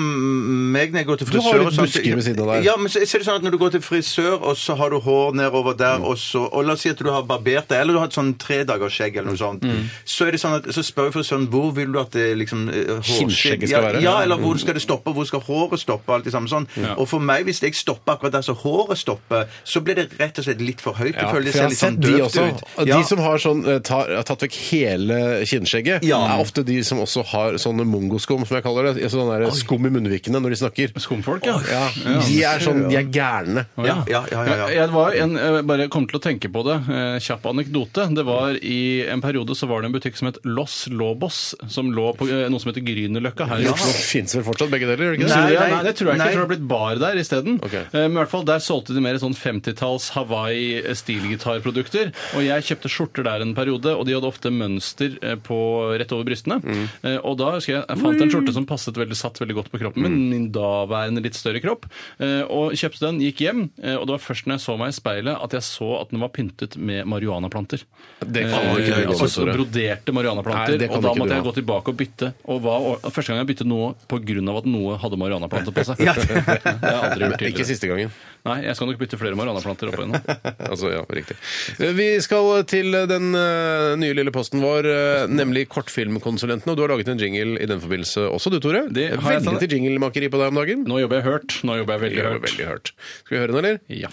S2: meg når jeg går til
S7: Du har
S2: frisør
S7: litt
S2: og sånn, så-
S7: busker ved siden av deg.
S2: Ja, men så, så er det sånn at når du går til frisør, og så har du hår nedover der,
S7: Mm.
S2: og så Og la oss si at du har barbert deg, eller du har et sånn tredagersskjegg eller noe sånt.
S7: Mm.
S2: Så er det sånn at så spør jeg frisøren hvor vil du at det liksom eh,
S7: Kinnskjegget
S2: hårskjegget
S7: skal
S2: ja,
S7: være.
S2: Ja, eller hvor skal det stoppe, hvor skal håret stoppe, og alt det samme sånn. Og for meg, hvis jeg stopper akkurat der så håret stopper, så blir det rett og slett litt for høyt. Jeg føler det ser litt sånn
S7: de
S2: døvt
S7: også.
S2: ut.
S7: De
S2: Ja.
S7: som har sånn, eh, tar, har tatt vekk hele kinnskjegget,
S2: Ja.
S7: er ofte de som også har sånne mongoskum, altså som jeg kaller det. Sånn der skum i munnvikene når de snakker.
S8: Skumfolk, ja.
S7: Ja, de er sånn, de er gærne. det.
S3: Ja, ja, ja, ja, ja.
S8: Jeg, var en, jeg bare kom til å tenke på det. eh, Kjapp anekdote. Det var I en periode så var det en butikk som het Los Lobos, som lå på eh, noe som heter Grünerløkka her i Oslo.
S7: Fins vel fortsatt begge deler, gjør det ikke det?
S8: Nei,
S3: nei,
S8: nei, det tror jeg ikke.
S3: nei.
S8: Jeg tror det har blitt bar der isteden.
S7: Ok.
S8: Eh, Men i hvert fall, der solgte de mer sånn 50-talls Hawaii-stilgitarprodukter. Og jeg kjøpte skjorter der en periode, og de hadde ofte mønster eh, på, rett over brystene. Eh, Og da husker jeg jeg fant en skjorte som passet veldig, satt veldig godt på kroppen min, min daværende litt større kropp, eh, og kjøpte den, gikk hjem, eh, og det var først når jeg så meg i speilet at jeg så at den var pyntet med marihuanaplanter.
S7: Det kan man ikke
S8: Eh,
S7: gjøre,
S8: altså
S7: Tore.
S8: broderte
S7: Nei,
S8: marihuanaplanter,
S7: det kan
S8: og da
S7: ikke du
S8: måtte jeg
S7: ha.
S8: gå tilbake og bytte. Og hva, og første gang jeg byttet noe pga. at noe hadde marihuanaplanter
S7: [laughs]
S8: på seg. Det har jeg aldri gjort
S7: Ikke
S8: tidligere.
S7: siste gangen.
S8: Nei, jeg skal nok bytte flere marihuanaplanter opp igjennom.
S7: [laughs] Altså, ja, riktig. Vi skal til den eh, nye lille posten vår, eh, nemlig Kortfilmkonsulentene. Og du har laget en jingle i den forbindelse også, du Tore.
S8: Det har jeg,
S7: Veldig
S8: Tore.
S7: til jinglemakeri på deg om dagen.
S8: Nå jobber jeg hørt. Nå jobber jeg veldig
S7: Det var
S8: hørt.
S7: veldig hørt. Skal vi høre den, eller?
S8: Ja.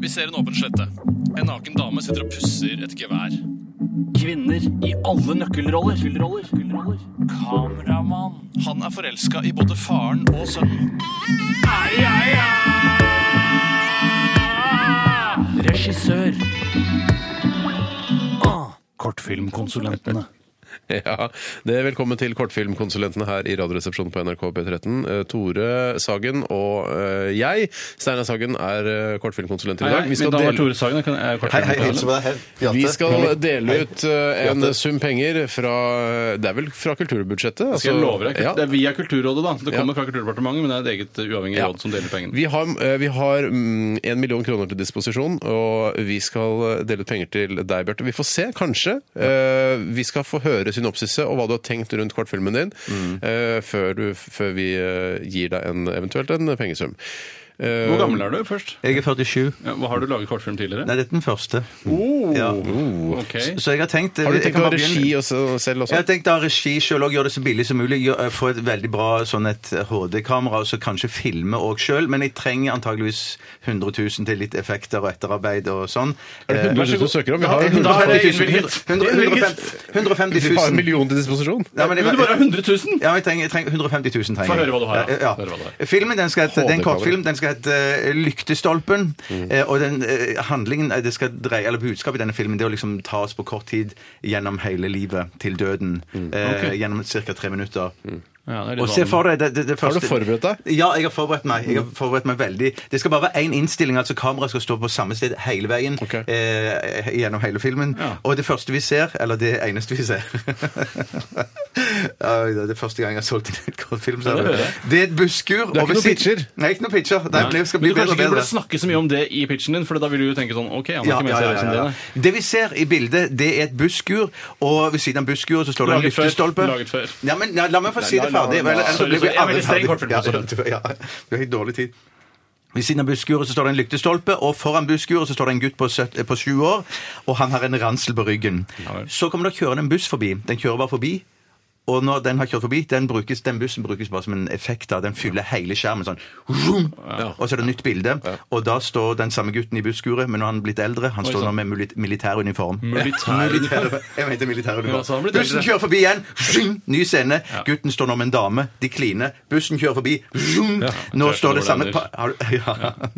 S8: Vi ser en åpen slette. En naken dame sitter og pusser et gevær.
S9: Kvinner i alle nøkkelroller. Kameramann.
S8: Han er forelska i både faren og sønnen.
S9: Regissør.
S8: Kortfilmkonsulentene.
S7: Ja, det er Velkommen til kortfilmkonsulentene her i Radioresepsjonen på NRK P13. Eh, Tore Sagen og eh, jeg, Steinar Sagen, er eh, kortfilmkonsulenter i dag. Vi skal,
S8: da var
S7: dele,
S8: Tore Sagen. Kan jeg
S3: Hei, hei,
S8: kortfilmkonsulent?
S3: hilse på deg. Hei, Bjarte.
S7: vi skal dele
S3: Hei.
S7: ut eh, en
S3: Bjarte.
S7: sum penger fra Det er vel fra kulturbudsjettet? altså-
S8: Skal jeg love deg.
S7: Ja.
S8: Det er via Kulturrådet, da. Det
S7: Ja.
S8: kommer fra Kulturdepartementet, men det er et eget uh, uavhengig
S7: Ja.
S8: råd som deler pengene.
S7: Vi har, eh, vi har mm, en million kroner til disposisjon, og vi skal eh, dele ut penger til deg, Bjarte. Vi får se, kanskje. Eh, Vi skal få høre synopsiset og hva du har tenkt rundt kortfilmen din,
S3: Mm.
S7: eh, før, du, før vi eh, gir deg en, eventuelt en pengesum.
S8: Hvor gammel er du først?
S3: Jeg er 47.
S8: Ja, hva har du laget kortfilm tidligere?
S3: Nei, det er den første. Ja.
S8: Ok.
S3: Så jeg har tenkt
S7: Oh, Har du
S3: jeg
S7: tenkt å
S3: kan
S7: ha
S3: bare begynne-
S7: regi også, selv også?
S3: Jeg har tenkt å ha regi sjøl og gjøre det så billig som mulig. Gjør- eh, Få et veldig bra sånn et HD-kamera, og så kanskje filme òg sjøl. Men jeg trenger antageligvis 100 000 til litt effekter og etterarbeid og sånn. Eh,
S7: Vær så god. søker om. Vi har,
S3: Da er det innvilget.
S7: 100
S3: 150
S7: vi har
S3: 000.
S7: en million til disposisjon.
S3: Ja, men
S8: Men du
S3: jeg-
S8: bare har 100 000!
S3: Ja, jeg trenger, jeg trenger 150 000 trenger.
S8: Få høre hva du har, ja.
S3: Ja, ja.
S8: Høre hva du har.
S3: Filmen, den skal hete, det er en
S7: HD-kamera.
S3: kortfilm, den skal hete eh, Lyktestolpen.
S8: Mm.
S3: Eh, og den eh, handlingen, eh, det skal dreie, eller budskapet i denne filmen, det er å liksom ta oss på kort tid gjennom hele livet til døden.
S8: Mm.
S3: Eh, Gjennom ca. tre minutter.
S8: Ja, det er litt
S3: Og se
S8: vanlig.
S3: for deg det, det, det
S7: Har
S3: første
S7: du forberedt deg?
S3: Ja, jeg har forberedt meg. Jeg har forberedt meg veldig. Det skal bare være én innstilling. altså Kameraet skal stå på samme sted hele veien
S7: Ok.
S3: eh, gjennom hele filmen.
S8: Ja.
S3: Og det første vi ser, eller det eneste vi ser Oi, Det er første gang jeg har solgt en kortfilm. sa
S8: Ja, det
S3: du.
S8: hører jeg.
S3: Det er et busskur.
S7: er
S3: og
S7: ikke
S3: ved
S7: noen
S3: siden-
S7: pitcher?
S3: Nei, ikke noen pitcher. Det blir- skal bli
S8: Men du
S3: bedre
S8: kanskje
S3: og
S8: ikke burde
S3: bedre.
S8: snakke så mye om det i pitchen din, for da vil du jo tenke sånn OK, han
S3: Ja,
S8: har ikke med
S3: ja,
S8: seg
S3: ja,
S8: resten
S3: ja,
S8: din.
S3: ja. Det vi ser i bildet, det er et busskur, og ved siden av busskuret så står det en
S8: Laget før.
S3: lyktestolpe.
S8: Laget før.
S3: Ja, men ja, la meg få si det ferdig. vel, ellers
S8: Sorry,
S3: blir vi
S8: sorry, jeg er
S3: aldri
S8: veldig
S3: ferdig.
S8: streng kortfilmkonsulent.
S3: [laughs] Ja, ja, ja. Vi har helt dårlig tid. Ved siden av busskuret så står det en lyktestolpe, og foran busskuret så står det en gutt på, søt, eh, på sju år, og han har en ransel på ryggen.
S8: Ja vel.
S3: Så kommer det kjørende en buss forbi. Den kjører bare forbi. Og når den har kjørt forbi, den, brukes, den bussen brukes bare som en effekt. da. Den fyller hele skjermen sånn. vroom. Og så er det nytt bilde, og da står den samme gutten i busskuret, men nå har han blitt eldre. Han står nå
S8: sann.
S3: med mili- militær uniform.
S8: Militær
S3: Militær- [laughs] Jeg mente militær
S8: Mm. Ja, så
S3: uniform.
S8: han blir eldre.
S3: Bussen kjører forbi igjen. Vroom. Ny scene. Gutten står nå med en dame. De kliner. Bussen kjører forbi. Vroom. Nå
S8: jeg
S3: står
S8: skjønner
S3: det samme
S8: hvordan
S3: pa-
S8: det
S3: Har du- [laughs] Ja.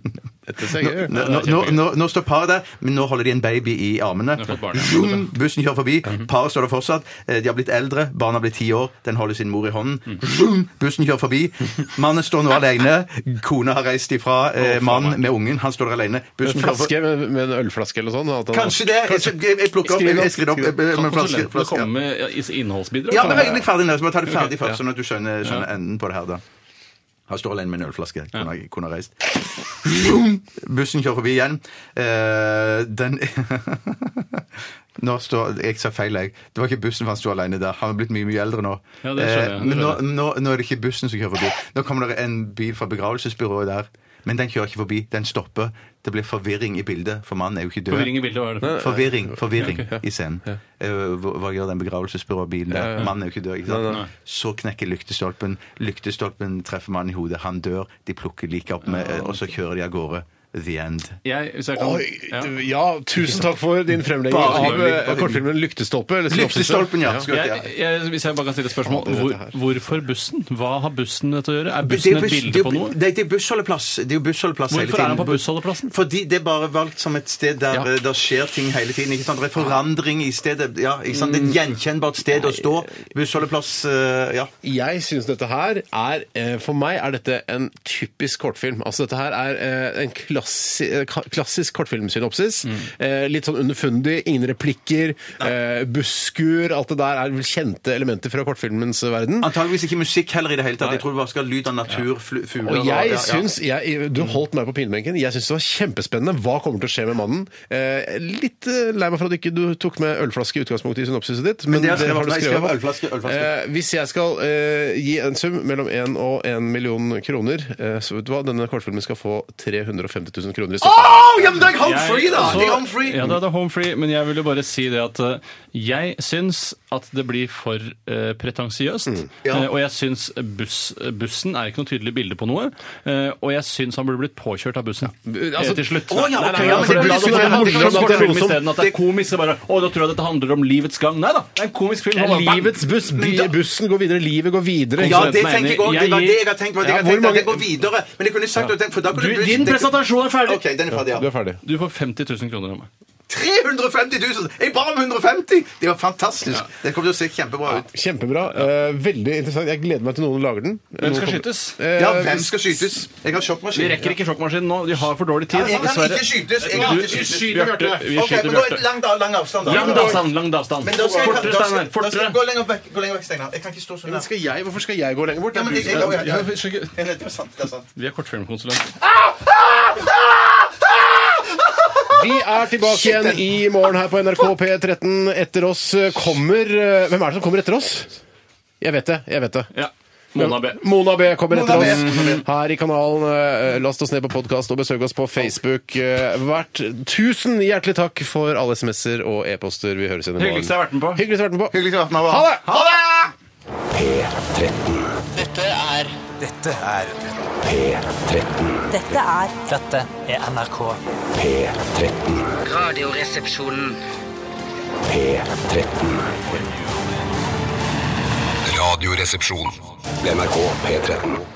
S7: Dette ser jeg
S3: Nå, nå, nå, nå, nå står paret der, men nå holder de en baby i armene.
S8: har fått barn, ja. Mhm.
S3: Zoom, bussen kjører forbi, paret står der fortsatt. Eh, De har blitt eldre, barna har blitt ti år, den holder sin mor i
S8: Mhm.
S3: hånden. Zoom, bussen kjører forbi. Mannen står nå alene, kona har reist ifra eh, mannen med ungen, han står der alene.
S7: En
S3: Bussen kjører forbi.
S7: flaske med, med en ølflaske eller sånn? at han-
S3: Kanskje det. Jeg, jeg, jeg plukker opp.
S7: Skriv
S3: Jeg,
S7: opp,
S3: jeg skriver opp.
S7: skriv opp.
S3: eh,
S8: Kan
S3: Med flaske,
S8: konsulentene
S3: flaske.
S8: komme med eh, is- innholdsbidrag?
S3: Ja,
S8: Kan
S3: men
S8: man-
S3: jeg er ferdig nå, så må jeg ta det ferdig
S8: Ok,
S3: først,
S8: ja.
S3: sånn at du skjønner, skjønner enden på det her da. Han står alene med en ølflaske. Kunne, ha- kunne ha reist. [laughs] Bussen kjører forbi igjen. Eh, den [laughs] Nå står Jeg sa feil, jeg. Det var ikke bussen for han sto alene der. Han er blitt mye mye eldre nå.
S8: Ja, det skjønner jeg,
S3: Eh,
S8: det
S3: Men nå,
S8: skjønner
S3: nå, nå er det ikke bussen som kjører forbi. Nå kommer det en bil fra begravelsesbyrået der. Men den kjører ikke forbi. Den stopper. Det blir forvirring i bildet, for mannen er jo ikke død.
S8: Forvirring i bildet, hva er det?
S3: Forvirring, forvirring i scenen. Eh, hva, hva gjør den begravelsesbyråbilen der? Mannen er jo ikke død. ikke sant? Så knekker lyktestolpen. Lyktestolpen treffer mannen i hodet. Han dør. De plukker liket opp, med, eh, og så kjører de av gårde. The End.
S8: Jeg, hvis jeg kan
S7: Oi,
S8: ja.
S7: ja, tusen takk for din fremlegging
S3: Bare
S7: av
S3: hyggelig,
S7: eh,
S3: bare
S7: kortfilmen 'Lyktestolpe'. Eller synopsis.
S3: Lyktestolpen, ja. Skulle jeg-
S8: jeg, jeg, Hvis jeg bare kan stille et spørsmål.
S7: Hater
S8: Hvor,
S7: dette her.
S8: hvorfor bussen? Hva har bussen dette å gjøre? Er bussen et
S3: buss- det
S8: bilde
S3: er
S8: på noe?
S3: Det, det er bussholdeplass. Det er jo bussholdeplass hele
S8: Hvorfor
S3: tiden.
S8: er han på bussholdeplassen?
S3: Fordi det er bare valgt som et sted der
S8: Ja.
S3: eh, der skjer ting hele tiden. ikke sant? Det er forandring i stedet. ja, ikke sant? Det er et gjenkjennbart sted å stå. Bussholdeplass, eh, ja.
S7: Jeg syns dette her er eh, For meg er dette en typisk kortfilm. Altså dette her er eh, en klassi, eh, ka- klassisk kortfilmsynopsis. Eh, Litt sånn underfundig, ingen replikker, eh, busskur Alt det der er vel kjente elementer fra kortfilmens verden.
S3: Antageligvis ikke musikk heller i det hele tatt. Jeg tror du bare skal ha lyd av natur, fl- fugler
S7: Og jeg
S3: ja, ja.
S7: syns, jeg, Du holdt meg på pinebenken. Jeg syns det var kjempespennende. Hva kommer til å skje med mannen? Eh, litt eh, lei meg for at ikke du ikke tok med ølflaske i utgangspunktet i synopsiset ditt. Men
S3: det har jeg skrevet.
S7: har du
S3: Nei, jeg skrev
S7: skrevet.
S3: ølflaske, ølflaske.
S7: Eh, hvis jeg skal eh, gi en sum mellom 1 og 1 million kroner, eh, så vet du hva, denne kortfilmen skal få 350 000 kroner i støtte.
S3: Åh, ja, men da er jeg home free, da!
S8: så-
S3: Jeg er home free.
S8: Altså, Ja, da er det home free, men jeg vil jo bare si det at eh, jeg syns at det blir for eh, pretensiøst.
S3: Mm. Ja.
S8: eh, og jeg syns buss, bussen er ikke noe tydelig bilde på noe. eh, og jeg syns han burde blitt påkjørt av bussen.
S7: altså-
S8: eh, til slutt.
S3: Å, ja,
S8: Nei,
S3: ok,
S8: nei,
S3: ja,
S8: nei,
S3: men
S8: for
S3: det
S8: det-
S3: blir-
S8: la det
S3: det
S8: være
S3: blir
S8: morsomt
S3: morsomt,
S8: at det er
S3: det er
S8: film
S3: morsomt.
S8: isteden, at det er komisk. det er Bare, å, da tror jeg dette handler om livets gang. Nei da, det er en komisk film.
S7: Det er
S8: Han bare-
S7: livets buss.
S3: Men da-
S7: Bussen går videre. Livet går videre.
S3: Ja,
S8: Konsulenten
S3: det
S8: er
S3: tenker jeg
S8: enig.
S3: òg. Det var
S8: Jeg
S3: det
S8: gir-
S3: jeg har tenkt. Var det
S7: Ja,
S3: jeg har tenkt
S7: hvor
S3: at
S7: mange-
S3: jeg går videre. Men jeg kunne sagt og tenkt, for da
S8: Du,
S3: kunne bussen-
S8: din
S3: det-
S8: presentasjon er ferdig!
S3: OK, den er ferdig, ja.
S7: Du er ferdig.
S8: Du får 50 000 kroner av meg.
S3: 350 000! Jeg ba om 150! Det var fantastisk. Det kommer til å se kjempebra ut.
S7: Kjempebra. Eh, veldig interessant. Jeg gleder meg til noen lager den.
S8: Hvem
S7: Noen
S8: skal
S7: kommer-
S8: skytes?
S7: Eh,
S3: Ja, hvem skal skytes? Jeg har sjokkmaskin.
S8: Vi rekker ikke sjokkmaskinen nå. De har for dårlig tid.
S3: Jeg kan
S8: dessverre.
S3: ikke skytes. Jeg kan
S8: Du-
S3: ikke skytes.
S8: Bjarte, vi
S3: Ok, men
S8: skyter
S3: da er det
S8: Bjarte.
S3: lang, da, lang avstand, da.
S8: Lang avstand, lang avstand.
S3: Men da skal jeg- da
S8: Fortere,
S3: skal-
S8: Steinar.
S3: da skal jeg
S8: Fortere.
S3: Gå lenger vekk, gå lenger vekk, Steinar. Jeg kan ikke stå sånn
S7: Men
S3: der.
S7: skal jeg, hvorfor skal jeg gå lenger bort?
S3: Ja, men
S7: Jeg-
S3: jeg- jeg- jeg-
S8: Ja,
S3: jeg-
S8: vi skal ikke-
S3: Ja, Det er sant. det er sant.
S8: Vi er kortfilmkonsulent.
S7: Vi er tilbake igjen i morgen her på NRK P13. Etter oss kommer eh, Hvem er det som kommer etter oss? Jeg vet det. jeg vet det.
S8: Ja. Mona B.
S7: Mona B kommer etter
S3: Mona B.
S7: oss her i kanalen. Eh, Last oss ned på podkast og besøk oss på Facebook. Eh, Hvert tusen hjertelig takk for alle SMS-er og e-poster. Vi høres igjen i morgen.
S8: Hyggeligst jeg har vært med på.
S7: Hyggeligst jeg har vært med på.
S3: Hyggelig å ha vært med. Alvar.
S7: Ha det!
S2: Dette er
S5: Dette er
S11: Dette er
S5: Dette er NRK.
S2: Radioresepsjonen.
S6: Radioresepsjon. NRK P13.